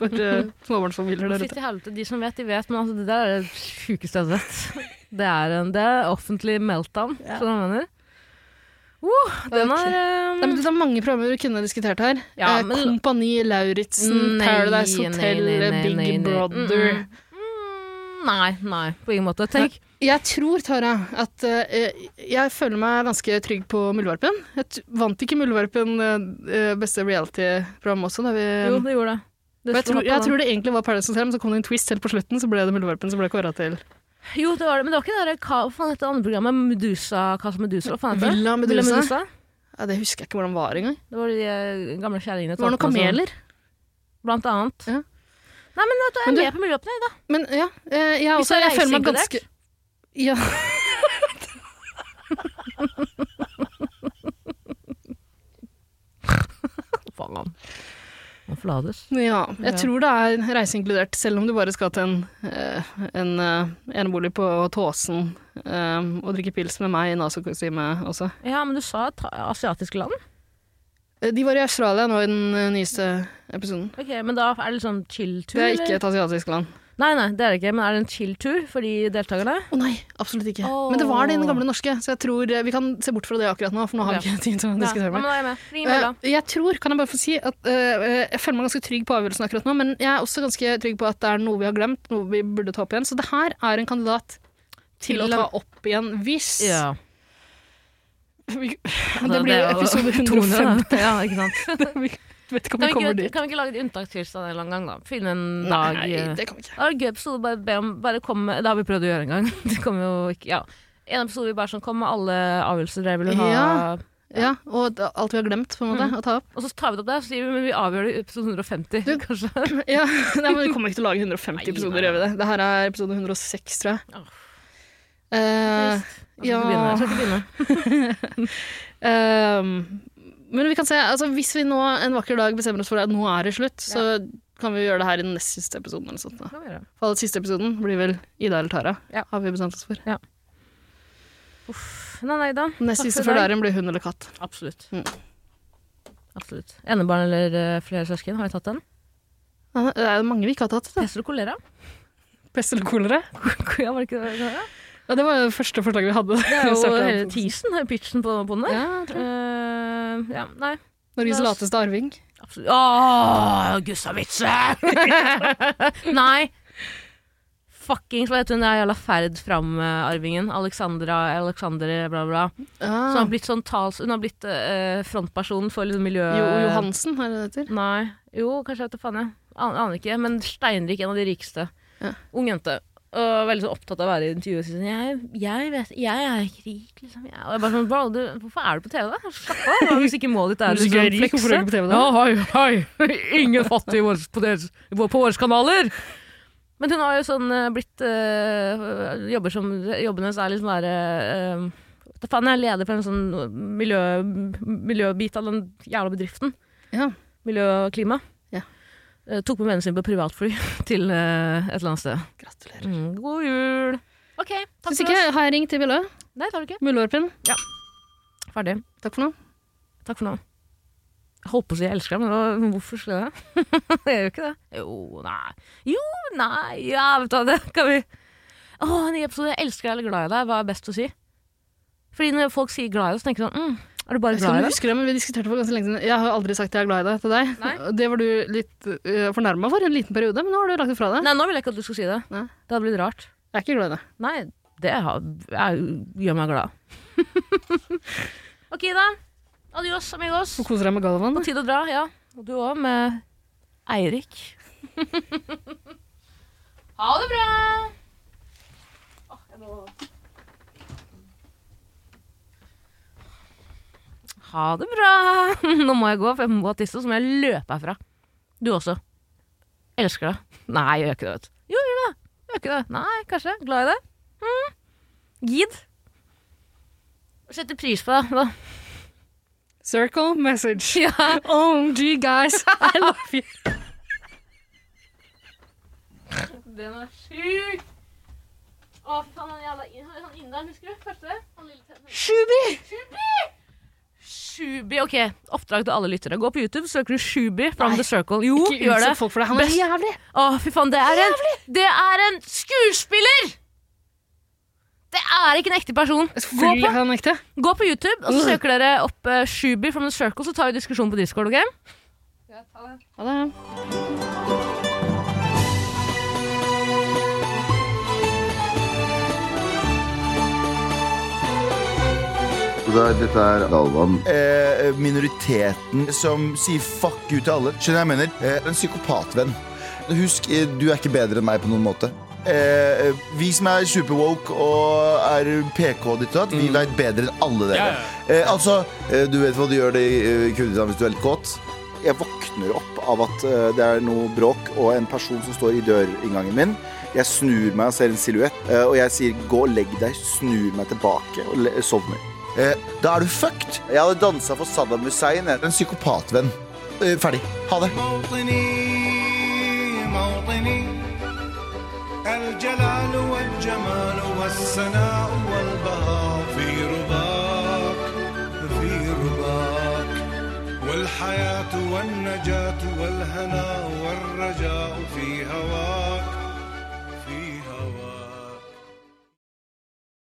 A: for eh, småbarnsfamilier der
B: Sist
A: ute.
B: i helvete, de som vet, de vet, men altså, det der er det sjukeste jeg har sett. Det er, en, det er offentlig meltdown, som jeg mener. Uh, den
A: Ok.
B: er eh,
A: Nei, men det er mange programmer vi kunne ha diskutert her.
B: Ja,
A: Eh,
B: men-
A: Kompani Lauritzen,
B: Nei,
A: Paradise
B: nei,
A: Hotel,
B: nei, nei,
A: Big
B: nei, nei.
A: Brother.
B: Mm, mm, Nei, nei, på ingen måte. Tenk.
A: Jeg tror, Tara, at eh, jeg føler meg ganske trygg på Muldvarpen. Jeg t- vant ikke Muldvarpen eh, eh, beste reality-program også? Da vi,
B: Jo, det gjorde det.
A: Og
B: det
A: jeg,
B: slo
A: tror,
B: opp
A: jeg
B: på den.
A: tror det egentlig var Paradise Hotel, men så kom det en twist helt på slutten, så ble det Muldvarpen som ble kåra til.
B: Jo, det var det, men det var ikke det der, hva faen heter det andre programmet? Medusa, Casa Medusa? Hva faen heter det?
A: Villa
B: Villa
A: Medusa. Ja, det husker jeg ikke hvordan var engang.
B: Det var de eh, gamle kjerringene.
A: Det var noen
B: tantene som- sånn.
A: kameler.
B: Blant annet.
A: Ja.
B: Nei, men vet du, jeg
A: Men
B: er
A: du-
B: med på Miljøåpnet i dag.
A: Men ja, eh, jeg, også, jeg føler meg ganske Ja. [LAUGHS]
B: Faen. Nå flades.
A: Ja, jeg
B: Ja.
A: tror det er reise inkludert, selv om du bare skal til en, eh, en eh, enebolig på Tåsen eh, og drikke pils med meg i Naso-kostyme også.
B: Ja, men du sa ta- asiatiske land.
A: Eh, De var i Australia nå i den eh, nyeste episoden.
B: Ok, Men da er det litt sånn chill-tur?
A: Det er
B: eller?
A: ikke et asiatisk land.
B: Nei, nei, det er det ikke. Men er det en chill-tur for de deltakerne?
A: Å nei, absolutt ikke.
B: Åh.
A: Men det var det i den gamle norske, så jeg tror eh, vi kan se bort fra det akkurat nå, for nå har vi ikke tid til å
B: Nei,
A: diskutere
B: men
A: mer.
B: da er jeg med. Ring Mella.
A: Eh, Jeg tror, kan jeg bare få si, at eh, jeg føler meg ganske trygg på avgjørelsen akkurat nå, men jeg er også ganske trygg på at det er noe vi har glemt, noe vi burde ta opp igjen. Så det her er en kandidat
B: Til
A: til, å
B: å
A: ta opp igjen hvis
B: Ja.
A: Vi-
B: [LAUGHS] det
A: Det blir jo
B: er jo
A: [LAUGHS] episode 105.
B: [LAUGHS] 200, Ja, ikke
A: [LAUGHS]
B: sant.
A: Vi vet ikke om vi
B: Kan vi
A: kommer
B: ikke,
A: dit.
B: kan vi ikke lage et unntak til sånn en eller annen gang, da? Finne en dag
A: Nei,
B: eh,
A: det kan vi ikke.
B: Det var en gøy episode, bare, be om, bare kom med, det har vi prøvd å gjøre en gang. [LAUGHS] Det kom jo ikke, ja. En episode vi bare sånn kom med alle avgjørelser dere vil ha.
A: Ja. Ja, og da- alt vi har glemt, på en måte,
B: Mm.
A: å ta opp. [LAUGHS]
B: Og så tar vi det opp der, så sier vi men vi avgjør det i episode 150,
A: Du-
B: kanskje.
A: Ja, nei, men Vi kommer ikke til å lage 150
B: Nei,
A: episoder,
B: nei.
A: gjør vi det? Det her er episode 106, tror jeg.
B: Åh,
A: Eh,
B: [LAUGHS] trist. Jeg skal ikke begynne, jeg skal ikke begynne.
A: Ehm, men vi kan se, altså hvis vi nå en vakker dag bestemmer oss for at nå er det slutt, så kan vi gjøre det her i den nest siste episoden eller noe sånt. Da.
B: Kan vi gjøre det?
A: For den siste episoden blir vel Ida eller Tara,
B: Ja.
A: har vi bestemt oss for.
B: Nei, nei da.
A: Nest
B: Takk
A: siste
B: for
A: før
B: i
A: Daren blir hund eller katt.
B: Absolutt.
A: Mm.
B: Absolutt. Enebarn eller eh, flere søsken, har vi tatt den?
A: Nei, Det er mange vi ikke har tatt. Da.
B: Pest eller kolera? [LAUGHS]
A: Pest eller kolera?
B: ja, var det ikke det?
A: Ja, det var jo det første forslaget vi hadde.
B: Det er
A: [LAUGHS] Vi
B: jo
A: startet
B: hele
A: opp.
B: teasen, hele pitchen på, på den der.
A: Ja, jeg tror det.
B: Eh, ja, nei.
A: Norges
B: Ja, s-
A: lateste arving.
B: Absolutt. Åh, Gustavitze! [LAUGHS] Nei. Fuckings, hva heter hun der jævla ferd fram-arvingen? Alexandra, Alexander, bla, bla. Så hun
A: Ah.
B: har blitt sånn tals... Hun har blitt eh, frontperson for liksom miljø...
A: Jo, Johansen, er det det heter?
B: Nei. Jo, kanskje jeg vet da faen, jeg. An- Aner ikke. Men steinrik, en av de rikeste.
A: Ja.
B: Ung jente. Og veldig så opptatt av å være i intervjuet. sier Sånn, jeg, jeg, vet, jeg er ikke rik, liksom. Jeg. Og jeg bare sånn, bro, du, hvorfor er du på TV, da? Slapp av. Hvis ikke
E: [LAUGHS]
B: målet ditt er å liksom, flekse.
A: på TV
E: Ja, hei, hei! [LAUGHS] Ingen fattige på, deres- på våre kanaler!
B: Men hun har jo sånn eh, blitt eh, Jobber som Jobben hennes er liksom være eh, vet da faen, jeg er leder for en sånn miljø, miljøbit av den jævla bedriften.
A: Ja.
B: Miljø og klima.
A: Ja.
B: Eh, tok med vennen sin på privatfly [LAUGHS] til eh, et eller annet sted.
A: Gratulerer.
B: Mm, god jul! OK, takk
A: Hvis
B: for
A: ikke
B: oss.
A: har jeg ringt til Bille.
B: Nei, tar du ikke.
A: Muldvarpen,
B: Ferdig.
A: takk for nå.
B: Takk for nå. Jeg holdt på å si jeg elsker deg, men det var- hvorfor skulle jeg det? [LAUGHS] jeg gjør ikke det. Jo, nei. Jo, nei. Ja, vet du hva, det kan vi Å, ny episode. Jeg elsker deg eller glad i deg. Hva er best å si? Fordi når folk sier glad i deg, så tenker jeg sånn mm, Er du bare
A: Jeg
B: glad i
A: vet ikke om du
B: deg?
A: husker det, men vi diskuterte for ganske lenge siden. Jeg har aldri sagt jeg er glad i deg til deg.
B: Nei.
A: Og Det var du litt uh, fornærma for en liten periode, men nå har du lagt det fra deg.
B: Nei, nå vil jeg ikke at du skal si det.
A: Nei.
B: Det hadde blitt rart.
A: Jeg er ikke glad i deg.
B: Nei, det har, jeg, gjør meg glad. [LAUGHS] ok, da. Adios, amigos.
A: Du koser deg med Galvan.
B: På tide å dra, ja. Og du òg, med Eirik. [LAUGHS] ha det bra! Ha det bra! [LAUGHS] Nå må jeg gå, for jeg må tisse, og så må jeg løpe herfra. Du også. Elsker deg. Nei, jeg gjør ikke det, vet du. Jo, gjør det. Gjør ikke det. Nei, kanskje. Glad i det. Mm. Gid. Setter pris på deg, da. [LAUGHS]
A: Circle message. OMG, guys. I love you.
B: Den er sjuk! Å, fy faen, han jævla han inderen, husker du? Første? Han lille Shubi! Shubi! Shubi, ok, oppdrag til alle lyttere. Gå på YouTube, søker du Shubi from the circle. Jo,
A: Ikke
B: gjør det.
A: utsett folk for det. Han er
B: Best-
A: jævlig.
B: Å, fy faen, det er en Det er en skuespiller! Det er ikke en ekte person. Gå
A: Selvfølgelig
B: på,
A: er han ekte.
B: gå på YouTube, og så søker dere opp eh, Shubi from the circle, så tar vi diskusjonen på Discord, ok?
A: Ja, det er han.
C: Og det er- Dette er Galvan.
F: eh, minoriteten som sier fuck you til alle. Skjønner jeg mener? Eh, en psykopatvenn. Husk, eh, du er ikke bedre enn meg på noen måte. Eh, vi som er superwoke og er PK og ditt og datt, vi veit bedre enn alle dere. Eh, altså, eh, du vet hva du gjør det i eh, Kurdistan hvis du er litt kåt. Jeg våkner opp av at eh, det er noe bråk og en person som står i dørinngangen min. Jeg snur meg og ser en silhuett, eh, og jeg sier 'gå og legg deg', snur meg tilbake og le sovner. Eh, da er du fucked. Jeg hadde dansa for Saddam Hussein. jeg. En psykopatvenn. Eh, ferdig. Ha det.
D: موطني موطني الجلال والجمال والسناء والبهاء في رباك في رباك والحياة والنجاة والهنا والرجاء في هواك